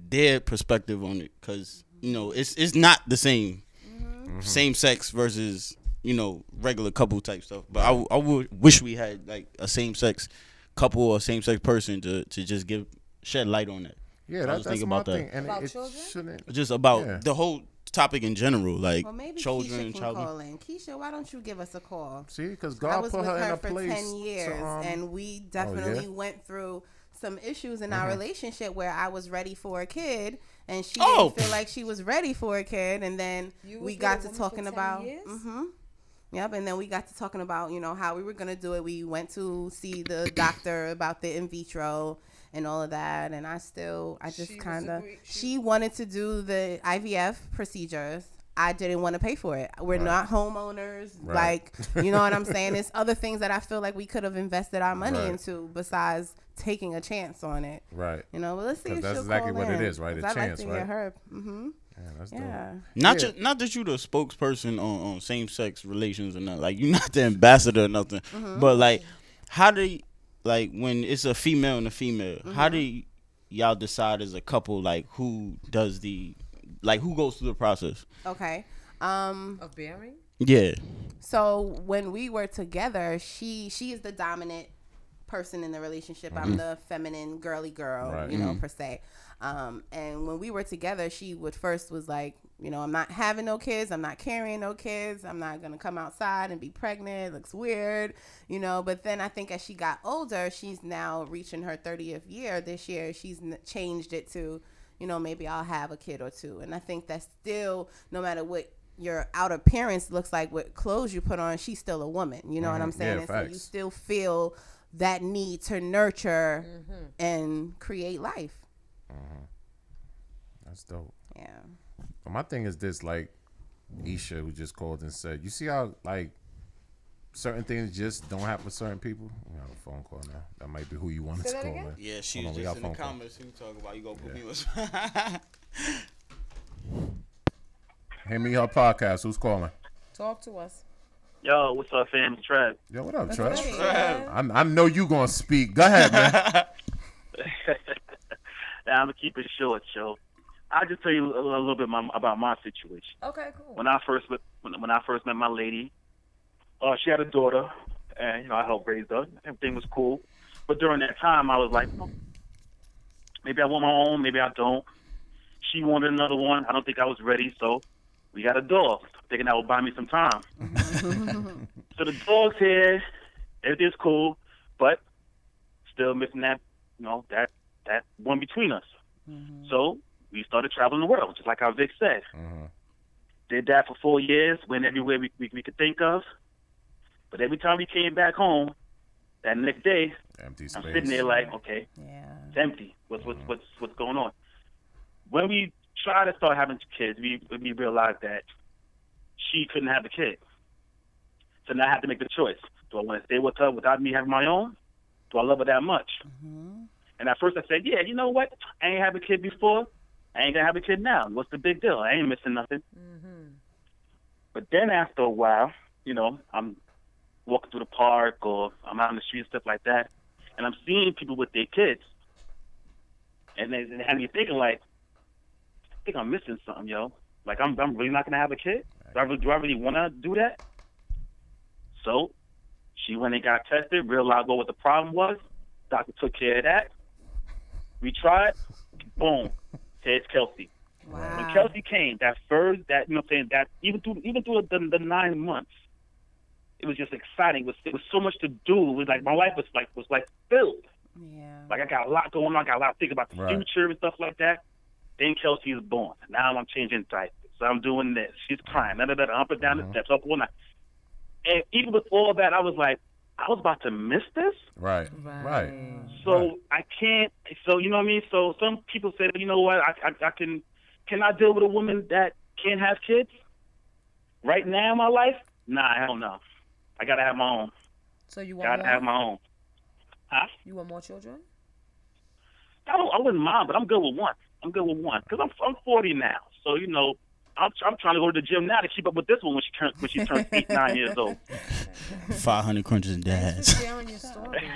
Speaker 5: their perspective on it because you know it's it's not the same
Speaker 6: Mm-hmm.
Speaker 5: same sex versus you know regular couple type stuff. But I w- I would wish we had like a same sex couple or same sex person to to just give shed light on that.
Speaker 6: Yeah,
Speaker 5: I
Speaker 6: that,
Speaker 5: was
Speaker 6: that's
Speaker 5: thinking
Speaker 6: my
Speaker 5: about that.
Speaker 6: thing. And
Speaker 2: About
Speaker 6: it
Speaker 2: children?
Speaker 6: shouldn't.
Speaker 5: Just about
Speaker 6: Yeah.
Speaker 5: the whole topic in general, like
Speaker 7: Well, maybe
Speaker 5: children
Speaker 7: Keisha
Speaker 5: and
Speaker 7: can
Speaker 5: childhood.
Speaker 7: call in. Keisha, why don't you give us a call?
Speaker 6: See, because
Speaker 7: I
Speaker 6: God
Speaker 7: was
Speaker 6: put
Speaker 7: with
Speaker 6: her,
Speaker 7: her,
Speaker 6: in a
Speaker 7: for
Speaker 6: place.
Speaker 7: ten years,
Speaker 6: to, um,
Speaker 7: and we definitely went through some issues in
Speaker 6: Mm-hmm.
Speaker 7: our relationship where I was ready for a kid, and she
Speaker 5: Oh.
Speaker 7: didn't feel like she was ready for a kid, and then
Speaker 2: You was
Speaker 7: we
Speaker 2: with a
Speaker 7: got to
Speaker 2: woman for
Speaker 7: talking
Speaker 2: 10
Speaker 7: about.
Speaker 2: years?
Speaker 7: Mm-hmm. Yep, and then we got to talking about you know how we were gonna do it. We went to see the doctor about the in vitro and all of that, and I still I
Speaker 2: She
Speaker 7: just
Speaker 2: was
Speaker 7: kind of
Speaker 2: agree- she-
Speaker 7: she wanted to do the IVF procedures. I didn't want to pay for it. We're not homeowners,
Speaker 6: Right.
Speaker 7: like you know what I'm saying. There's other things that I feel like we could have invested our money
Speaker 6: Right.
Speaker 7: into besides taking a chance on it.
Speaker 6: Right.
Speaker 7: You know, but let's see.
Speaker 6: 'Cause
Speaker 7: If
Speaker 6: that's
Speaker 7: she'll
Speaker 6: exactly
Speaker 7: call
Speaker 6: what it
Speaker 7: in,
Speaker 6: is, right?
Speaker 7: 'cause
Speaker 6: A
Speaker 7: I'd
Speaker 6: chance,
Speaker 7: like to
Speaker 6: right?
Speaker 7: Hear her. hmm
Speaker 6: Yeah, that's dope.
Speaker 7: Yeah.
Speaker 5: Not
Speaker 6: Yeah.
Speaker 5: ju- not that you the spokesperson on, on same sex relations or nothing. Like you're not the ambassador or nothing. But like, how do y- like when it's a female and a female? How do y- y'all decide as a couple like who does the like who goes through the process?
Speaker 7: Okay. Um.
Speaker 2: Of bearing?
Speaker 5: Yeah,
Speaker 7: So when we were together, she she is the dominant person in the relationship. I'm the feminine girly girl,
Speaker 6: Right.
Speaker 7: you know, per se. Um, and when we were together, she would first was like, you know, I'm not having no kids. I'm not carrying no kids. I'm not gonna come outside and be pregnant. It looks weird, you know. But then I think as she got older, she's now reaching her 30th year this year. She's n- changed it to, you know, maybe I'll have a kid or two. And I think that's still, no matter what your outer appearance looks like, what clothes you put on, she's still a woman. You know what I'm
Speaker 6: Mhm.
Speaker 7: saying?
Speaker 6: Yeah,
Speaker 7: and so you
Speaker 6: facts.
Speaker 7: still feel that need to nurture
Speaker 10: Mm-hmm.
Speaker 7: and create life.
Speaker 6: Mm-hmm. That's dope.
Speaker 7: Yeah.
Speaker 6: But my thing is this, like Isha, who just called and said, you see how like certain things just don't happen with certain people. We have a phone call now. That might be who you wanted
Speaker 2: Say
Speaker 6: to
Speaker 2: that
Speaker 6: call.
Speaker 2: again?
Speaker 6: Man.
Speaker 5: yeah. She
Speaker 6: Hold on, we got phone call.
Speaker 5: Who talk about you gonna put me on?
Speaker 6: Hand me her podcast. Who's calling?
Speaker 2: Talk to us.
Speaker 10: Yo, what's up, fam? It's Trev.
Speaker 6: Yo, what up, Trust?
Speaker 7: Hey,
Speaker 6: I, I know you gonna speak. Go ahead, man.
Speaker 10: Now, I'm gonna keep it short, yo. I'll just tell you a, a little bit my, about my situation.
Speaker 2: Okay, cool.
Speaker 10: Oh. When I first met, when, when I first met my lady, uh, she had a daughter, and you know I helped raise her. Everything was cool, but during that time I was like, "Hmm, maybe I want my own, maybe I don't. She wanted another one. I don't think I was ready, so we got a dog, thinking that would buy me some time. so the dog's here. Everything's cool, but still missing that, you know, that that one between us. So we started traveling the world, just like our Vic said. Did that for four years, went everywhere we, we, we could think of. But every time we came back home, that next day,
Speaker 6: Empty
Speaker 10: I'm
Speaker 6: space.
Speaker 10: sitting there like, okay,
Speaker 7: Yeah.
Speaker 10: it's empty. What's what's what's what's going on? When we tried to start having kids, we we realized that she couldn't have a kid. So now I have to make the choice: do I want to stay with her without me having my own? Do I love her that much? And at first I said, yeah, you know what? I ain't have a kid before. I ain't gonna have a kid now. What's the big deal? I ain't missing nothing. But then after a while, you know, I'm walking through the park or I'm out in the street and stuff like that, and I'm seeing people with their kids. And then and having you thinking like, I think I'm missing something, yo. Like I'm I'm really not gonna have a kid. Do I really, do I really want to do that? So, she went and got tested, realized what the problem was. Doctor took care of that. We tried, boom, here's Kelsey. When
Speaker 7: Wow.
Speaker 10: Kelsey came, that first, that you know, what I'm saying that even through even through the, the nine months, it was just exciting. It was, it was so much to do. It was like my life was like was like filled.
Speaker 7: Yeah.
Speaker 10: Like I got a lot going on. I got a lot to think about the
Speaker 6: Right.
Speaker 10: future and stuff like that. Then Kelsey is born.
Speaker 6: Uh-huh.
Speaker 10: Now I'm changing diapers. So I'm doing this. She's crying. Da, da, da, da, up and down the steps, up all night. And even with all that, I was like, I was about to miss this.
Speaker 6: Right. Right.
Speaker 10: So I can't. So you know what I mean. So some people say, you know what? I, I I can can I deal with a woman that can't have kids? Right now in my life, nah, hell no. I gotta have my own.
Speaker 2: So you want
Speaker 10: Gotta
Speaker 2: more?
Speaker 10: have my own. Huh?
Speaker 2: You want more children?
Speaker 10: I don't. I wouldn't mind, but I'm good with one. I'm good with one because I'm I'm 40 now. So you know, I'm I'm trying to go to the gym now to keep up with this one when she turns when she turns eight nine years old.
Speaker 5: Five hundred crunches in the ass.
Speaker 2: Telling your story.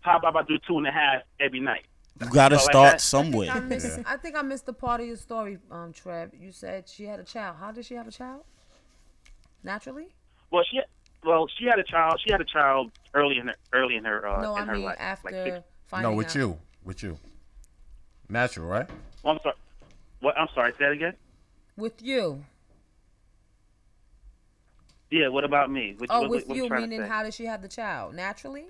Speaker 10: How about I do two and a half every night?
Speaker 5: You gotta
Speaker 10: Something like
Speaker 5: start
Speaker 10: that.
Speaker 2: I
Speaker 5: somewhere.
Speaker 2: missed. I think I missed the part of your story, um, Trev. You said she had a child. How did she have a child? Naturally.
Speaker 10: Well, she well she had a child. She had a child early in her early in her uh,
Speaker 2: no,
Speaker 10: in
Speaker 2: I
Speaker 10: her
Speaker 2: mean
Speaker 10: life.
Speaker 2: after
Speaker 10: like six,
Speaker 2: finding
Speaker 6: No, with
Speaker 2: out.
Speaker 6: you. With you. Natural, right?
Speaker 10: well, I'm sorry. What? I'm sorry. Say that again.
Speaker 2: With you.
Speaker 10: Yeah. What about me? What,
Speaker 2: Oh,
Speaker 10: what-
Speaker 2: with
Speaker 10: what
Speaker 2: you.
Speaker 10: trying to
Speaker 2: Meaning,
Speaker 10: say?
Speaker 2: how did she have the child? Naturally.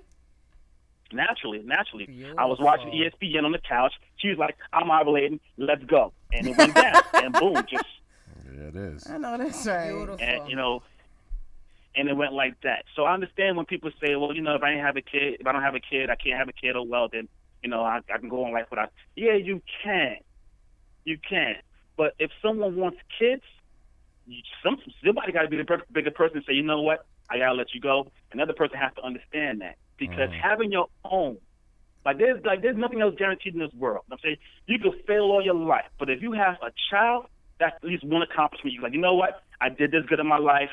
Speaker 10: Naturally, naturally. I was watching E ESPN on the couch. She was like, "I'm ovulating. Let's go," and it went down, and boom, just
Speaker 6: Yeah, it is.
Speaker 7: I know that's right.
Speaker 10: and you know, and it went like that. So I understand when people say, "Well, you know, if I didn't have a kid, if I don't have a kid, I can't have a kid." Oh well, then you know, I, I can go on life without. Yeah, you can, you can. But if someone wants kids, you, some somebody got to be the per- bigger person and say, "You know what? I gotta let you go." Another person has to understand that
Speaker 5: Mm.
Speaker 10: because having your own. Like there's like there's nothing else guaranteed in this world. I'm saying you can fail all your life, but if you have a child, that's at least one accomplishment. You're like, you know what? I did this good in my life.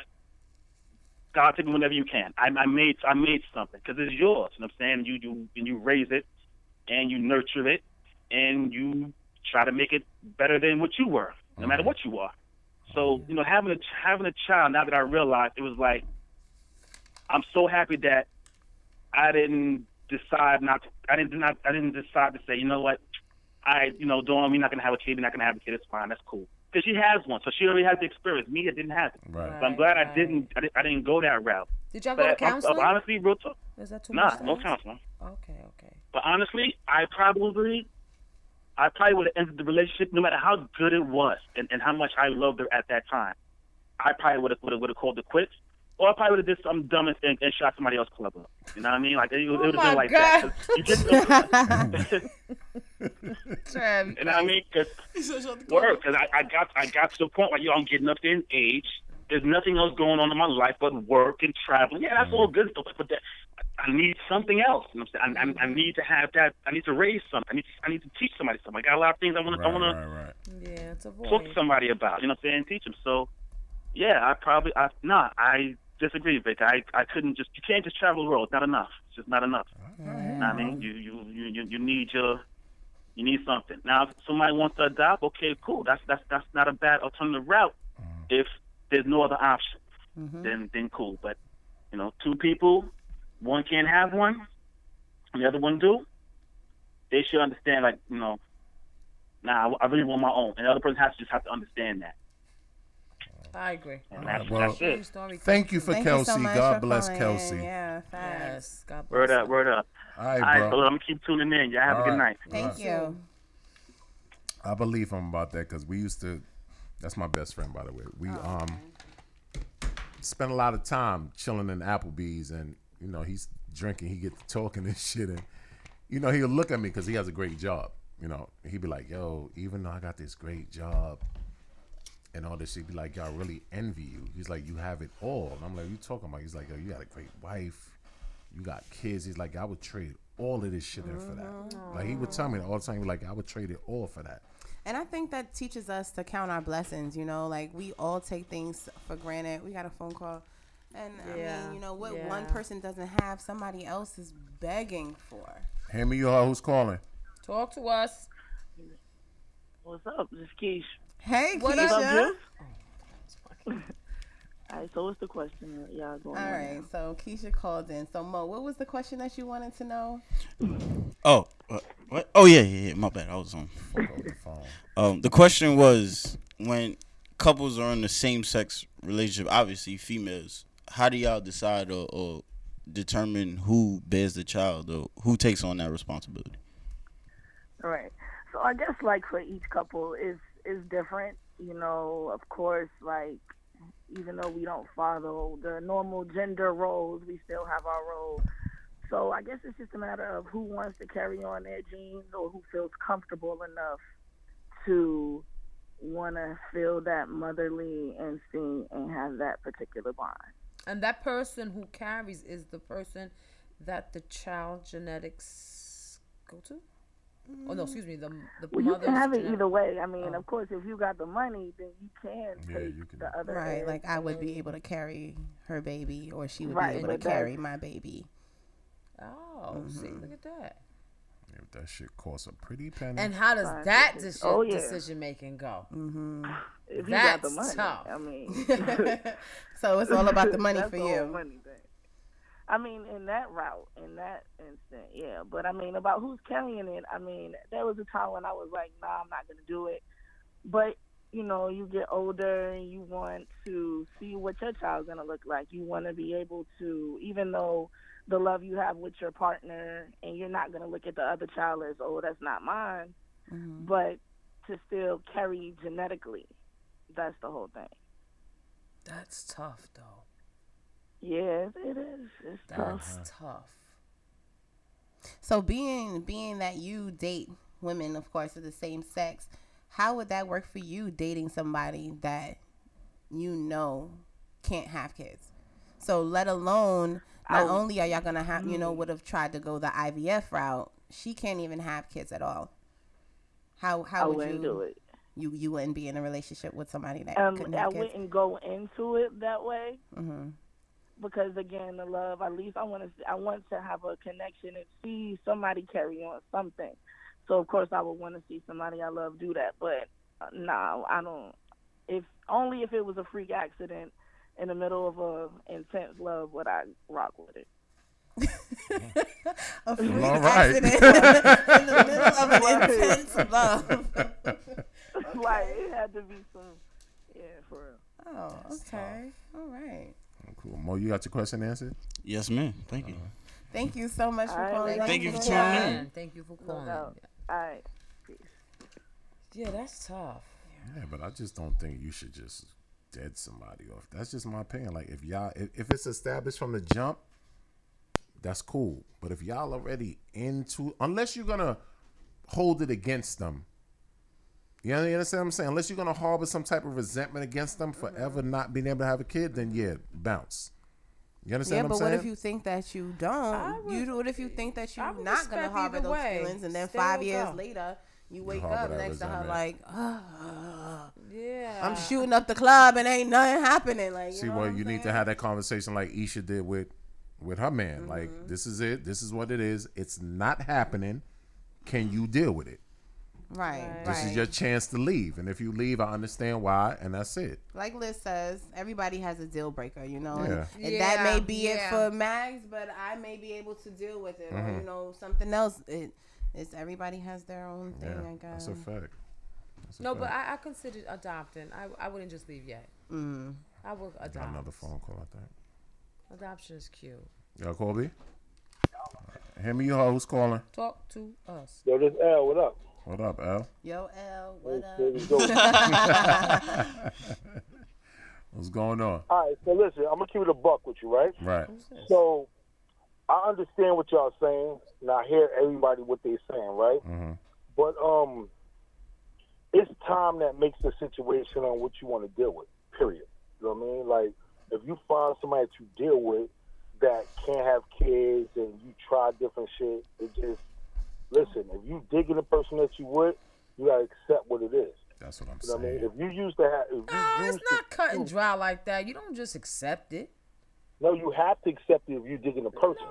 Speaker 10: God, take me whenever you can. I, I made I made something because it's yours. You know what I'm saying? You you and you raise it, and you nurture it, and you try to make it better than what you were, no matter what you are. So you know, having a having a child. Now that I realized, it was like I'm so happy that I didn't decide not. To, I didn't not. I didn't decide to say, you know what, I you know, Dawn, we're not gonna have a kid. We're not gonna have a kid. It's fine. That's cool. Because she has one, so she already has the experience. Me, I didn't have it.
Speaker 6: Right.
Speaker 10: So I'm glad I didn't. I didn't, I didn't go that route.
Speaker 2: Did y'all
Speaker 10: But
Speaker 2: go to
Speaker 10: if I'm-
Speaker 2: counseling?
Speaker 10: I'm honestly, real talk.
Speaker 2: Is that too
Speaker 10: Nah,
Speaker 2: much? to
Speaker 10: no
Speaker 2: ask?
Speaker 10: counseling.
Speaker 2: Okay. Okay.
Speaker 10: But honestly, I probably, I probably would have ended the relationship no matter how good it was and, and how much I loved her at that time. I probably would have would have, would have called it quits, or I probably would have did something dumb and, and, and shot somebody else's club up. You know what I mean? Like it, would- it would have
Speaker 2: Oh my
Speaker 10: been like
Speaker 2: God.
Speaker 10: that. 'Cause You get
Speaker 2: Trev.
Speaker 10: and I mean, cause work, cause I, I got I got to the point where yo, I'm getting up there in age. There's nothing else going on in my life but work and traveling. Yeah, that's all good stuff, but that, I need something else. You know what I'm saying? I, I, I need to have that. I need to raise something. I need to, I need to teach somebody something. I got a lot of things I want to I
Speaker 6: Right,
Speaker 10: want to
Speaker 6: right, right.
Speaker 2: Yeah, it's a
Speaker 10: talk to
Speaker 2: void.
Speaker 10: somebody about. You know what I'm saying? Teach them. So, yeah, I probably I nah, I disagree, Vic. I I couldn't just you can't just travel the world. It's not enough. It's just not enough. I mean, you you you you, you need your you need something. Now, if somebody wants to adopt, okay, cool. That's that's that's not a bad alternative route.
Speaker 6: Mm.
Speaker 10: If there's no other option,
Speaker 6: Mm-hmm.
Speaker 7: Mm.
Speaker 10: then then cool. But you know, two people, one can't have one, and the other one do. They should understand, like you know, nah, I I really want my own, and the other person has to just have to understand that.
Speaker 2: I agree.
Speaker 10: And that's,
Speaker 6: Well-
Speaker 10: that's
Speaker 2: True
Speaker 10: it.
Speaker 2: story.
Speaker 6: Thank you for
Speaker 7: Thank you
Speaker 6: Kelsey.
Speaker 7: so much
Speaker 6: God
Speaker 7: for
Speaker 6: bless
Speaker 7: calling in.
Speaker 6: Kelsey.
Speaker 7: Yeah, thanks.
Speaker 2: Yes. God bless.
Speaker 10: Word
Speaker 2: you.
Speaker 10: up, word up.
Speaker 6: All
Speaker 10: All right,
Speaker 6: right,
Speaker 10: so
Speaker 6: bro.
Speaker 10: I'm gonna keep tuning in. Y'all have a
Speaker 6: All
Speaker 10: good
Speaker 6: right.
Speaker 10: night.
Speaker 7: Thank you.
Speaker 6: I believe him about that because we used to. That's my best friend, by the way. We um spent a lot of time chilling in Applebee's, and you know he's drinking. He get to talking and shit, and you know he'll look at me because he has a great job. You know he'd be like, "Yo, even though I got this great job." And all this, she'd be like, "Yo, I really envy you." He's like, "You have it all," and I'm like, "You talking about?" He's like, "Yo, you got a great wife, you got kids." He's like, "I would trade all of this shit in for that." Like he would tell me all the time, like, "I would trade it all for that."
Speaker 7: And I think that teaches us to count our blessings. You know, like we all take things for granted. We got a phone call, and I
Speaker 2: Yeah,
Speaker 7: mean, you know, what one
Speaker 2: yeah.
Speaker 7: person doesn't have, somebody else is begging for.
Speaker 6: Hand me your who's calling.
Speaker 2: Talk to us.
Speaker 11: What's up? This is Keish.
Speaker 7: Hey,
Speaker 2: What
Speaker 7: Keisha.
Speaker 2: up,
Speaker 11: Jeff? All right, so what's the question that y'all going
Speaker 7: All
Speaker 11: on
Speaker 7: right,
Speaker 11: now?
Speaker 7: so Keisha called in. So Mo, what was the question that you wanted to know?
Speaker 5: Oh, uh, what? Oh yeah, yeah, yeah. My bad. I was on.
Speaker 6: Fuck over the phone.
Speaker 5: Um, the question was when couples are in the same sex relationship, obviously females. How do y'all decide or, or determine who bears the child or who takes on that responsibility?
Speaker 11: All right. So I guess like for each couple is is different. You know, of course, like even though we don't follow the normal gender roles, we still have our role. So I guess it's just a matter of who wants to carry on their genes or who feels comfortable enough to want to feel that motherly instinct and have that particular bond.
Speaker 2: And that person who carries is the person that the child genetics go to. Oh no, excuse me. The the
Speaker 11: Well, you
Speaker 2: mother's
Speaker 11: can have it
Speaker 2: genetic-
Speaker 11: either way. I mean,
Speaker 2: Oh.
Speaker 11: of course, if you got the money, then you can
Speaker 7: Yeah,
Speaker 11: take
Speaker 7: you
Speaker 11: the other
Speaker 7: Right,
Speaker 11: egg.
Speaker 7: like I would be able to carry her baby, or she would
Speaker 11: Right,
Speaker 7: be able to
Speaker 11: but that's-
Speaker 7: carry my baby.
Speaker 2: Oh, see, look at that.
Speaker 6: Yeah, that shit costs a pretty penny.
Speaker 2: And how does
Speaker 11: Right.
Speaker 2: that deci-
Speaker 11: Oh, yeah.
Speaker 2: decision making go?
Speaker 7: Mm-hmm.
Speaker 11: If you got
Speaker 2: That's
Speaker 11: the money,
Speaker 2: tough.
Speaker 11: I mean,
Speaker 7: So it's all about the money
Speaker 11: That's
Speaker 7: for
Speaker 11: the whole
Speaker 7: you.
Speaker 11: money thing. I mean, in that route, in that instant, yeah. But I mean, about who's carrying it. I mean, there was a time when I was like, "Nah, I'm not gonna do it." But you know, you get older and you want to see what your child's gonna look like. You want to be able to, even though the love you have with your partner, and you're not gonna look at the other child as, "Oh, that's not mine," but to still carry genetically. That's the whole thing.
Speaker 2: That's tough, though.
Speaker 11: Yes, it is. It's
Speaker 2: That's
Speaker 11: tough.
Speaker 2: tough.
Speaker 7: So being being that you date women, of course, of the same sex, how would that work for you dating somebody that you know can't have kids? So let alone not
Speaker 2: Oh.
Speaker 7: only are y'all gonna have you
Speaker 11: Mm.
Speaker 7: know would have tried to go the IVF route, she can't even have kids at all. How how
Speaker 11: I
Speaker 7: would
Speaker 11: wouldn't
Speaker 7: you
Speaker 11: do it.
Speaker 7: You you wouldn't be in a relationship with somebody that
Speaker 11: Um,
Speaker 7: couldn't
Speaker 11: I
Speaker 7: have kids.
Speaker 11: wouldn't go into it that way
Speaker 7: Mm-hmm.
Speaker 11: because again, the love. At least I want to. I want to have a connection and see somebody carry on something. So of course, I would want to see somebody I love do that. But uh, no, I don't. If only if it was a freak accident in the middle of a intense love, would I rock with it?
Speaker 7: a freak
Speaker 6: All right.
Speaker 7: accident in the middle of an intense love.
Speaker 11: like it had to be some. Yeah, for real.
Speaker 7: Oh, okay. All right.
Speaker 6: Cool. Mo, you got your question answered? Uh,
Speaker 5: Yes, ma'am. Thank you.
Speaker 7: Thank you so much for
Speaker 2: All right,
Speaker 7: calling.
Speaker 2: thank Thank you you for for tuning in. calling. Thank you for
Speaker 7: No
Speaker 2: calling.
Speaker 7: doubt.
Speaker 11: All right.
Speaker 2: Yeah, that's tough.
Speaker 6: Yeah, but I just don't think you should just dead somebody off. That's just my opinion. Like if y'all, if, if it's established from the jump, that's cool. But if y'all already into, unless you're gonna hold it against them, you know- you understand what I'm saying? Unless you're gonna harbor some type of resentment against them forever not being able to have a kid, then yeah, bounce. You understand
Speaker 7: Yeah,
Speaker 6: what I'm
Speaker 7: but
Speaker 6: saying?
Speaker 7: what if you think that you don't? you do- what if you think that you're
Speaker 2: would
Speaker 7: not gonna
Speaker 2: respect
Speaker 7: harbor
Speaker 2: either
Speaker 7: those
Speaker 2: way.
Speaker 7: feelings, and then
Speaker 2: Still
Speaker 7: five years
Speaker 2: go.
Speaker 7: later you wake
Speaker 2: harbor
Speaker 7: up
Speaker 2: that
Speaker 7: next to her
Speaker 2: resentment.
Speaker 7: like, oh,
Speaker 2: Yeah.
Speaker 7: I'm shooting up the club and ain't nothing happening. Like, you
Speaker 6: See,
Speaker 7: know
Speaker 6: well,
Speaker 7: what I'm
Speaker 6: you need to
Speaker 7: saying?
Speaker 6: have that conversation like Isha did with with her man.
Speaker 7: Mm-hmm.
Speaker 6: Like, this is it. This is what it is. It's not happening. Can you deal with it?
Speaker 7: right,
Speaker 6: This
Speaker 7: right.
Speaker 6: is your chance to leave. And if you leave, I understand why, and that's it.
Speaker 7: like Liz says, everybody has a deal breaker, you know, and-
Speaker 6: Yeah.
Speaker 7: and, that may
Speaker 2: Yeah,
Speaker 7: be
Speaker 2: yeah.
Speaker 7: it for Mags, but I may be able to deal with it, or
Speaker 6: Mhm.
Speaker 7: you know, something else. It, it's everybody has their own thing.
Speaker 6: Yeah,
Speaker 7: I guess
Speaker 6: that's a fact. That's a
Speaker 2: No, but
Speaker 6: fact.
Speaker 2: I, I considered adopting. I, I wouldn't just leave yet.
Speaker 7: Mm.
Speaker 2: I would
Speaker 6: Got
Speaker 2: adopt.
Speaker 6: another phone call. I think.
Speaker 2: Adoption is cute.
Speaker 6: Yo, Colby. Hear me, you ho, who's calling?
Speaker 2: Talk to us.
Speaker 12: Yo, this L, what up?
Speaker 6: What up, L?
Speaker 7: Yo, L, what up?
Speaker 12: Here we go.
Speaker 6: What's going on?
Speaker 12: All right, so listen, I'm gonna keep it a buck with you, right?
Speaker 6: Right.
Speaker 12: So I understand what y'all saying, and I hear everybody what they're saying, right?
Speaker 11: Mm.
Speaker 6: Mhm.
Speaker 12: But um, it's time that makes the situation on what you want to deal with. Period. You know what I mean? Like, if you find somebody that you deal with that can't have kids, and you try different shit, it just listen. If you digging the person that you with, you gotta accept what it is.
Speaker 6: That's what I'm
Speaker 12: you know What I mean? If you used to have, if you
Speaker 2: No,
Speaker 12: used
Speaker 2: it's not cut and dry like that. You don't just accept it.
Speaker 12: No, you have to accept it if you're digging a person.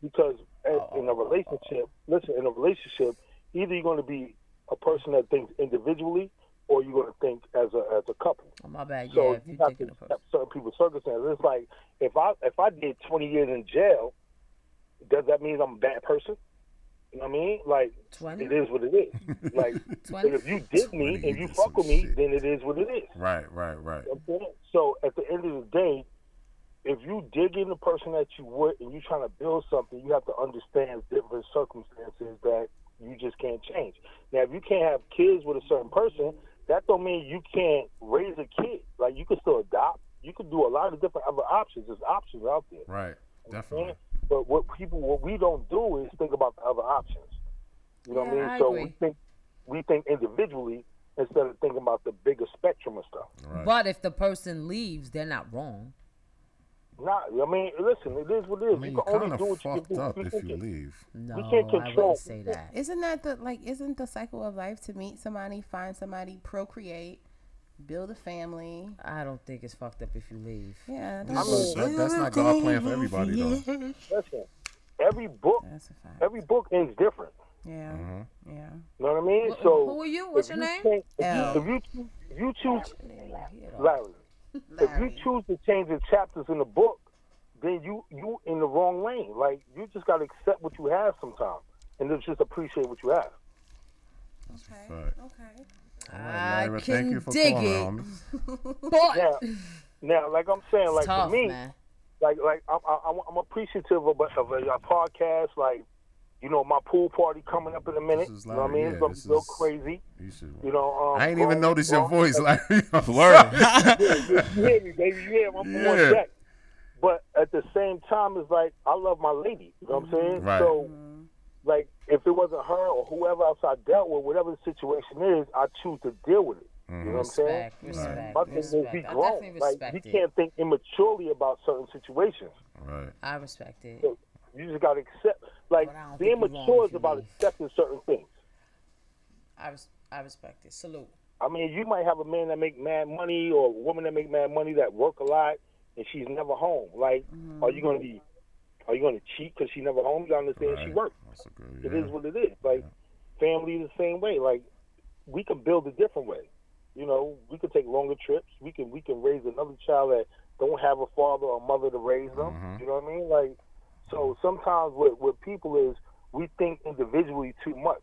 Speaker 12: Because a- in a relationship, listen, in a relationship, either you're going to be a person that thinks individually or you're going to think as a, as a couple.
Speaker 2: Oh, my bad.
Speaker 12: So
Speaker 2: yeah, if
Speaker 12: you
Speaker 2: you
Speaker 12: have to accept certain people's circumstances. It's like if I if I did 20 years in jail, does that mean I'm a bad person? You know what I mean? Like
Speaker 2: 20?
Speaker 12: it is what it is. Like and if you dig me and you fuck with me, then it is what it is.
Speaker 6: Right, right, right.
Speaker 12: Okay? So at the end of the day, if you dig in the person that you would and you're trying to build something, you have to understand different circumstances that you just can't change. Now, if you can't have kids with a certain person, that don't mean you can't raise a kid. Like you can still adopt, You could do a lot of different other options. There's options out there.
Speaker 6: Right. Definitely.
Speaker 12: But what people, what we don't do is think about the other options. You know what
Speaker 6: Yeah,
Speaker 12: I mean?
Speaker 6: I
Speaker 12: so we
Speaker 6: agree.
Speaker 12: think we think individually instead of thinking about the bigger spectrum of stuff.
Speaker 2: But if the person leaves, they're not wrong.
Speaker 12: Nah, I mean, listen, it is what it is. you can only do what you can do. We can't- we can't control.
Speaker 7: Isn't that the like? Isn't the cycle of life to meet somebody, find somebody, procreate, build a family?
Speaker 2: I don't think it's fucked up if you leave.
Speaker 7: Yeah,
Speaker 6: I mean, that- that's not God plan for everybody, though.
Speaker 12: Listen, every book, every book ends different.
Speaker 7: Yeah.
Speaker 6: Uh-huh.
Speaker 7: Yeah.
Speaker 12: You know what I mean?
Speaker 7: Wh-
Speaker 12: so
Speaker 7: who are you?
Speaker 12: if
Speaker 7: What's your name?
Speaker 12: change-
Speaker 7: L.
Speaker 12: If you, if you, if you choose, Larry, if you choose to change the chapters in the book, then you you in the wrong lane. Like you just gotta accept what you have sometimes, and then just appreciate what you have.
Speaker 6: Right.
Speaker 7: Okay.
Speaker 6: I Lyra, thank
Speaker 12: can
Speaker 6: you for
Speaker 12: dig
Speaker 6: calling,
Speaker 12: now, now, like I'm saying, like
Speaker 6: tough,
Speaker 12: for me,
Speaker 6: man.
Speaker 12: like like I'm, I'm I'm appreciative of a, of a, a podcast, like you know my pool party coming up in a minute. You know what I
Speaker 6: Larry,
Speaker 12: mean?
Speaker 6: yeah,
Speaker 12: it's gonna be
Speaker 6: this
Speaker 12: real
Speaker 6: is-
Speaker 12: crazy.
Speaker 6: You should.
Speaker 12: You know, um,
Speaker 6: I ain't
Speaker 12: grown-
Speaker 6: even noticed your
Speaker 12: grown-
Speaker 6: voice, Larry. I'm
Speaker 12: yeah,
Speaker 6: sorry.
Speaker 12: you hear me, baby? You hear my
Speaker 6: Yeah.
Speaker 12: boy Jack. But at the same time, it's like I love my lady. You know what I'm saying?
Speaker 6: Right.
Speaker 12: So,
Speaker 2: Mm-hmm.
Speaker 12: like, if it wasn't her or whoever else I dealt with, whatever the situation is, I choose to deal with it. You know what I'm saying?
Speaker 2: Respect, respect,
Speaker 12: My thing is
Speaker 2: respect.
Speaker 12: be
Speaker 2: I
Speaker 12: grown.
Speaker 2: definitely
Speaker 12: like,
Speaker 2: respect
Speaker 12: you
Speaker 2: it.
Speaker 12: can't think immaturely about certain situations.
Speaker 6: Right.
Speaker 2: I respect it.
Speaker 12: So you just got to accept. Like, being
Speaker 2: think you
Speaker 12: mature is about accepting certain things.
Speaker 2: I, res- I respect it. Salute.
Speaker 12: I mean, you might have a man that make mad money or a woman that make mad money that work a lot and she's never home. Like,
Speaker 2: Mm-hmm.
Speaker 12: are you gonna be? Are you gonna cheat because she never home? You gotta understand she works. It is what it is. Like, family is the same way. Like, we can build a different way. You know, we can take longer trips. We can we can raise another child that don't have a father or mother to raise them. You know what I mean? Like, so sometimes what what people is we think individually too much.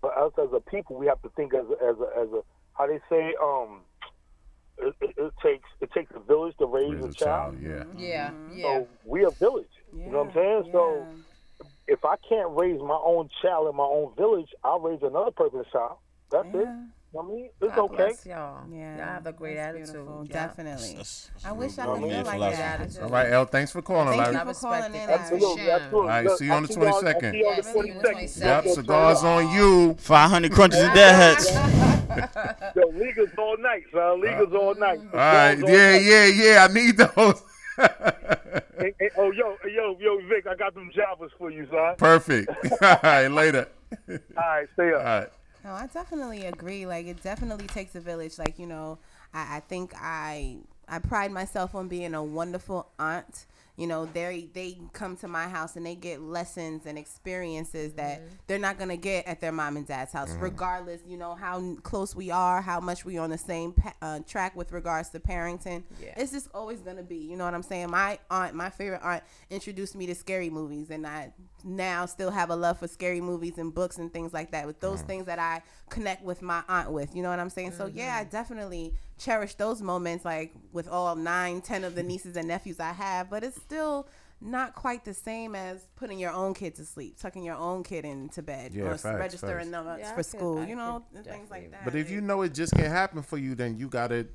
Speaker 12: But us as a people, we have to think as a, as a, as a how they say um it, it, it takes it takes a village to raise, a, child.
Speaker 6: Yeah.
Speaker 2: Yeah, yeah.
Speaker 12: Mm-hmm. So we a village. You know what I'm saying? So if I can't raise my own child in my own village, I'll raise another person's child. That's it. You know what I mean? It's
Speaker 2: God
Speaker 12: okay.
Speaker 2: bless y'all.
Speaker 7: Yeah,
Speaker 2: Y'all have a great
Speaker 7: that's
Speaker 2: attitude.
Speaker 7: beautiful.
Speaker 2: Yeah.
Speaker 7: Definitely. I wish I could
Speaker 6: good
Speaker 7: feel like
Speaker 6: philosophy.
Speaker 7: that. I
Speaker 6: All
Speaker 7: just-
Speaker 6: right, L. Thanks for calling,
Speaker 7: Thank
Speaker 6: Larry.
Speaker 7: you for calling in.
Speaker 12: Absolutely,
Speaker 7: Larry.
Speaker 12: absolutely.
Speaker 6: All right, see you on the
Speaker 12: I'll y'all- I'll
Speaker 6: 22nd.
Speaker 12: see y'all on
Speaker 7: Yeah,
Speaker 12: the
Speaker 7: see you on the
Speaker 12: 22nd.
Speaker 6: Yep, cigars on you.
Speaker 5: 500 crunches of deadheads.
Speaker 12: Yo, legal all night, son. Legal all night.
Speaker 6: Uh, All right.
Speaker 12: Legal's all
Speaker 6: Yeah,
Speaker 12: night.
Speaker 6: yeah, yeah. I need those.
Speaker 12: Hey, hey, oh, yo, hey, yo, yo, Vic, I got them jobbers for you, son.
Speaker 6: Perfect. All right, later. All
Speaker 12: right, stay up.
Speaker 6: All right.
Speaker 7: No, I definitely agree. Like it definitely takes a village. Like you know, I, I think I I pride myself on being a wonderful aunt. You know, they they come to my house and they get lessons and experiences that they're not gonna get at their mom and dad's house,
Speaker 13: Mhm.
Speaker 7: regardless. You know how n- close we are, how much we on the same pa- uh, track with regards to parenting.
Speaker 13: Yeah.
Speaker 7: It's just always gonna be. You know what I'm saying? My aunt, my favorite aunt, introduced me to scary movies, and I now still have a love for scary movies and books and things like that. With those
Speaker 6: Mm.
Speaker 13: Mhm.
Speaker 7: things things that I connect with my aunt with. You know what I'm saying? So yeah,
Speaker 6: Mm-hmm.
Speaker 7: I definitely cherish those moments, like with all nine, ten of the nieces and nephews I have. But it's still not quite the same as putting your own kid to sleep, tucking your own kid into bed,
Speaker 6: Yeah,
Speaker 7: or
Speaker 6: facts,
Speaker 7: registering
Speaker 6: facts.
Speaker 7: them up
Speaker 13: Yeah, I
Speaker 7: for
Speaker 13: could-
Speaker 7: school.
Speaker 13: I
Speaker 7: you know,
Speaker 13: could
Speaker 7: and things like that.
Speaker 6: But if you know it just can happen for you, then you gotta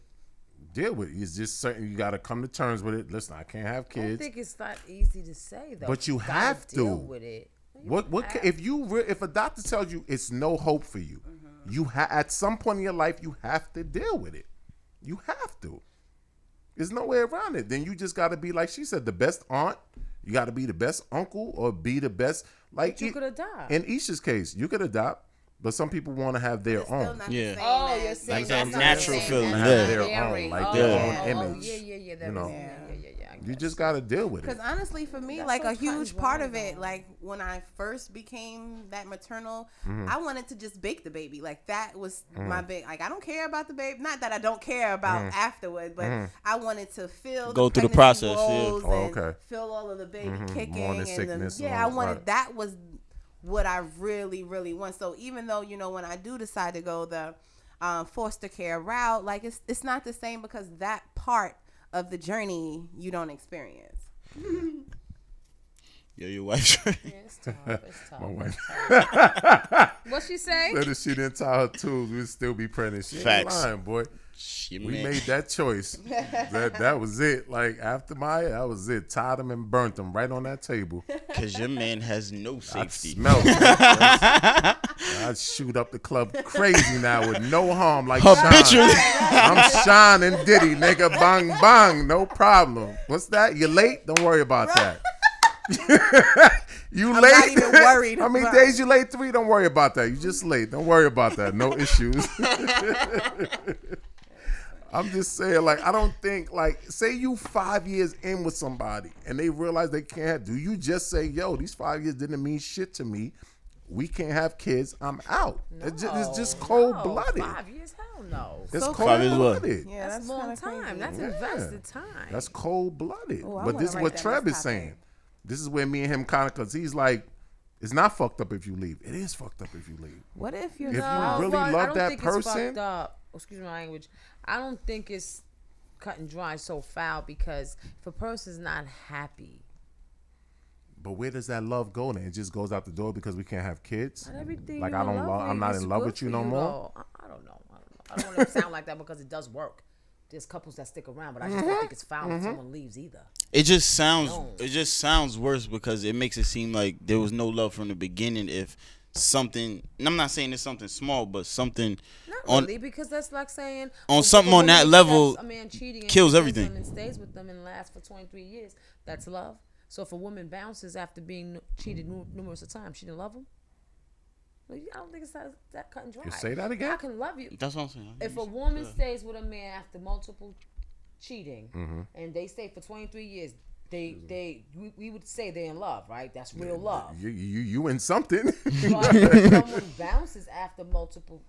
Speaker 6: deal with it. It's just certain you gotta come to terms with it. Listen, I can't have
Speaker 2: I
Speaker 6: kids.
Speaker 2: think it's not easy to say though.
Speaker 6: But you
Speaker 2: gotta
Speaker 6: have to.
Speaker 2: deal with it.
Speaker 6: What what ca- if you re- if a doctor tells you it's no hope for you,
Speaker 2: Mm-hmm.
Speaker 6: you ha- at some point in your life you have to deal with it. You have to. There's no way around it. Then you just got to be like she said, the best aunt. You got to be the best uncle or be the best like
Speaker 2: But you
Speaker 6: E-
Speaker 2: could adopt.
Speaker 6: In Isha's case, you could adopt, but some people want to have their own.
Speaker 5: Yeah.
Speaker 2: Oh, you're saying
Speaker 5: Like that
Speaker 2: that's not
Speaker 5: natural
Speaker 2: the same.
Speaker 5: feeling.
Speaker 6: Have
Speaker 5: Yeah.
Speaker 6: their
Speaker 2: Scary.
Speaker 6: own, like
Speaker 2: Oh,
Speaker 6: their
Speaker 2: yeah.
Speaker 6: own
Speaker 2: Oh,
Speaker 6: image.
Speaker 2: yeah, yeah, yeah, that
Speaker 6: you
Speaker 2: was-
Speaker 6: know,
Speaker 2: yeah,
Speaker 6: you just got to deal with
Speaker 7: Because
Speaker 6: it.
Speaker 7: honestly, for me, like a huge part of it, like when I first became that maternal,
Speaker 6: Mm-hmm.
Speaker 13: Mhm.
Speaker 7: I wanted to just bake the baby. Like that was
Speaker 13: Mhm.
Speaker 7: my big. Like I don't care about the baby. Not that I don't care about
Speaker 6: Mm-hmm.
Speaker 13: Mhm.
Speaker 7: afterward, but
Speaker 13: Mhm.
Speaker 7: I wanted to feel
Speaker 5: Go through the
Speaker 7: pregnancy
Speaker 5: process, yeah.
Speaker 7: woes
Speaker 5: Oh,
Speaker 7: and
Speaker 5: okay.
Speaker 7: Feel all of the baby
Speaker 5: Mhm.
Speaker 7: kicking
Speaker 5: Morning
Speaker 7: and
Speaker 5: sickness
Speaker 7: the,
Speaker 5: and
Speaker 7: yeah. I
Speaker 5: all that,
Speaker 7: wanted
Speaker 5: right.
Speaker 7: that was what I really, really want. So even though you know when I do decide to go the uh, foster care route, like it's it's not the same because that part of the journey you don't experience.
Speaker 5: Yo, your wife's right.
Speaker 6: My wife.
Speaker 2: What she say?
Speaker 6: Said if she didn't tie her tools, we'd still be pregnant. She ain't
Speaker 5: Facts.
Speaker 6: lying, boy.
Speaker 5: Shit,
Speaker 6: we
Speaker 5: man.
Speaker 6: made that choice. that that was it. Like after Maya, that was it. Tied them and burnt them right on that table.
Speaker 5: Cause your man has no safety.
Speaker 6: Smell. I'd shoot up the club crazy now with no harm. Like
Speaker 5: Habitually.
Speaker 6: Sean. I'm Sean and Diddy, nigga. Bang bang, no problem. What's that? You late? Don't worry about that. you late?
Speaker 7: not even worried
Speaker 6: How many
Speaker 7: about-
Speaker 6: days you late? Three. Don't worry about that. You just late. Don't worry about that. No issues. I'm just saying, like, I don't think, like, say you five years in with somebody and they realize they can't. Do you just say, "Yo, these five years didn't mean shit to me. We can't have kids. I'm out." it's, just, it's just cold blooded.
Speaker 2: Five years? Hell no.
Speaker 6: It's So cold cold-blooded. blooded.
Speaker 2: Yeah, that's, long time. That's
Speaker 6: Yeah.
Speaker 2: invested time.
Speaker 6: That's cold blooded.
Speaker 2: Ooh, I
Speaker 6: but
Speaker 2: wanna
Speaker 6: this is
Speaker 2: write
Speaker 6: what
Speaker 2: that
Speaker 6: Trev
Speaker 2: next
Speaker 6: is saying. This is where me and him kind of, cause he's like, it's not fucked up if you leave. It is fucked up if you leave.
Speaker 7: What if
Speaker 6: If you really
Speaker 2: Well, I
Speaker 6: love
Speaker 2: don't
Speaker 6: that
Speaker 2: think it's fucked
Speaker 6: person,
Speaker 2: up. Oh, Excuse my language. I don't think it's cut and dry so foul because if a person's not happy,
Speaker 6: but where does that love go? Then it just goes out the door because we can't have kids.
Speaker 2: not everything
Speaker 6: Like
Speaker 2: you
Speaker 6: I
Speaker 2: in
Speaker 6: don't,
Speaker 2: love
Speaker 6: love, I'm not
Speaker 2: is
Speaker 6: in love
Speaker 2: good
Speaker 6: with you
Speaker 2: for
Speaker 6: no more.
Speaker 2: though. I I don't know. I don't know. I don't want to sound like that because it does work. There's couples that stick around, but I just don't
Speaker 7: Mhm.
Speaker 2: think it's foul if
Speaker 5: Mm-hmm.
Speaker 7: Mhm.
Speaker 2: someone leaves either.
Speaker 5: It just sounds
Speaker 2: No.
Speaker 5: it just sounds worse because it makes it seem like there was no love from the beginning if something and I'm not saying it's something small, but something
Speaker 2: Not
Speaker 5: on
Speaker 2: really, because that's like saying
Speaker 5: on
Speaker 2: if
Speaker 5: something
Speaker 2: a
Speaker 5: on that
Speaker 2: woman
Speaker 5: level
Speaker 2: accepts a man cheating and
Speaker 5: kills
Speaker 2: kisses
Speaker 5: everything.
Speaker 2: him and stays with them and lasts for 23 years. That's love. So if a woman bounces after being cheated nu- numerous of times, she didn't love him. Well, I don't think it's that, that cut and dry.
Speaker 6: You say that again?
Speaker 2: I can love you.
Speaker 5: That's what I'm saying.
Speaker 2: If a woman
Speaker 5: Yeah.
Speaker 2: stays with a man after multiple cheating
Speaker 6: Mm-hmm.
Speaker 5: Mhm.
Speaker 2: and they stay for 23 years, they they we, we would say they're in love, right? That's real love.
Speaker 6: You you you in something?
Speaker 2: But if someone bounces after multiple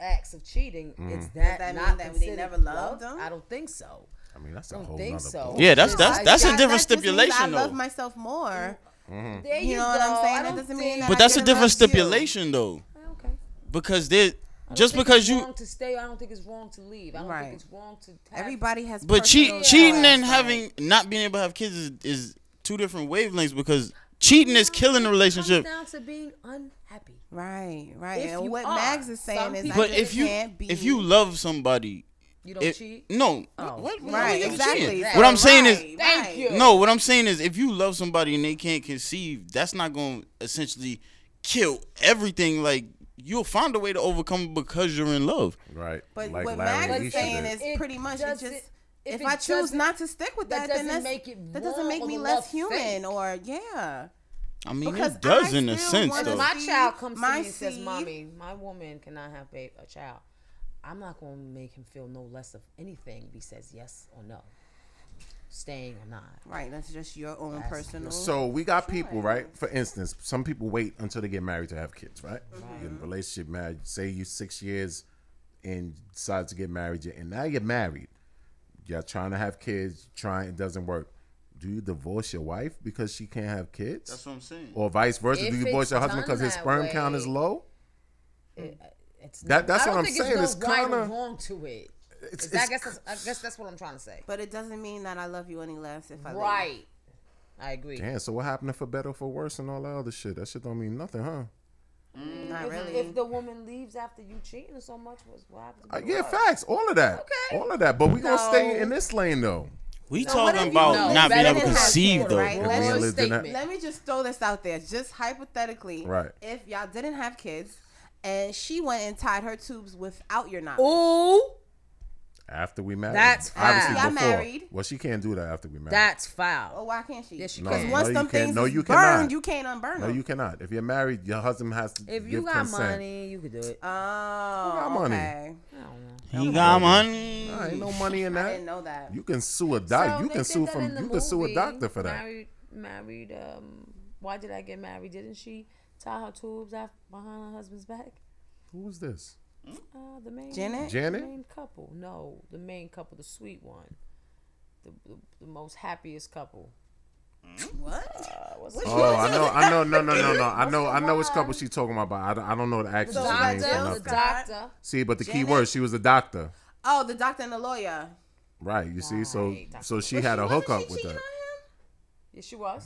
Speaker 2: acts of cheating,
Speaker 6: Mm.
Speaker 2: it's
Speaker 6: Does
Speaker 7: Mm-hmm.
Speaker 2: that,
Speaker 7: that mean
Speaker 2: not
Speaker 7: that they
Speaker 2: considered
Speaker 7: never loved
Speaker 2: love? I don't think so.
Speaker 6: I mean, that's
Speaker 2: a whole think
Speaker 6: nother
Speaker 2: so.
Speaker 5: Yeah, that's
Speaker 2: It's
Speaker 5: that's
Speaker 2: like-
Speaker 5: that's a
Speaker 2: that- that
Speaker 5: different
Speaker 2: just means I
Speaker 5: stipulation
Speaker 7: I love
Speaker 5: though.
Speaker 7: myself more.
Speaker 5: Mhm.
Speaker 2: There
Speaker 7: you
Speaker 2: you
Speaker 7: know what
Speaker 2: go.
Speaker 7: I'm
Speaker 2: I
Speaker 7: saying? That
Speaker 2: don't
Speaker 7: doesn't mean that I
Speaker 5: But that's a
Speaker 7: couldn't
Speaker 5: different
Speaker 7: love you. Oh,
Speaker 5: stipulation though.
Speaker 2: Okay.
Speaker 5: Because
Speaker 2: I
Speaker 5: there
Speaker 2: don't
Speaker 5: just
Speaker 2: think
Speaker 5: because
Speaker 2: it's
Speaker 5: you
Speaker 2: wrong to stay, I don't think it's wrong to leave. I don't
Speaker 7: Right.
Speaker 2: think it's wrong to. Have,
Speaker 7: Everybody has.
Speaker 5: But
Speaker 7: personal
Speaker 5: cheat, cheating
Speaker 7: lives,
Speaker 5: and
Speaker 7: like-
Speaker 5: having not being able to have kids is, is two different wavelengths because cheating is killing a relationship.
Speaker 2: It comes down to being unhappy.
Speaker 7: Right, right.
Speaker 2: If
Speaker 7: and
Speaker 2: you
Speaker 7: what
Speaker 2: are,
Speaker 7: Mags is saying
Speaker 2: some
Speaker 7: is,
Speaker 2: people-
Speaker 7: I
Speaker 5: But
Speaker 7: just
Speaker 5: if you
Speaker 7: can't be.
Speaker 5: if you love somebody,
Speaker 2: You don't
Speaker 5: if-
Speaker 2: cheat?
Speaker 5: No,
Speaker 2: Oh.
Speaker 5: what, what,
Speaker 7: Right,
Speaker 5: what-
Speaker 7: exactly.
Speaker 5: What I'm saying
Speaker 7: Right,
Speaker 5: is,
Speaker 7: Thank right. you.
Speaker 5: No, what I'm saying is, if you love somebody and they can't conceive, that's not going to essentially kill everything. Like you'll find a way to overcome it because you're in love.
Speaker 6: Right.
Speaker 7: but what Mags is saying is pretty much it just.
Speaker 2: doesn't-
Speaker 7: if,
Speaker 2: if it
Speaker 7: I choose
Speaker 2: doesn't-
Speaker 7: not to stick with
Speaker 2: that
Speaker 7: that, then
Speaker 2: doesn't
Speaker 7: that's,
Speaker 2: make it
Speaker 7: that doesn't
Speaker 2: wrong
Speaker 7: make
Speaker 2: or
Speaker 7: me
Speaker 2: the
Speaker 7: less
Speaker 2: love
Speaker 7: human
Speaker 2: fake.
Speaker 7: or yeah.
Speaker 5: I mean,
Speaker 7: Because
Speaker 5: it does
Speaker 7: I
Speaker 5: in a
Speaker 7: still
Speaker 5: sense
Speaker 7: wanna
Speaker 5: though.
Speaker 2: my
Speaker 7: seed,
Speaker 2: child comes to
Speaker 7: my
Speaker 2: me and says,
Speaker 7: seed.
Speaker 2: "Mommy, my woman cannot have ba- a child." I'm not going to make him feel no less of anything if he says yes or no, staying or not.
Speaker 7: Right, that's just your own
Speaker 2: That's-
Speaker 7: personal.
Speaker 6: So we got people, right? For instance, some people wait until they get married to have kids, right? You're in a relationship marriage, say you six years and decide to get married, and now you're married. You're trying to have kids, trying it doesn't work. Do you divorce your wife because she can't have kids?
Speaker 5: That's what I'm saying.
Speaker 6: Or vice versa?
Speaker 2: If
Speaker 6: Do you divorce
Speaker 2: it's
Speaker 6: your husband
Speaker 2: done
Speaker 6: because his
Speaker 2: that
Speaker 6: sperm count is
Speaker 2: way-
Speaker 6: low?
Speaker 7: Mm.
Speaker 2: It- uh, it's
Speaker 6: That-
Speaker 2: not-
Speaker 6: that's
Speaker 2: I don't
Speaker 6: what I'm
Speaker 2: think
Speaker 6: saying.
Speaker 2: There's
Speaker 6: It's
Speaker 2: no right or
Speaker 6: kinda-
Speaker 2: wrong to it.
Speaker 6: It's-
Speaker 2: I
Speaker 6: it's
Speaker 2: guess that's, I guess that's what I'm trying to say.
Speaker 7: But it doesn't mean that I love you any less if I leave.
Speaker 2: Right. I agree.
Speaker 6: Damn, so what happened if for better or for worse and all that other shit? That shit don't mean nothing, huh?
Speaker 7: Mm, Not
Speaker 2: if,
Speaker 7: really.
Speaker 2: If the woman leaves after you cheating so much, what's what happens?
Speaker 6: Uh, yeah, facts. All of that. All of that. But we gonna stay in this lane though.
Speaker 5: We
Speaker 7: So what if
Speaker 5: talking
Speaker 7: you
Speaker 5: about
Speaker 7: know
Speaker 5: not
Speaker 7: better
Speaker 5: being able to
Speaker 7: than have
Speaker 5: conceive
Speaker 7: kids,
Speaker 5: though.
Speaker 7: right?
Speaker 6: If we
Speaker 7: Let's-
Speaker 6: ain't lived in that-
Speaker 7: Let me just throw this out there, just hypothetically.
Speaker 6: Right.
Speaker 7: If y'all didn't have kids and she went and tied her tubes without your knowledge.
Speaker 2: Ooh,
Speaker 6: After we married.
Speaker 2: That's
Speaker 6: obviously
Speaker 7: foul. Y'all
Speaker 6: before.
Speaker 7: married.
Speaker 6: Well, she can't do that after we married.
Speaker 2: that's foul.
Speaker 7: Oh, why can't she?
Speaker 2: Yes, you
Speaker 6: No,
Speaker 2: can.
Speaker 6: no,
Speaker 7: Once
Speaker 6: you
Speaker 7: them
Speaker 6: can't.
Speaker 7: things
Speaker 6: No,
Speaker 7: is
Speaker 6: you
Speaker 7: burned,
Speaker 6: cannot.
Speaker 7: you can't unburn
Speaker 6: No,
Speaker 7: them.
Speaker 6: you cannot. If you're married, your husband has to
Speaker 2: If you
Speaker 6: give
Speaker 2: got
Speaker 6: consent.
Speaker 2: money, you could do it.
Speaker 7: Oh, got
Speaker 6: money?
Speaker 7: Okay.
Speaker 5: He got money.
Speaker 6: Nah, ain't no money in
Speaker 7: I
Speaker 6: that.
Speaker 7: didn't know that.
Speaker 6: You can sue a
Speaker 2: So
Speaker 6: doctor. you
Speaker 2: they
Speaker 6: can
Speaker 2: did
Speaker 6: sue
Speaker 2: that
Speaker 6: from.
Speaker 2: in
Speaker 6: You
Speaker 2: the
Speaker 6: can sue a
Speaker 2: movie,
Speaker 6: doctor for that.
Speaker 2: Married, married. Um, why did I get married? Didn't she tie her tubes after, behind her husband's back?
Speaker 6: Who was this?
Speaker 2: Uh, the main
Speaker 7: Janet?
Speaker 6: Hmm? Janet?
Speaker 2: the main couple. No, the main couple, the sweet one, the the, the most happiest couple.
Speaker 7: Hmm? What?
Speaker 2: Uh, what's
Speaker 6: Oh, I know, I know, no, no, no, no. I know, I know which couple she talking about, but I don't, I don't know the actress' name for
Speaker 2: doctor, the
Speaker 6: nothing.
Speaker 2: doctor.
Speaker 6: See, but the key
Speaker 7: Janet?
Speaker 6: word, she was a doctor,
Speaker 7: Oh, the doctor and the lawyer.
Speaker 6: right? You see, so, so she
Speaker 7: But
Speaker 6: had
Speaker 7: she-
Speaker 6: a
Speaker 7: wasn't
Speaker 6: hookup
Speaker 7: she
Speaker 6: with
Speaker 7: cheating
Speaker 6: that. Oh.
Speaker 2: Yeah, she was.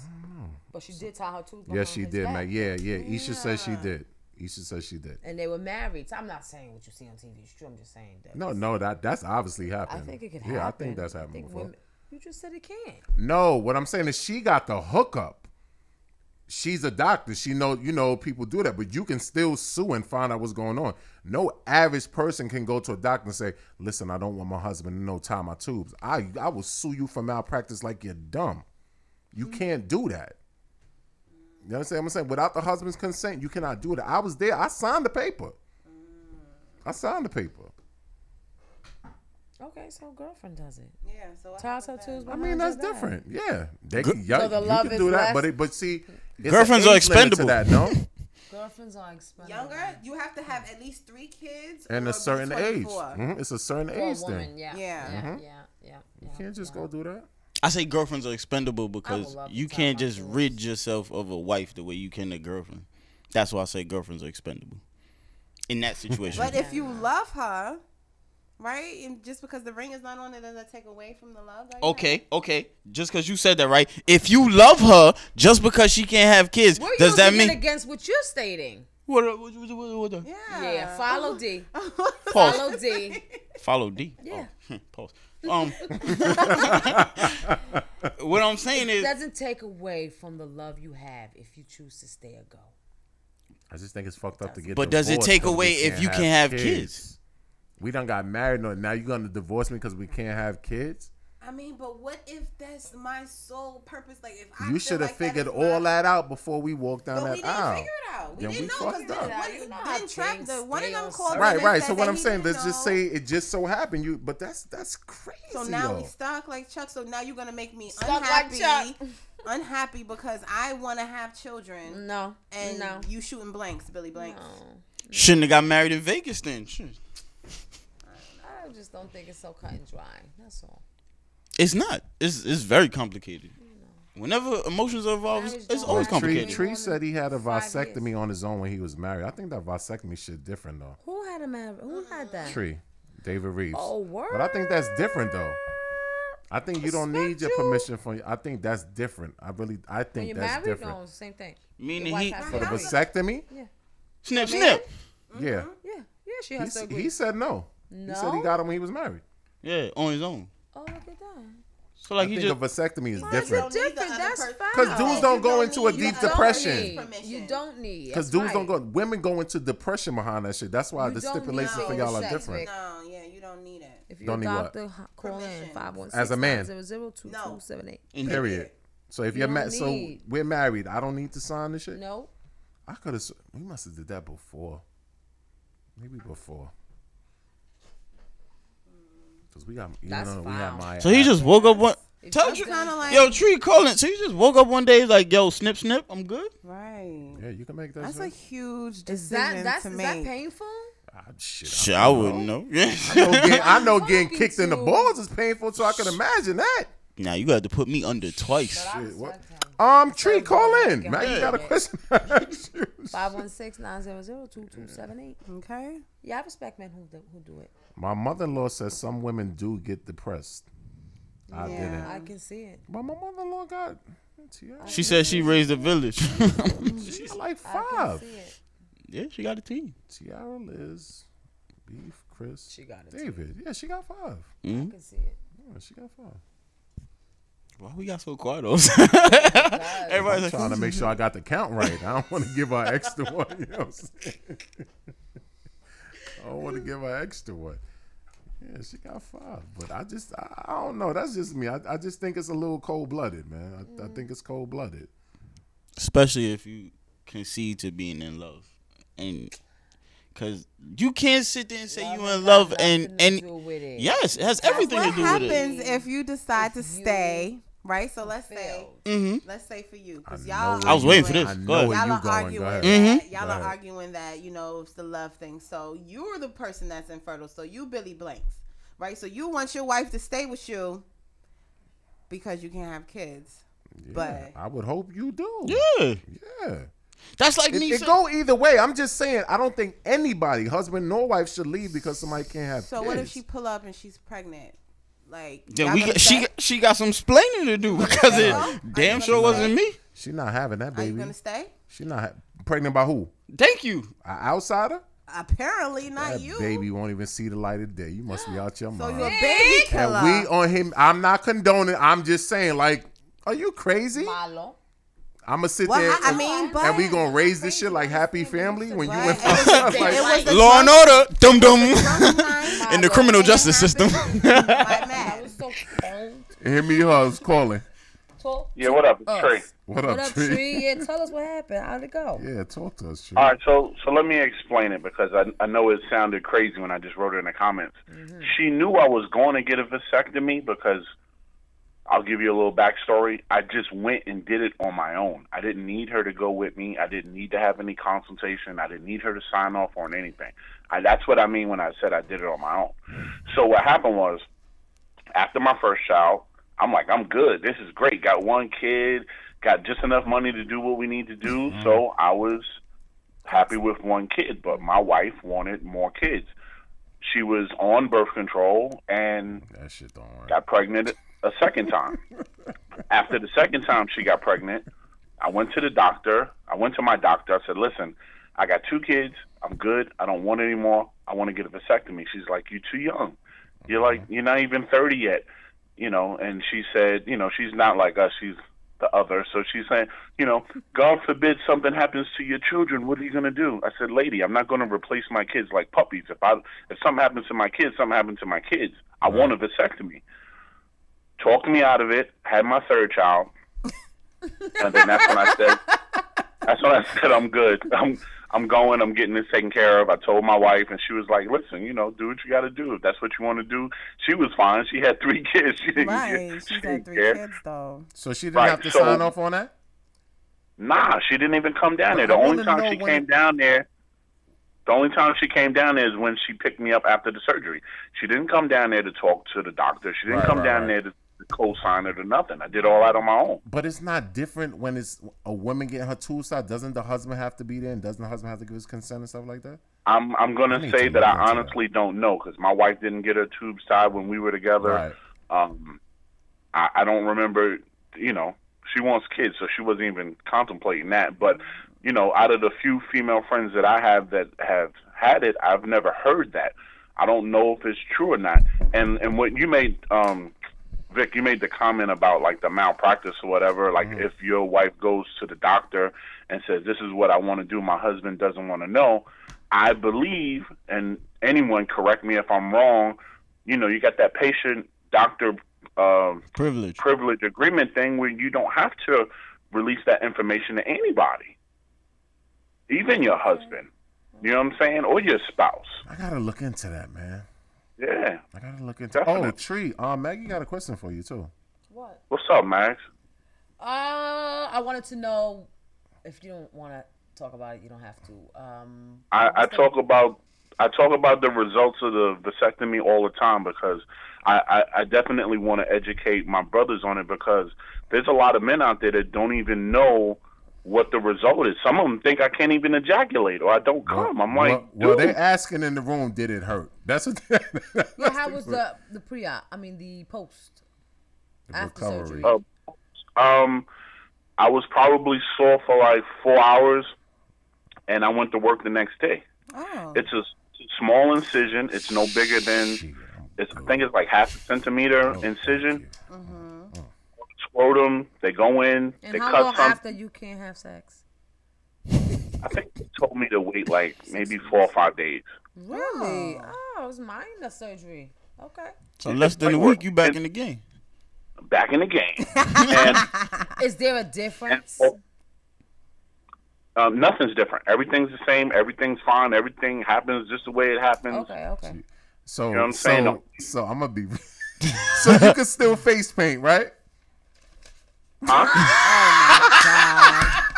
Speaker 2: But she did tie her tubes.
Speaker 6: Yes, she did, man. Yeah, yeah. Isha says she did. Isha says she did.
Speaker 2: and they were married. So I'm not saying what you see on TV is true. I'm just saying that.
Speaker 6: No, no, that that's obviously happened.
Speaker 2: I think it could happen.
Speaker 6: Yeah, I think that's
Speaker 2: I
Speaker 6: happened
Speaker 2: think
Speaker 6: before.
Speaker 2: women- you just said it can.
Speaker 6: No, what I'm saying is she got the hookup. She's a doctor. She know you know people do that, but you can still sue and find out what's going on. No average person can go to a doctor and say, "Listen, I don't want my husband to know tie my tubes. I I will sue you for malpractice like you're dumb. You
Speaker 2: Mm-hmm.
Speaker 6: can't do that." You know what I'm saying? I'm saying without the husband's consent, you cannot do it. I was there. I signed the paper.
Speaker 2: Mm.
Speaker 6: I signed the paper.
Speaker 2: Okay, so girlfriend does it.
Speaker 7: Yeah, so
Speaker 2: ties her tubes.
Speaker 6: I mean,
Speaker 2: behind
Speaker 6: that's
Speaker 2: your back.
Speaker 6: different. Yeah, they
Speaker 5: Gir-
Speaker 6: can, yeah,
Speaker 2: So the
Speaker 6: you
Speaker 2: love
Speaker 6: can
Speaker 2: is
Speaker 6: do that,
Speaker 2: less-
Speaker 6: but it, but see, it's an
Speaker 5: Girlfriends are
Speaker 6: age limit to
Speaker 5: expendable.
Speaker 6: That no,
Speaker 2: Girlfriends are expensive.
Speaker 7: Younger, you have to have at least three kids
Speaker 6: and
Speaker 7: or
Speaker 6: a
Speaker 7: be
Speaker 6: certain age.
Speaker 7: 24.
Speaker 6: Mhm, It's a certain
Speaker 2: For a
Speaker 6: age
Speaker 2: woman,
Speaker 6: thing.
Speaker 2: yeah.
Speaker 7: Yeah.
Speaker 2: Yeah,
Speaker 6: Mhm.
Speaker 2: yeah, yeah.
Speaker 6: You can't just go do that.
Speaker 5: I say girlfriends are expendable because
Speaker 2: love to
Speaker 5: you
Speaker 2: tie
Speaker 5: can't
Speaker 2: my
Speaker 5: just rid yourself of a wife the way you can a girlfriend. That's why I say girlfriends are expendable in that situation.
Speaker 7: But if you love her, right? And just because the ring is not on it, does that take away from the love? That you
Speaker 5: okay, okay, just because you said that, right? If you love her just because she can't have kids,
Speaker 2: We're
Speaker 5: does that
Speaker 2: using it
Speaker 5: mean?
Speaker 2: against what you're stating?
Speaker 5: What,
Speaker 6: uh,
Speaker 5: what, what, what, what,
Speaker 7: have?
Speaker 2: Yeah, follow D.
Speaker 5: Pause.
Speaker 2: Follow D.
Speaker 5: Follow D.
Speaker 2: Yeah.
Speaker 5: Oh, pause. Um, what I'm saying
Speaker 2: It
Speaker 5: is,
Speaker 2: doesn't take away from the love you have if you choose to stay or go.
Speaker 6: I just think it's fucked up to get.
Speaker 5: But does it
Speaker 6: divorced
Speaker 5: take
Speaker 6: 'cause we
Speaker 5: away if you can't have
Speaker 6: We done got married. No, now you gonna divorce me because we can't have kids?
Speaker 7: I mean, but what if that's my sole purpose? Like, if I
Speaker 6: you
Speaker 7: feel
Speaker 6: should have
Speaker 7: like that
Speaker 6: figured
Speaker 7: is
Speaker 6: all
Speaker 7: my-
Speaker 6: that out before we walked down
Speaker 7: But we
Speaker 6: that
Speaker 7: didn't
Speaker 6: aisle.
Speaker 7: figure it out. We
Speaker 6: Then
Speaker 7: didn't
Speaker 6: we
Speaker 7: know because
Speaker 6: fucked up.
Speaker 7: then Trap, the one of them
Speaker 2: things
Speaker 7: called
Speaker 6: Right,
Speaker 7: him and
Speaker 6: right.
Speaker 7: said
Speaker 6: So
Speaker 7: that
Speaker 6: what I'm
Speaker 7: he
Speaker 6: saying,
Speaker 7: didn't
Speaker 6: let's just
Speaker 7: know.
Speaker 6: say it just so happened. You, but that's that's crazy.
Speaker 7: So now we
Speaker 6: though.
Speaker 7: stuck like Chuck. So now you're gonna make me
Speaker 2: Stuck like
Speaker 7: unhappy,
Speaker 2: Chuck.
Speaker 7: unhappy because I want to have children.
Speaker 2: No,
Speaker 7: and
Speaker 2: no.
Speaker 7: you shooting blanks, Billy blanks.
Speaker 5: shouldn't have got married in Vegas then. Shit.
Speaker 2: I just don't think it's so cut and dry. That's all.
Speaker 5: It's not. It's it's very complicated. Whenever emotions are involved, it's, it's always
Speaker 6: Tree,
Speaker 5: complicated.
Speaker 6: Tree said he had a vasectomy on his own when he was married. I think that vasectomy shit different though.
Speaker 2: Who had a man? Who had that?
Speaker 6: Tree, David Reeves.
Speaker 2: Oh, word.
Speaker 6: But I think that's different though. I think you don't need your permission for. I think that's different. I really, I
Speaker 2: When
Speaker 6: think
Speaker 2: you're
Speaker 6: that's
Speaker 2: married,
Speaker 6: different.
Speaker 2: no, same thing.
Speaker 5: Meaning
Speaker 2: Your wife
Speaker 5: he-
Speaker 2: has to
Speaker 6: For the
Speaker 2: agree.
Speaker 6: vasectomy,
Speaker 2: Yeah, Mm-hmm.
Speaker 5: Snip, snip.
Speaker 6: yeah,
Speaker 2: yeah, yeah. She
Speaker 6: he,
Speaker 2: has to
Speaker 6: s-
Speaker 2: agree.
Speaker 6: he said no. He said he
Speaker 2: No?
Speaker 6: got him when he was married.
Speaker 5: Yeah, on his own.
Speaker 2: Oh, look at that.
Speaker 5: So like
Speaker 6: I
Speaker 5: he
Speaker 6: think
Speaker 5: just
Speaker 6: a vasectomy is
Speaker 2: That's
Speaker 6: different
Speaker 2: different. That's foul.
Speaker 6: because dudes don't go into a
Speaker 7: need
Speaker 6: deep
Speaker 7: the other
Speaker 6: depression.
Speaker 7: need.
Speaker 2: Need, you don't need.
Speaker 6: Because
Speaker 2: That's
Speaker 6: dudes don't
Speaker 2: right.
Speaker 6: go, women go into depression behind that shit. That's why
Speaker 2: You
Speaker 6: the
Speaker 2: don't need
Speaker 6: stipulations
Speaker 2: no
Speaker 6: for y'all are
Speaker 2: sex,
Speaker 6: different.
Speaker 2: Vic.
Speaker 7: No, yeah, you don't need it.
Speaker 2: If you're
Speaker 6: don't
Speaker 2: a
Speaker 6: need what?
Speaker 2: doctor, h- call in
Speaker 7: Permission.
Speaker 2: 516
Speaker 6: As a man.
Speaker 2: 00278.
Speaker 6: Period. So if
Speaker 2: You
Speaker 6: you're ma-
Speaker 2: don't
Speaker 6: so
Speaker 2: need-
Speaker 6: we're married, I don't need to sign this shit.
Speaker 2: No.
Speaker 6: I could have. We must have did that before. Maybe before.
Speaker 7: Mm.
Speaker 6: Cause we got. You
Speaker 2: That's
Speaker 6: know, we had
Speaker 2: foul.
Speaker 6: my.
Speaker 5: So he just woke up one. Tell you,
Speaker 7: Kind of like
Speaker 5: yo, Tree calling. So he just woke up one day like, yo, snip, snip. I'm good.
Speaker 7: right.
Speaker 6: Yeah, you can make that.
Speaker 7: That's a
Speaker 6: shit.
Speaker 7: huge
Speaker 2: Is
Speaker 7: decision
Speaker 2: that that's
Speaker 7: to
Speaker 2: is
Speaker 7: make.
Speaker 2: that painful?
Speaker 6: Ah, shit.
Speaker 5: Shit, I wouldn't know. Yeah.
Speaker 6: I know getting, I know
Speaker 2: I'm
Speaker 6: getting
Speaker 2: talking
Speaker 6: kicked in the
Speaker 2: to-
Speaker 6: balls is painful, so I can imagine that.
Speaker 5: now you got to put me under twice.
Speaker 6: Shit, what? Um, tree, call in.
Speaker 2: God.
Speaker 6: Matt, you got a
Speaker 2: Yeah.
Speaker 6: question?
Speaker 2: 516-900-2278.
Speaker 7: Okay.
Speaker 2: Yeah, I respect men who do, who do it.
Speaker 6: My mother-in-law says some women do get depressed. I
Speaker 7: Yeah.
Speaker 6: didn't.
Speaker 2: I can see it.
Speaker 6: But my mother-in-law got. She,
Speaker 5: She said she raised a village.
Speaker 6: she got like
Speaker 2: I can
Speaker 6: five.
Speaker 2: see it.
Speaker 5: yeah, she got a team.
Speaker 6: Tiara, Liz, Beef, Chris,
Speaker 2: She got it.
Speaker 6: David. Yeah, she got five.
Speaker 2: I can see it.
Speaker 6: Yeah, she got five.
Speaker 5: Why we got so quiet? though? Everybody's
Speaker 6: I'm
Speaker 5: like,
Speaker 6: trying to make sure I got the count right. I don't want to give her extra one. You know what I'm saying? I don't want to give her extra one. Yeah, she got five, but I just I, I don't know. That's just me. I, I just think it's a little cold blooded, man. I,
Speaker 2: Mm.
Speaker 6: I think it's cold blooded.
Speaker 5: especially if you concede to being in love, and because you can't sit there and say you in love and and
Speaker 2: do with it.
Speaker 5: yes, it has everything to
Speaker 7: What
Speaker 5: do with it.
Speaker 7: happens if you decide to stay? Right. So let's say, let's say for you, because y'all.
Speaker 5: Mm-hmm. I was waiting for
Speaker 7: arguing-
Speaker 5: this.
Speaker 6: I
Speaker 5: Go
Speaker 6: know
Speaker 5: ahead. Mm-hmm.
Speaker 6: where you
Speaker 7: Y'all are
Speaker 6: going.
Speaker 7: arguing
Speaker 6: Go ahead.
Speaker 7: that y'all
Speaker 6: Go
Speaker 7: are
Speaker 6: ahead.
Speaker 7: arguing that you know it's the love thing. So you're the person that's infertile. So you Billy blanks, right? So you want your wife to stay with you because you can't have kids. But
Speaker 6: I would hope you do.
Speaker 5: Yeah,
Speaker 6: yeah.
Speaker 5: that's like
Speaker 6: It,
Speaker 5: me.
Speaker 6: it
Speaker 5: saying-
Speaker 6: go either way. I'm just saying. I don't think anybody, husband nor wife, should leave because somebody can't have.
Speaker 7: so what if
Speaker 6: kids.
Speaker 7: she pull up and she's pregnant? Like
Speaker 5: Then
Speaker 7: y'all
Speaker 5: we
Speaker 7: gonna
Speaker 5: got, she
Speaker 7: stay?
Speaker 5: got- she got some splaining to do because it
Speaker 7: Are you
Speaker 5: damn sure
Speaker 7: gonna
Speaker 5: wasn't me.
Speaker 6: She not having that
Speaker 7: Are you
Speaker 6: baby.
Speaker 7: gonna stay?
Speaker 6: She not ha- pregnant by who?
Speaker 5: Thank you.
Speaker 6: An outsider?
Speaker 7: Apparently not
Speaker 6: That
Speaker 7: you.
Speaker 6: baby won't even see the light of day. You must be out your
Speaker 7: So
Speaker 6: mind.
Speaker 7: you a baby killer.
Speaker 6: and we on him. I'm not condoning. I'm just saying, like, are you crazy?
Speaker 2: Malo.
Speaker 6: I'm gonna sit
Speaker 7: Well,
Speaker 6: there.
Speaker 7: I- I
Speaker 6: and,
Speaker 7: mean,
Speaker 6: and we gonna raise this shit like happy family when you went.
Speaker 7: It was a- it was a
Speaker 5: Law and
Speaker 7: drunk-
Speaker 5: order, dum dum, in the criminal justice system.
Speaker 2: I was so cold.
Speaker 6: Hit me, hubs calling.
Speaker 2: Talk
Speaker 13: Yeah, what up,
Speaker 2: us.
Speaker 13: Trey?
Speaker 6: What up,
Speaker 2: What up,
Speaker 6: Tree?
Speaker 2: Tree? Yeah, tell us what happened. How'd it go?
Speaker 6: Yeah, talk to us. Tree.
Speaker 13: All right, so so let me explain it because I I know it sounded crazy when I just wrote it in the comments. She knew I was going to get a vasectomy because I'll give you a little backstory. I just went and did it on my own. I didn't need her to go with me. I didn't need to have any consultation. I didn't need her to sign off on anything. I, that's what I mean when I said I did it on my own. So what happened was, after my first child, I'm like, I'm good. This is great. Got one kid. Got just enough money to do what we need to do. So I was happy with one kid, but my wife wanted more kids. She was on birth control and
Speaker 6: that shit don't work.
Speaker 13: got pregnant a second time. After the second time she got pregnant, I went to the doctor. I went to my doctor. I said, "Listen, I got two kids. I'm good. I don't want any more. I want to get a vasectomy." She's like, "You're too young. You're like
Speaker 6: Mm-hmm.
Speaker 13: you're not even 30 yet." You know, and she said, you know, she's not like us. She's the other. So she's saying, you know, God forbid something happens to your children. What are you going to do? I said, lady, I'm not going to replace my kids like puppies. If I if something happens to my kids, something happens to my kids. I want a vasectomy. Talked me out of it. Had my third child, and then that's when I said, that's when I said I'm good. I'm I'm going. I'm getting this taken care of. I told my wife, and she was like, listen, you know, do what you got to do. If that's what you want to do, she was fine. She had three kids. She didn't
Speaker 7: Right,
Speaker 13: care.
Speaker 7: she's had
Speaker 13: didn't
Speaker 7: three
Speaker 13: care.
Speaker 7: kids though.
Speaker 6: So she didn't
Speaker 13: Right,
Speaker 6: have to
Speaker 13: so-
Speaker 6: sign off on that.
Speaker 13: Nah, she didn't even come down there.
Speaker 6: But
Speaker 13: The
Speaker 6: I
Speaker 13: only
Speaker 6: wanna know
Speaker 13: time she
Speaker 6: when-
Speaker 13: came down there, the only time she came down there is when she picked me up after the surgery. She didn't come down there to talk to the doctor. She didn't
Speaker 6: Right,
Speaker 13: come
Speaker 6: right,
Speaker 13: down
Speaker 6: right.
Speaker 13: there to to co-sign it or nothing. I did all that on my own.
Speaker 6: But it's not different when it's a woman getting her tools out. Doesn't the husband have to be there? And doesn't the husband have to give his consent and stuff like that?
Speaker 13: I'm I'm
Speaker 6: I
Speaker 13: gonna
Speaker 6: need
Speaker 13: say
Speaker 6: to
Speaker 13: that I
Speaker 6: look into
Speaker 13: honestly don't know because my wife didn't get her tubes tied when we were together.
Speaker 6: Right.
Speaker 13: Um, I, I don't remember. You know, she wants kids, so she wasn't even contemplating that. But you know, out of the few female friends that I have that have had it, I've never heard that. I don't know if it's true or not. And and what you made, um, Vic, you made the comment about like the malpractice or whatever. Like
Speaker 6: Mm-hmm.
Speaker 13: if your wife goes to the doctor and says, "This is what I want to do," my husband doesn't want to know. I believe, and anyone correct me if I'm wrong. You know, you got that patient doctor um,
Speaker 5: Privilege.
Speaker 13: privilege agreement thing where you don't have to release that information to anybody, even your husband. You know what I'm saying, or your spouse.
Speaker 6: I gotta look into that, man.
Speaker 13: Yeah.
Speaker 6: I gotta look into. Oh,
Speaker 13: Definitely.
Speaker 6: tree. Uh, Maggie got a question for you too.
Speaker 2: What?
Speaker 13: What's up, Max?
Speaker 2: Uh, I wanted to know if you don't want to talk about it, you don't have to. Um,
Speaker 13: I, I talk about I talk about the results of the vasectomy all the time because I, I, I definitely want to educate my brothers on it because there's a lot of men out there that don't even know what the result is. Some of them think I can't even ejaculate or I don't come. I'm like,
Speaker 6: well, well,
Speaker 13: dude,
Speaker 6: they're asking in the room. Did it hurt? That's what.
Speaker 2: yeah, how was the the pre op? I mean, the post after surgery.
Speaker 13: Uh, um, I was probably sore for like four hours, and I went to work the next day.
Speaker 7: Oh.
Speaker 13: It's a s- small incision. It's no bigger than it's. I think it's like half a centimeter incision.
Speaker 5: Oh.
Speaker 13: Scrotum. They go in.
Speaker 2: Mm-hmm. and
Speaker 13: they
Speaker 2: how long
Speaker 13: cut something.
Speaker 2: after you can't have sex?
Speaker 13: I think they told me to wait like maybe four or five days.
Speaker 2: Really? Oh, it was minor surgery. Okay.
Speaker 5: So less than a week, you back in the game.
Speaker 13: Back in the game. and
Speaker 2: Is there a difference?
Speaker 13: um, nothing's different. Everything's the same. Everything's fine. Everything happens just the way it happens.
Speaker 2: Okay. Okay.
Speaker 6: So
Speaker 13: You know what I'm
Speaker 6: so
Speaker 13: saying? Don't-
Speaker 6: so I'm gonna be. so you can still face paint, right?
Speaker 2: Oh,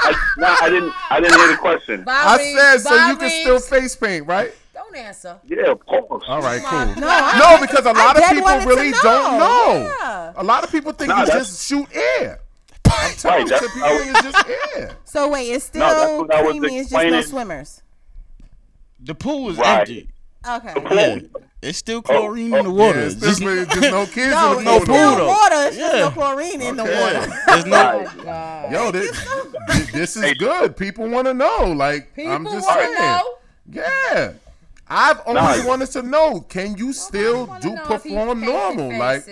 Speaker 13: I, no, I didn't. I didn't hear the question.
Speaker 6: I said so you can still face paint, right?
Speaker 2: Don't answer.
Speaker 13: Yeah, of course.
Speaker 6: All right, cool.
Speaker 2: No, I-
Speaker 6: no, because a lot
Speaker 2: I
Speaker 6: of
Speaker 2: did
Speaker 6: people
Speaker 2: wanted to
Speaker 6: really
Speaker 2: know.
Speaker 6: don't know.
Speaker 2: Yeah.
Speaker 6: A lot of people think
Speaker 13: Nah,
Speaker 6: you
Speaker 13: that's-
Speaker 6: just shoot air. I'm
Speaker 13: Right,
Speaker 6: telling you,
Speaker 13: that's
Speaker 6: people
Speaker 13: what I
Speaker 6: think it's just air.
Speaker 7: So wait, it's still
Speaker 13: No, that's what I was
Speaker 7: creamy. It's just no
Speaker 13: explaining.
Speaker 7: swimmers.
Speaker 5: The pool was
Speaker 13: Right.
Speaker 5: empty.
Speaker 7: Okay.
Speaker 13: Cool.
Speaker 5: It's still chlorine in the water.
Speaker 6: Oh, Yeah, it's still- it's just no kids
Speaker 7: No,
Speaker 6: in the
Speaker 7: no
Speaker 6: pool,
Speaker 7: still
Speaker 6: though.
Speaker 7: water. It's just no
Speaker 6: Yeah.
Speaker 7: chlorine in the
Speaker 6: Okay.
Speaker 7: water.
Speaker 6: There's no- Yo, this, this is good. People want to know. Like, I'm
Speaker 7: People
Speaker 6: just
Speaker 7: wanna
Speaker 6: saying.
Speaker 7: know.
Speaker 6: Yeah. I've only
Speaker 13: Nah.
Speaker 6: wanted to know can you still do perform normal? Like,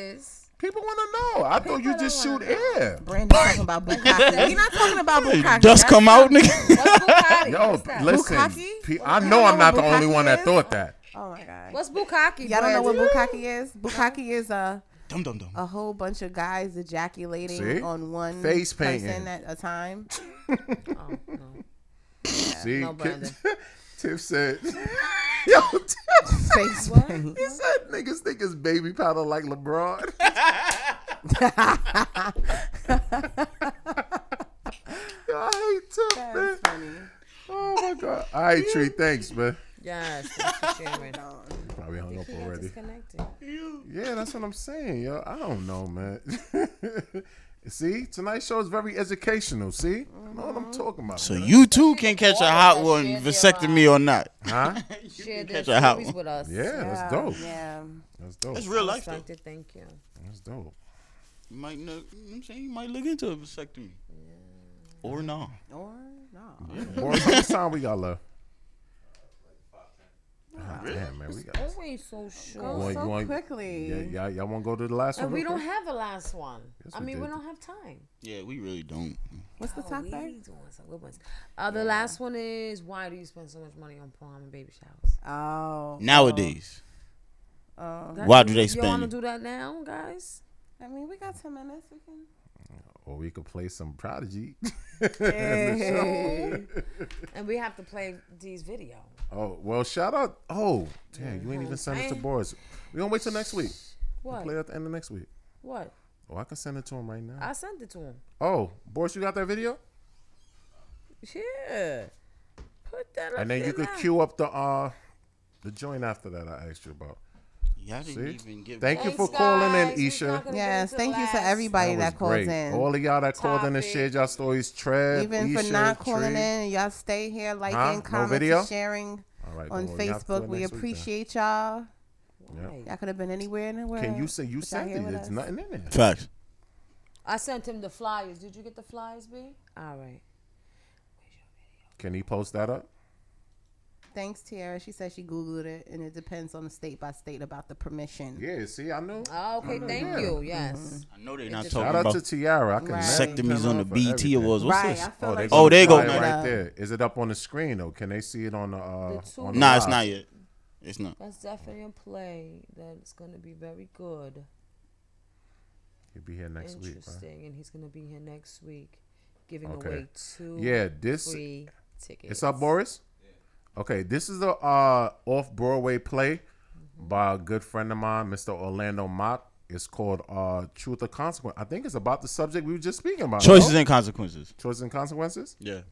Speaker 6: people want to know. I thought you just shoot air.
Speaker 7: Brandon talking about bukkake. We're not talking about bukkake.
Speaker 6: Dust come out,
Speaker 7: That's-
Speaker 6: nigga.
Speaker 7: What's bukkake?
Speaker 6: Yo,
Speaker 7: What's that?
Speaker 6: listen.
Speaker 7: Bukkake?
Speaker 6: pe- I know I'm not the only one that thought that.
Speaker 7: Oh my god.
Speaker 2: What's bukkake?
Speaker 7: Y'all don't know what
Speaker 2: Brandon?
Speaker 7: bukkake is? Bukkake is a
Speaker 5: dum dum dum.
Speaker 7: A whole bunch of guys ejaculating
Speaker 6: See?
Speaker 7: on one
Speaker 6: Face painting.
Speaker 7: person at a time.
Speaker 6: See,
Speaker 7: no, Brandon.
Speaker 6: Tiff said, "Yo, Tiff,
Speaker 7: face paint.
Speaker 6: He said, "Niggas think it's baby powder like LeBron." Yo, I hate Tiff, man. Oh my god! All right, Tree. Thanks, man.
Speaker 2: Yes. that's what she went on.
Speaker 6: Probably hung up already.
Speaker 2: Disconnected.
Speaker 6: Yeah, that's what I'm saying, yo. I don't know, man. see, tonight's show is very educational. See, I know what I'm talking about.
Speaker 5: So you too can catch a hot one, vasectomy or not.
Speaker 6: Huh?
Speaker 2: Share
Speaker 5: catch
Speaker 2: this
Speaker 5: a hot
Speaker 2: movies
Speaker 5: one.
Speaker 2: with us.
Speaker 6: Yeah, that's dope.
Speaker 7: Yeah.
Speaker 6: That's dope.
Speaker 5: It's real life, though.
Speaker 2: Instructed, Um, Thank you.
Speaker 6: That's dope.
Speaker 5: You might know, you know what I'm saying you might look into a vasectomy. Or no.
Speaker 7: Or no.
Speaker 6: Boy, how much time we got left? Ah,
Speaker 5: Really?
Speaker 6: Damn, man, we got.
Speaker 2: Always so short.
Speaker 6: Wanna- you wanna-
Speaker 2: quickly.
Speaker 6: Yeah, y'all, y'all want to go to the last
Speaker 2: And
Speaker 6: one?
Speaker 2: we
Speaker 6: real
Speaker 2: don't
Speaker 6: quick?
Speaker 2: have a last one.
Speaker 6: Yes,
Speaker 2: I
Speaker 6: we
Speaker 2: mean, we
Speaker 6: did.
Speaker 2: don't have time.
Speaker 5: Yeah, we really don't.
Speaker 7: What's the
Speaker 2: Oh,
Speaker 7: top
Speaker 2: we
Speaker 7: there?
Speaker 2: doing some good ones. Uh, the last one is why do you spend so much money on prom and baby showers?
Speaker 7: Oh.
Speaker 5: Nowadays.
Speaker 7: Oh.
Speaker 2: That-
Speaker 5: Why do they
Speaker 2: Y'all want to
Speaker 5: spend?
Speaker 2: do that now, guys?
Speaker 7: I mean, we got 10 minutes. We can.
Speaker 6: Or we could play some Prodigy.
Speaker 2: Hey. and we have to play D's video.
Speaker 6: oh well, shout out. Oh damn, you ain't even send it to
Speaker 2: I-
Speaker 6: Boris. We gonna wait till next week. We
Speaker 2: What?
Speaker 6: Play it at the end of next week.
Speaker 2: What?
Speaker 6: Oh, I can send it to him right now.
Speaker 2: I sent it to him.
Speaker 6: Oh, Boris, you got that video?
Speaker 2: Yeah. Put that up
Speaker 6: And then you
Speaker 2: there
Speaker 6: could
Speaker 2: now.
Speaker 6: queue up the uh the joint after that I asked you about.
Speaker 5: Y'all didn't even give
Speaker 6: Thank you
Speaker 5: Thanks,
Speaker 6: for calling in,
Speaker 2: guys. We
Speaker 6: Isha.
Speaker 2: talking-
Speaker 7: Yes. Thank you to everybody that,
Speaker 6: was
Speaker 7: calls
Speaker 6: great.
Speaker 7: in.
Speaker 6: All of y'all that called in and shared y'all stories, Trev,
Speaker 7: Even
Speaker 6: Isha,
Speaker 7: for not calling
Speaker 6: Tree.
Speaker 7: in, y'all stay here, liking,
Speaker 6: Huh? No
Speaker 7: commenting,
Speaker 6: video?
Speaker 7: sharing
Speaker 6: All right,
Speaker 7: on
Speaker 6: well, we have to do
Speaker 7: Facebook.
Speaker 6: it
Speaker 7: We
Speaker 6: next week then.
Speaker 7: appreciate y'all.
Speaker 2: oh.
Speaker 6: Yeah.
Speaker 7: Y'all could have been anywhere in the world.
Speaker 6: Can you say you
Speaker 7: but y'all
Speaker 6: sent
Speaker 7: here
Speaker 6: it?
Speaker 7: with
Speaker 6: There's
Speaker 7: us.
Speaker 6: nothing in there.
Speaker 5: Facts.
Speaker 2: I sent him the flyers. Did you get the flyers, B? All right.
Speaker 6: Can he post that up?
Speaker 7: Thanks, Tiara. She said she Googled it, and it depends on the state by state about the permission. Mm-hmm.
Speaker 6: Yeah, see, I know. Mm-hmm.
Speaker 2: Oh, okay. Thank
Speaker 6: yeah.
Speaker 2: you. Yes.
Speaker 5: I know they're not
Speaker 6: Shout
Speaker 5: talking
Speaker 6: out
Speaker 5: about
Speaker 6: to Tiara. I can
Speaker 7: Right.
Speaker 5: vasectomies on the BT
Speaker 6: BT
Speaker 5: Awards. What's
Speaker 7: Right,
Speaker 5: this?
Speaker 7: I feel like
Speaker 5: Oh, there you go.
Speaker 6: Right,
Speaker 5: Nana.
Speaker 6: right there. Is it up on the screen though? Can they see it on the? Uh,
Speaker 2: The two-
Speaker 6: on the
Speaker 5: Nah, it's
Speaker 6: live?
Speaker 5: not yet. It's not.
Speaker 2: That's definitely a play that's going to be very good,
Speaker 6: He'll be here next week. right?
Speaker 2: interesting, and he's going to be here next week, giving
Speaker 6: Okay.
Speaker 2: away two
Speaker 6: Yeah, this-
Speaker 2: free tickets.
Speaker 6: It's up, Boris. Okay, this is a uh, off Broadway play
Speaker 7: Mm-hmm.
Speaker 6: by a good friend of mine, Mr. Orlando Mott. It's called uh, "Truth or Consequence." I think it's about the subject we were just speaking about.
Speaker 5: Choices
Speaker 6: no?
Speaker 5: and consequences.
Speaker 6: choices and consequences,
Speaker 5: Yeah.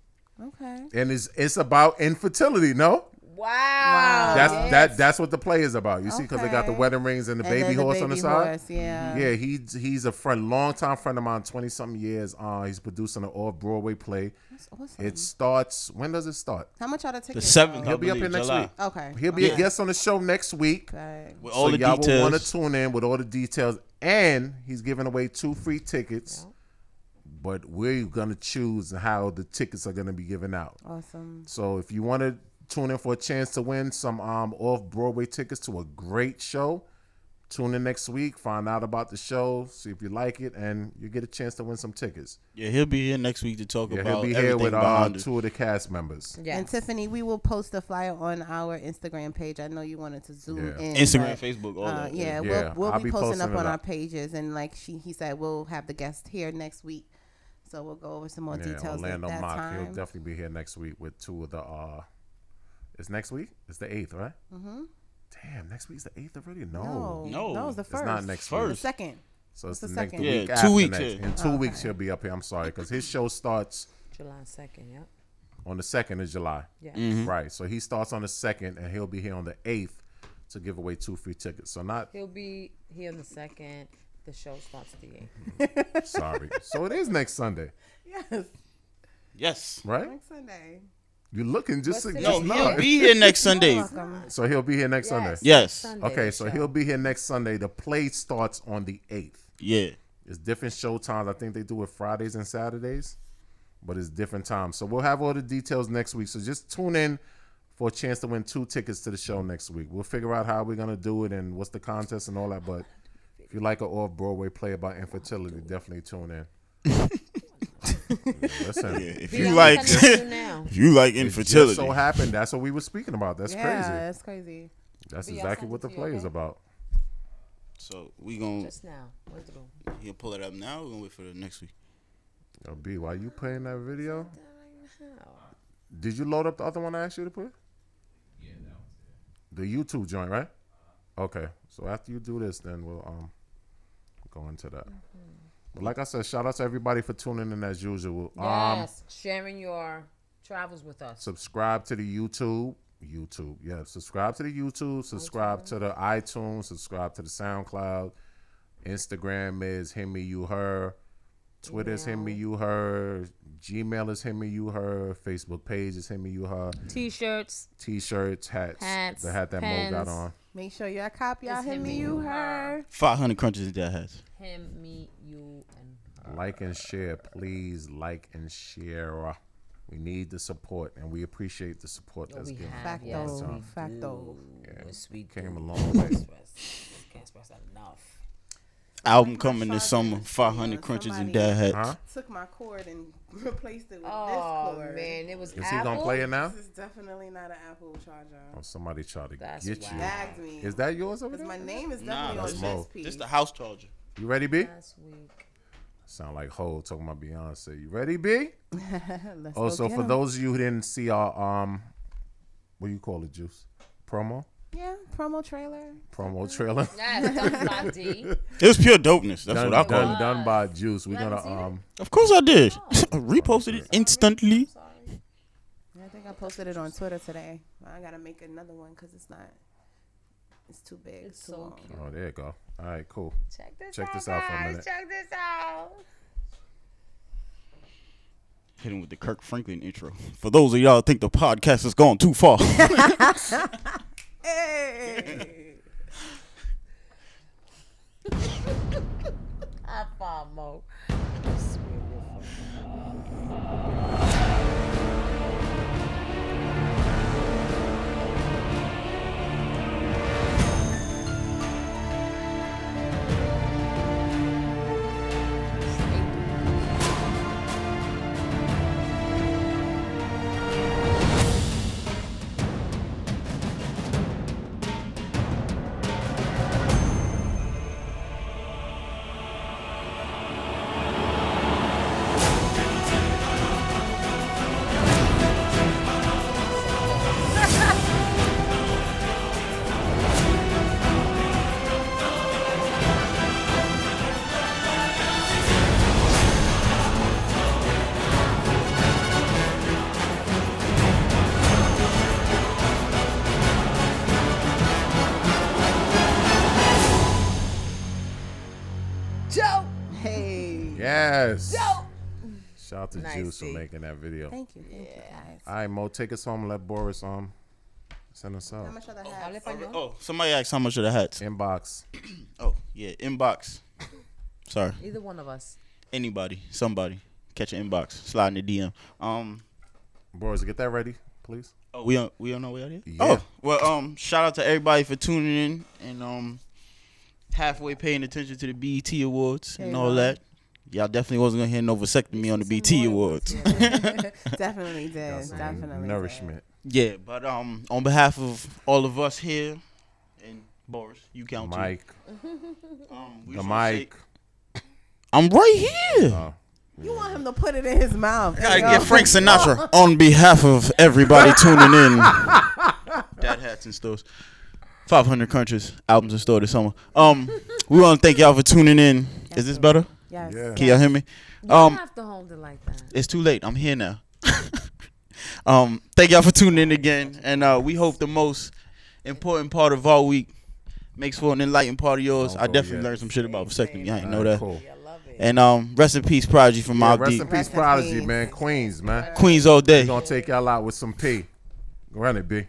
Speaker 7: Okay.
Speaker 6: and it's it's about infertility. No,
Speaker 2: Wow.
Speaker 6: that's that that's what the play is about. You see, because they got the
Speaker 7: Okay.
Speaker 6: wedding rings and the
Speaker 7: And
Speaker 6: baby
Speaker 7: then the
Speaker 6: horse on the
Speaker 7: baby
Speaker 6: side.
Speaker 7: horse, yeah.
Speaker 6: yeah. He's he's a friend, longtime friend of mine, twenty something years. Uh, he's producing an off Broadway play.
Speaker 7: That's awesome.
Speaker 6: It starts. When does it start?
Speaker 7: How much are the tickets?
Speaker 5: seventh,
Speaker 7: though?
Speaker 6: He'll be up
Speaker 5: believe
Speaker 6: here next
Speaker 5: July.
Speaker 6: week.
Speaker 7: Okay.
Speaker 6: He'll be
Speaker 5: Yeah.
Speaker 6: a guest on the show next week.
Speaker 7: Okay.
Speaker 5: With all
Speaker 6: so
Speaker 5: the
Speaker 6: y'all will
Speaker 5: details.
Speaker 6: want to tune in with all the details, and he's giving away two free tickets. But we're gonna choose how the tickets are gonna be given out.
Speaker 7: Awesome.
Speaker 6: So if you want to tune in for a chance to win some um off Broadway tickets to a great show, tune in next week. Find out about the show, see if you like it, and you get a chance to win some tickets.
Speaker 5: Yeah, he'll be here next week to talk
Speaker 6: Yeah,
Speaker 5: about
Speaker 6: he'll be
Speaker 5: everything
Speaker 6: here with uh,
Speaker 5: behind it.
Speaker 6: two of the cast members.
Speaker 2: Yes.
Speaker 7: And Tiffany, we will post the flyer on our Instagram page. I know you wanted to zoom
Speaker 6: Yeah.
Speaker 7: in. but,
Speaker 5: Instagram, Facebook, all
Speaker 7: uh,
Speaker 5: that.
Speaker 6: Yeah,
Speaker 7: yeah, we'll,
Speaker 6: I'll
Speaker 7: we'll
Speaker 6: be
Speaker 7: be posting
Speaker 6: posting
Speaker 7: up
Speaker 6: it
Speaker 7: on
Speaker 6: up.
Speaker 7: our pages, and like she he said, we'll have the guest here next week, so we'll go over some more
Speaker 6: Yeah,
Speaker 7: details
Speaker 6: Orlando
Speaker 7: at that
Speaker 6: Mock. He'll
Speaker 7: time.
Speaker 6: definitely be here next week with two of the. uh It's next week. It's the eighth, right?
Speaker 7: mm-hmm.
Speaker 6: Damn, next week's the eighth already. No,
Speaker 7: No,
Speaker 5: No,
Speaker 7: that was the
Speaker 6: it's
Speaker 7: first.
Speaker 6: not next
Speaker 7: The
Speaker 6: week.
Speaker 7: second.
Speaker 6: so it's
Speaker 7: It's the
Speaker 6: the, next
Speaker 7: second.
Speaker 6: the week.
Speaker 5: Yeah,
Speaker 6: after
Speaker 5: two weeks,
Speaker 6: Next.
Speaker 5: yeah.
Speaker 6: In two weeks he'll be up here. I'm sorry because his show starts
Speaker 2: July 2nd, yep.
Speaker 6: on the second of July.
Speaker 2: Yeah.
Speaker 7: Mm-hmm.
Speaker 6: Right. So he starts on the second, and he'll be here on the eighth to give away two free tickets. So not
Speaker 2: He'll be here on the 2nd. The show starts the 8th.
Speaker 5: Mm-hmm.
Speaker 6: sorry. So it is next Sunday,
Speaker 7: Yes.
Speaker 5: Yes.
Speaker 6: right?
Speaker 7: Next Sunday.
Speaker 6: You're looking just.
Speaker 5: What's
Speaker 6: just
Speaker 5: today? No, he'll
Speaker 6: nod.
Speaker 5: be here next You're Sunday. welcome.
Speaker 6: So he'll be here next
Speaker 5: Yes,
Speaker 6: Sunday.
Speaker 5: Yes. Sunday,
Speaker 6: okay, so he'll be here next Sunday. The play starts on the eighth.
Speaker 5: Yeah.
Speaker 6: It's different show times. I think they do it Fridays and Saturdays, but it's different times. So we'll have all the details next week. So just tune in for a chance to win two tickets to the show next week. We'll figure out how we're gonna do it and what's the contest and all that. But if you like an off Broadway play about infertility, definitely tune in. Listen,
Speaker 5: Yeah, if you like- if you like
Speaker 6: It just
Speaker 5: infertility.
Speaker 6: so happened that's what we were speaking about. That's
Speaker 7: yeah,
Speaker 6: crazy.
Speaker 7: that's crazy.
Speaker 6: That's
Speaker 7: Be
Speaker 6: exactly
Speaker 7: outside
Speaker 6: what the
Speaker 7: to
Speaker 6: play is about.
Speaker 5: So we gonna
Speaker 2: Just now. Where's the room?
Speaker 5: He'll pull it up now. We're gonna wait for the next week.
Speaker 6: Yo, B, why you playing that video? Did you load up the other one I asked you to put? Yeah, that one's The YouTube joint, right? Okay. So after you do this, then we'll um go into that. But like I said, shout out to everybody for tuning in as usual. Um
Speaker 2: yes, sharing your travels with us.
Speaker 6: subscribe to the YouTube. YouTube, yeah. Subscribe to the YouTube. Subscribe to the iTunes. Subscribe to the SoundCloud. Instagram is him me you her. Twitter is him me you her. Gmail is him me you her. Facebook page is him me you her.
Speaker 2: T-shirts.
Speaker 6: T-shirts, hats,
Speaker 7: Hats,
Speaker 6: the hat that Mo got
Speaker 7: pens.
Speaker 6: on.
Speaker 7: Make sure y'all copy y'all
Speaker 2: It's
Speaker 7: him,
Speaker 2: him
Speaker 7: me,
Speaker 2: and
Speaker 7: you,
Speaker 2: you,
Speaker 7: her.
Speaker 5: Five hundred crunches in that has.
Speaker 2: Him, me, you, and
Speaker 6: Like and share, please. Like and share. We need the support, and we appreciate the support that's
Speaker 2: Oh, we
Speaker 6: given.
Speaker 2: have.
Speaker 6: all the
Speaker 2: Yes,
Speaker 6: time.
Speaker 2: we do.
Speaker 6: Yeah,
Speaker 2: Yes, we
Speaker 6: came
Speaker 2: do.
Speaker 6: a long way.
Speaker 2: Can't express that enough.
Speaker 5: Album coming this summer. Five hundred crunches in
Speaker 7: Somebody
Speaker 5: that hats.
Speaker 7: Took my cord and replaced it with
Speaker 2: Oh,
Speaker 7: this cord.
Speaker 2: man, it was
Speaker 6: Is he gonna Apple? play it now?
Speaker 7: This is definitely not an Apple charger.
Speaker 6: Oh, somebody tried to
Speaker 7: That's
Speaker 6: get
Speaker 7: wild.
Speaker 6: you.
Speaker 7: Bagged me.
Speaker 6: Is that yours over
Speaker 7: 'Cause
Speaker 6: there?
Speaker 7: my name is
Speaker 5: Nah,
Speaker 7: definitely
Speaker 6: that's
Speaker 7: on
Speaker 6: Mo.
Speaker 7: this piece.
Speaker 5: This the house charger.
Speaker 6: You ready, B?
Speaker 7: Last week.
Speaker 6: Sound like Ho talking about Beyonce. You ready, B?
Speaker 7: Let's
Speaker 6: oh,
Speaker 7: go
Speaker 6: so
Speaker 7: get
Speaker 6: for
Speaker 7: 'em.
Speaker 6: those of you who didn't see our um, what do you call it, Juice? Promo,
Speaker 7: Yeah, promo trailer.
Speaker 6: promo trailer.
Speaker 7: Mm-hmm. Yes, done by D.
Speaker 5: It was pure dopeness. That's
Speaker 6: Done-
Speaker 5: what I call
Speaker 6: done-
Speaker 5: it.
Speaker 6: Done by Juice. We're gonna um.
Speaker 5: Of course I did.
Speaker 7: Oh.
Speaker 5: I reposted it instantly.
Speaker 7: I think I posted it on Twitter today. I gotta make another one because it's not. It's too big. It's too long.
Speaker 6: Oh, there you go. All right, cool.
Speaker 7: Check
Speaker 6: this Check this out, for a minute.
Speaker 7: Check this out.
Speaker 5: Hit him with the Kirk Franklin intro. For those of y'all who think the podcast has gone too far.
Speaker 7: hey.
Speaker 2: I fall, Mo. Joe.
Speaker 7: Hey.
Speaker 6: Yes.
Speaker 2: Joe.
Speaker 6: Shout out to
Speaker 2: Nice,
Speaker 6: Juice for
Speaker 2: D.
Speaker 6: making that video.
Speaker 7: Thank you. Thank you guys.
Speaker 6: All right, Mo, take us home. Let Boris um, send us out.
Speaker 7: How much are the hats?
Speaker 5: oh, somebody asked how much of the hats.
Speaker 6: Inbox.
Speaker 5: oh, yeah, inbox. Sorry.
Speaker 2: Either one of us.
Speaker 5: Anybody, somebody. Catch an inbox. Slide in the DM. Um
Speaker 6: Boris, get that ready, please.
Speaker 5: Oh, we on we on our way out here?
Speaker 6: Yeah.
Speaker 5: Oh. Well, um, shout out to everybody for tuning in and um halfway paying attention to the BET awards and all that. Y'all definitely wasn't gonna hear no vasectomy on the BT awards.
Speaker 7: definitely did.
Speaker 6: some
Speaker 7: Definitely.
Speaker 6: nourishment.
Speaker 5: Yeah, but um, on behalf of all of us here, and Boris, you count too.
Speaker 6: Mike.
Speaker 5: Um, we
Speaker 6: The
Speaker 5: should
Speaker 6: mic. Oh.
Speaker 5: I'm right here.
Speaker 7: You want him to put it in his mouth.
Speaker 5: Gotta
Speaker 7: yo.
Speaker 5: get Frank Sinatra on behalf of everybody tuning in. Dad hats and stores. 500 countries, albums in store this summer. Um, we want to thank y'all for tuning in. Is this better?
Speaker 2: Yes.
Speaker 5: Can y'all hear me?
Speaker 2: You don't
Speaker 5: Um,
Speaker 2: have to hold it like that.
Speaker 5: it's too late. I'm here now. um, thank y'all for tuning in again, and uh, we hope the most important part of our week makes for an enlightened part of yours. I
Speaker 6: go
Speaker 5: definitely
Speaker 6: yet.
Speaker 5: learned some shit about vasectomy. I didn't know
Speaker 6: Oh, Alright,
Speaker 5: that.
Speaker 6: cool.
Speaker 5: And um, rest in peace, Prodigy from
Speaker 6: Yeah,
Speaker 5: Mob
Speaker 6: rest
Speaker 5: Deep.
Speaker 6: in peace, Prodigy, man. Queens, man.
Speaker 5: Queens all day.
Speaker 6: Gonna take y'all out with some P. Run it, B.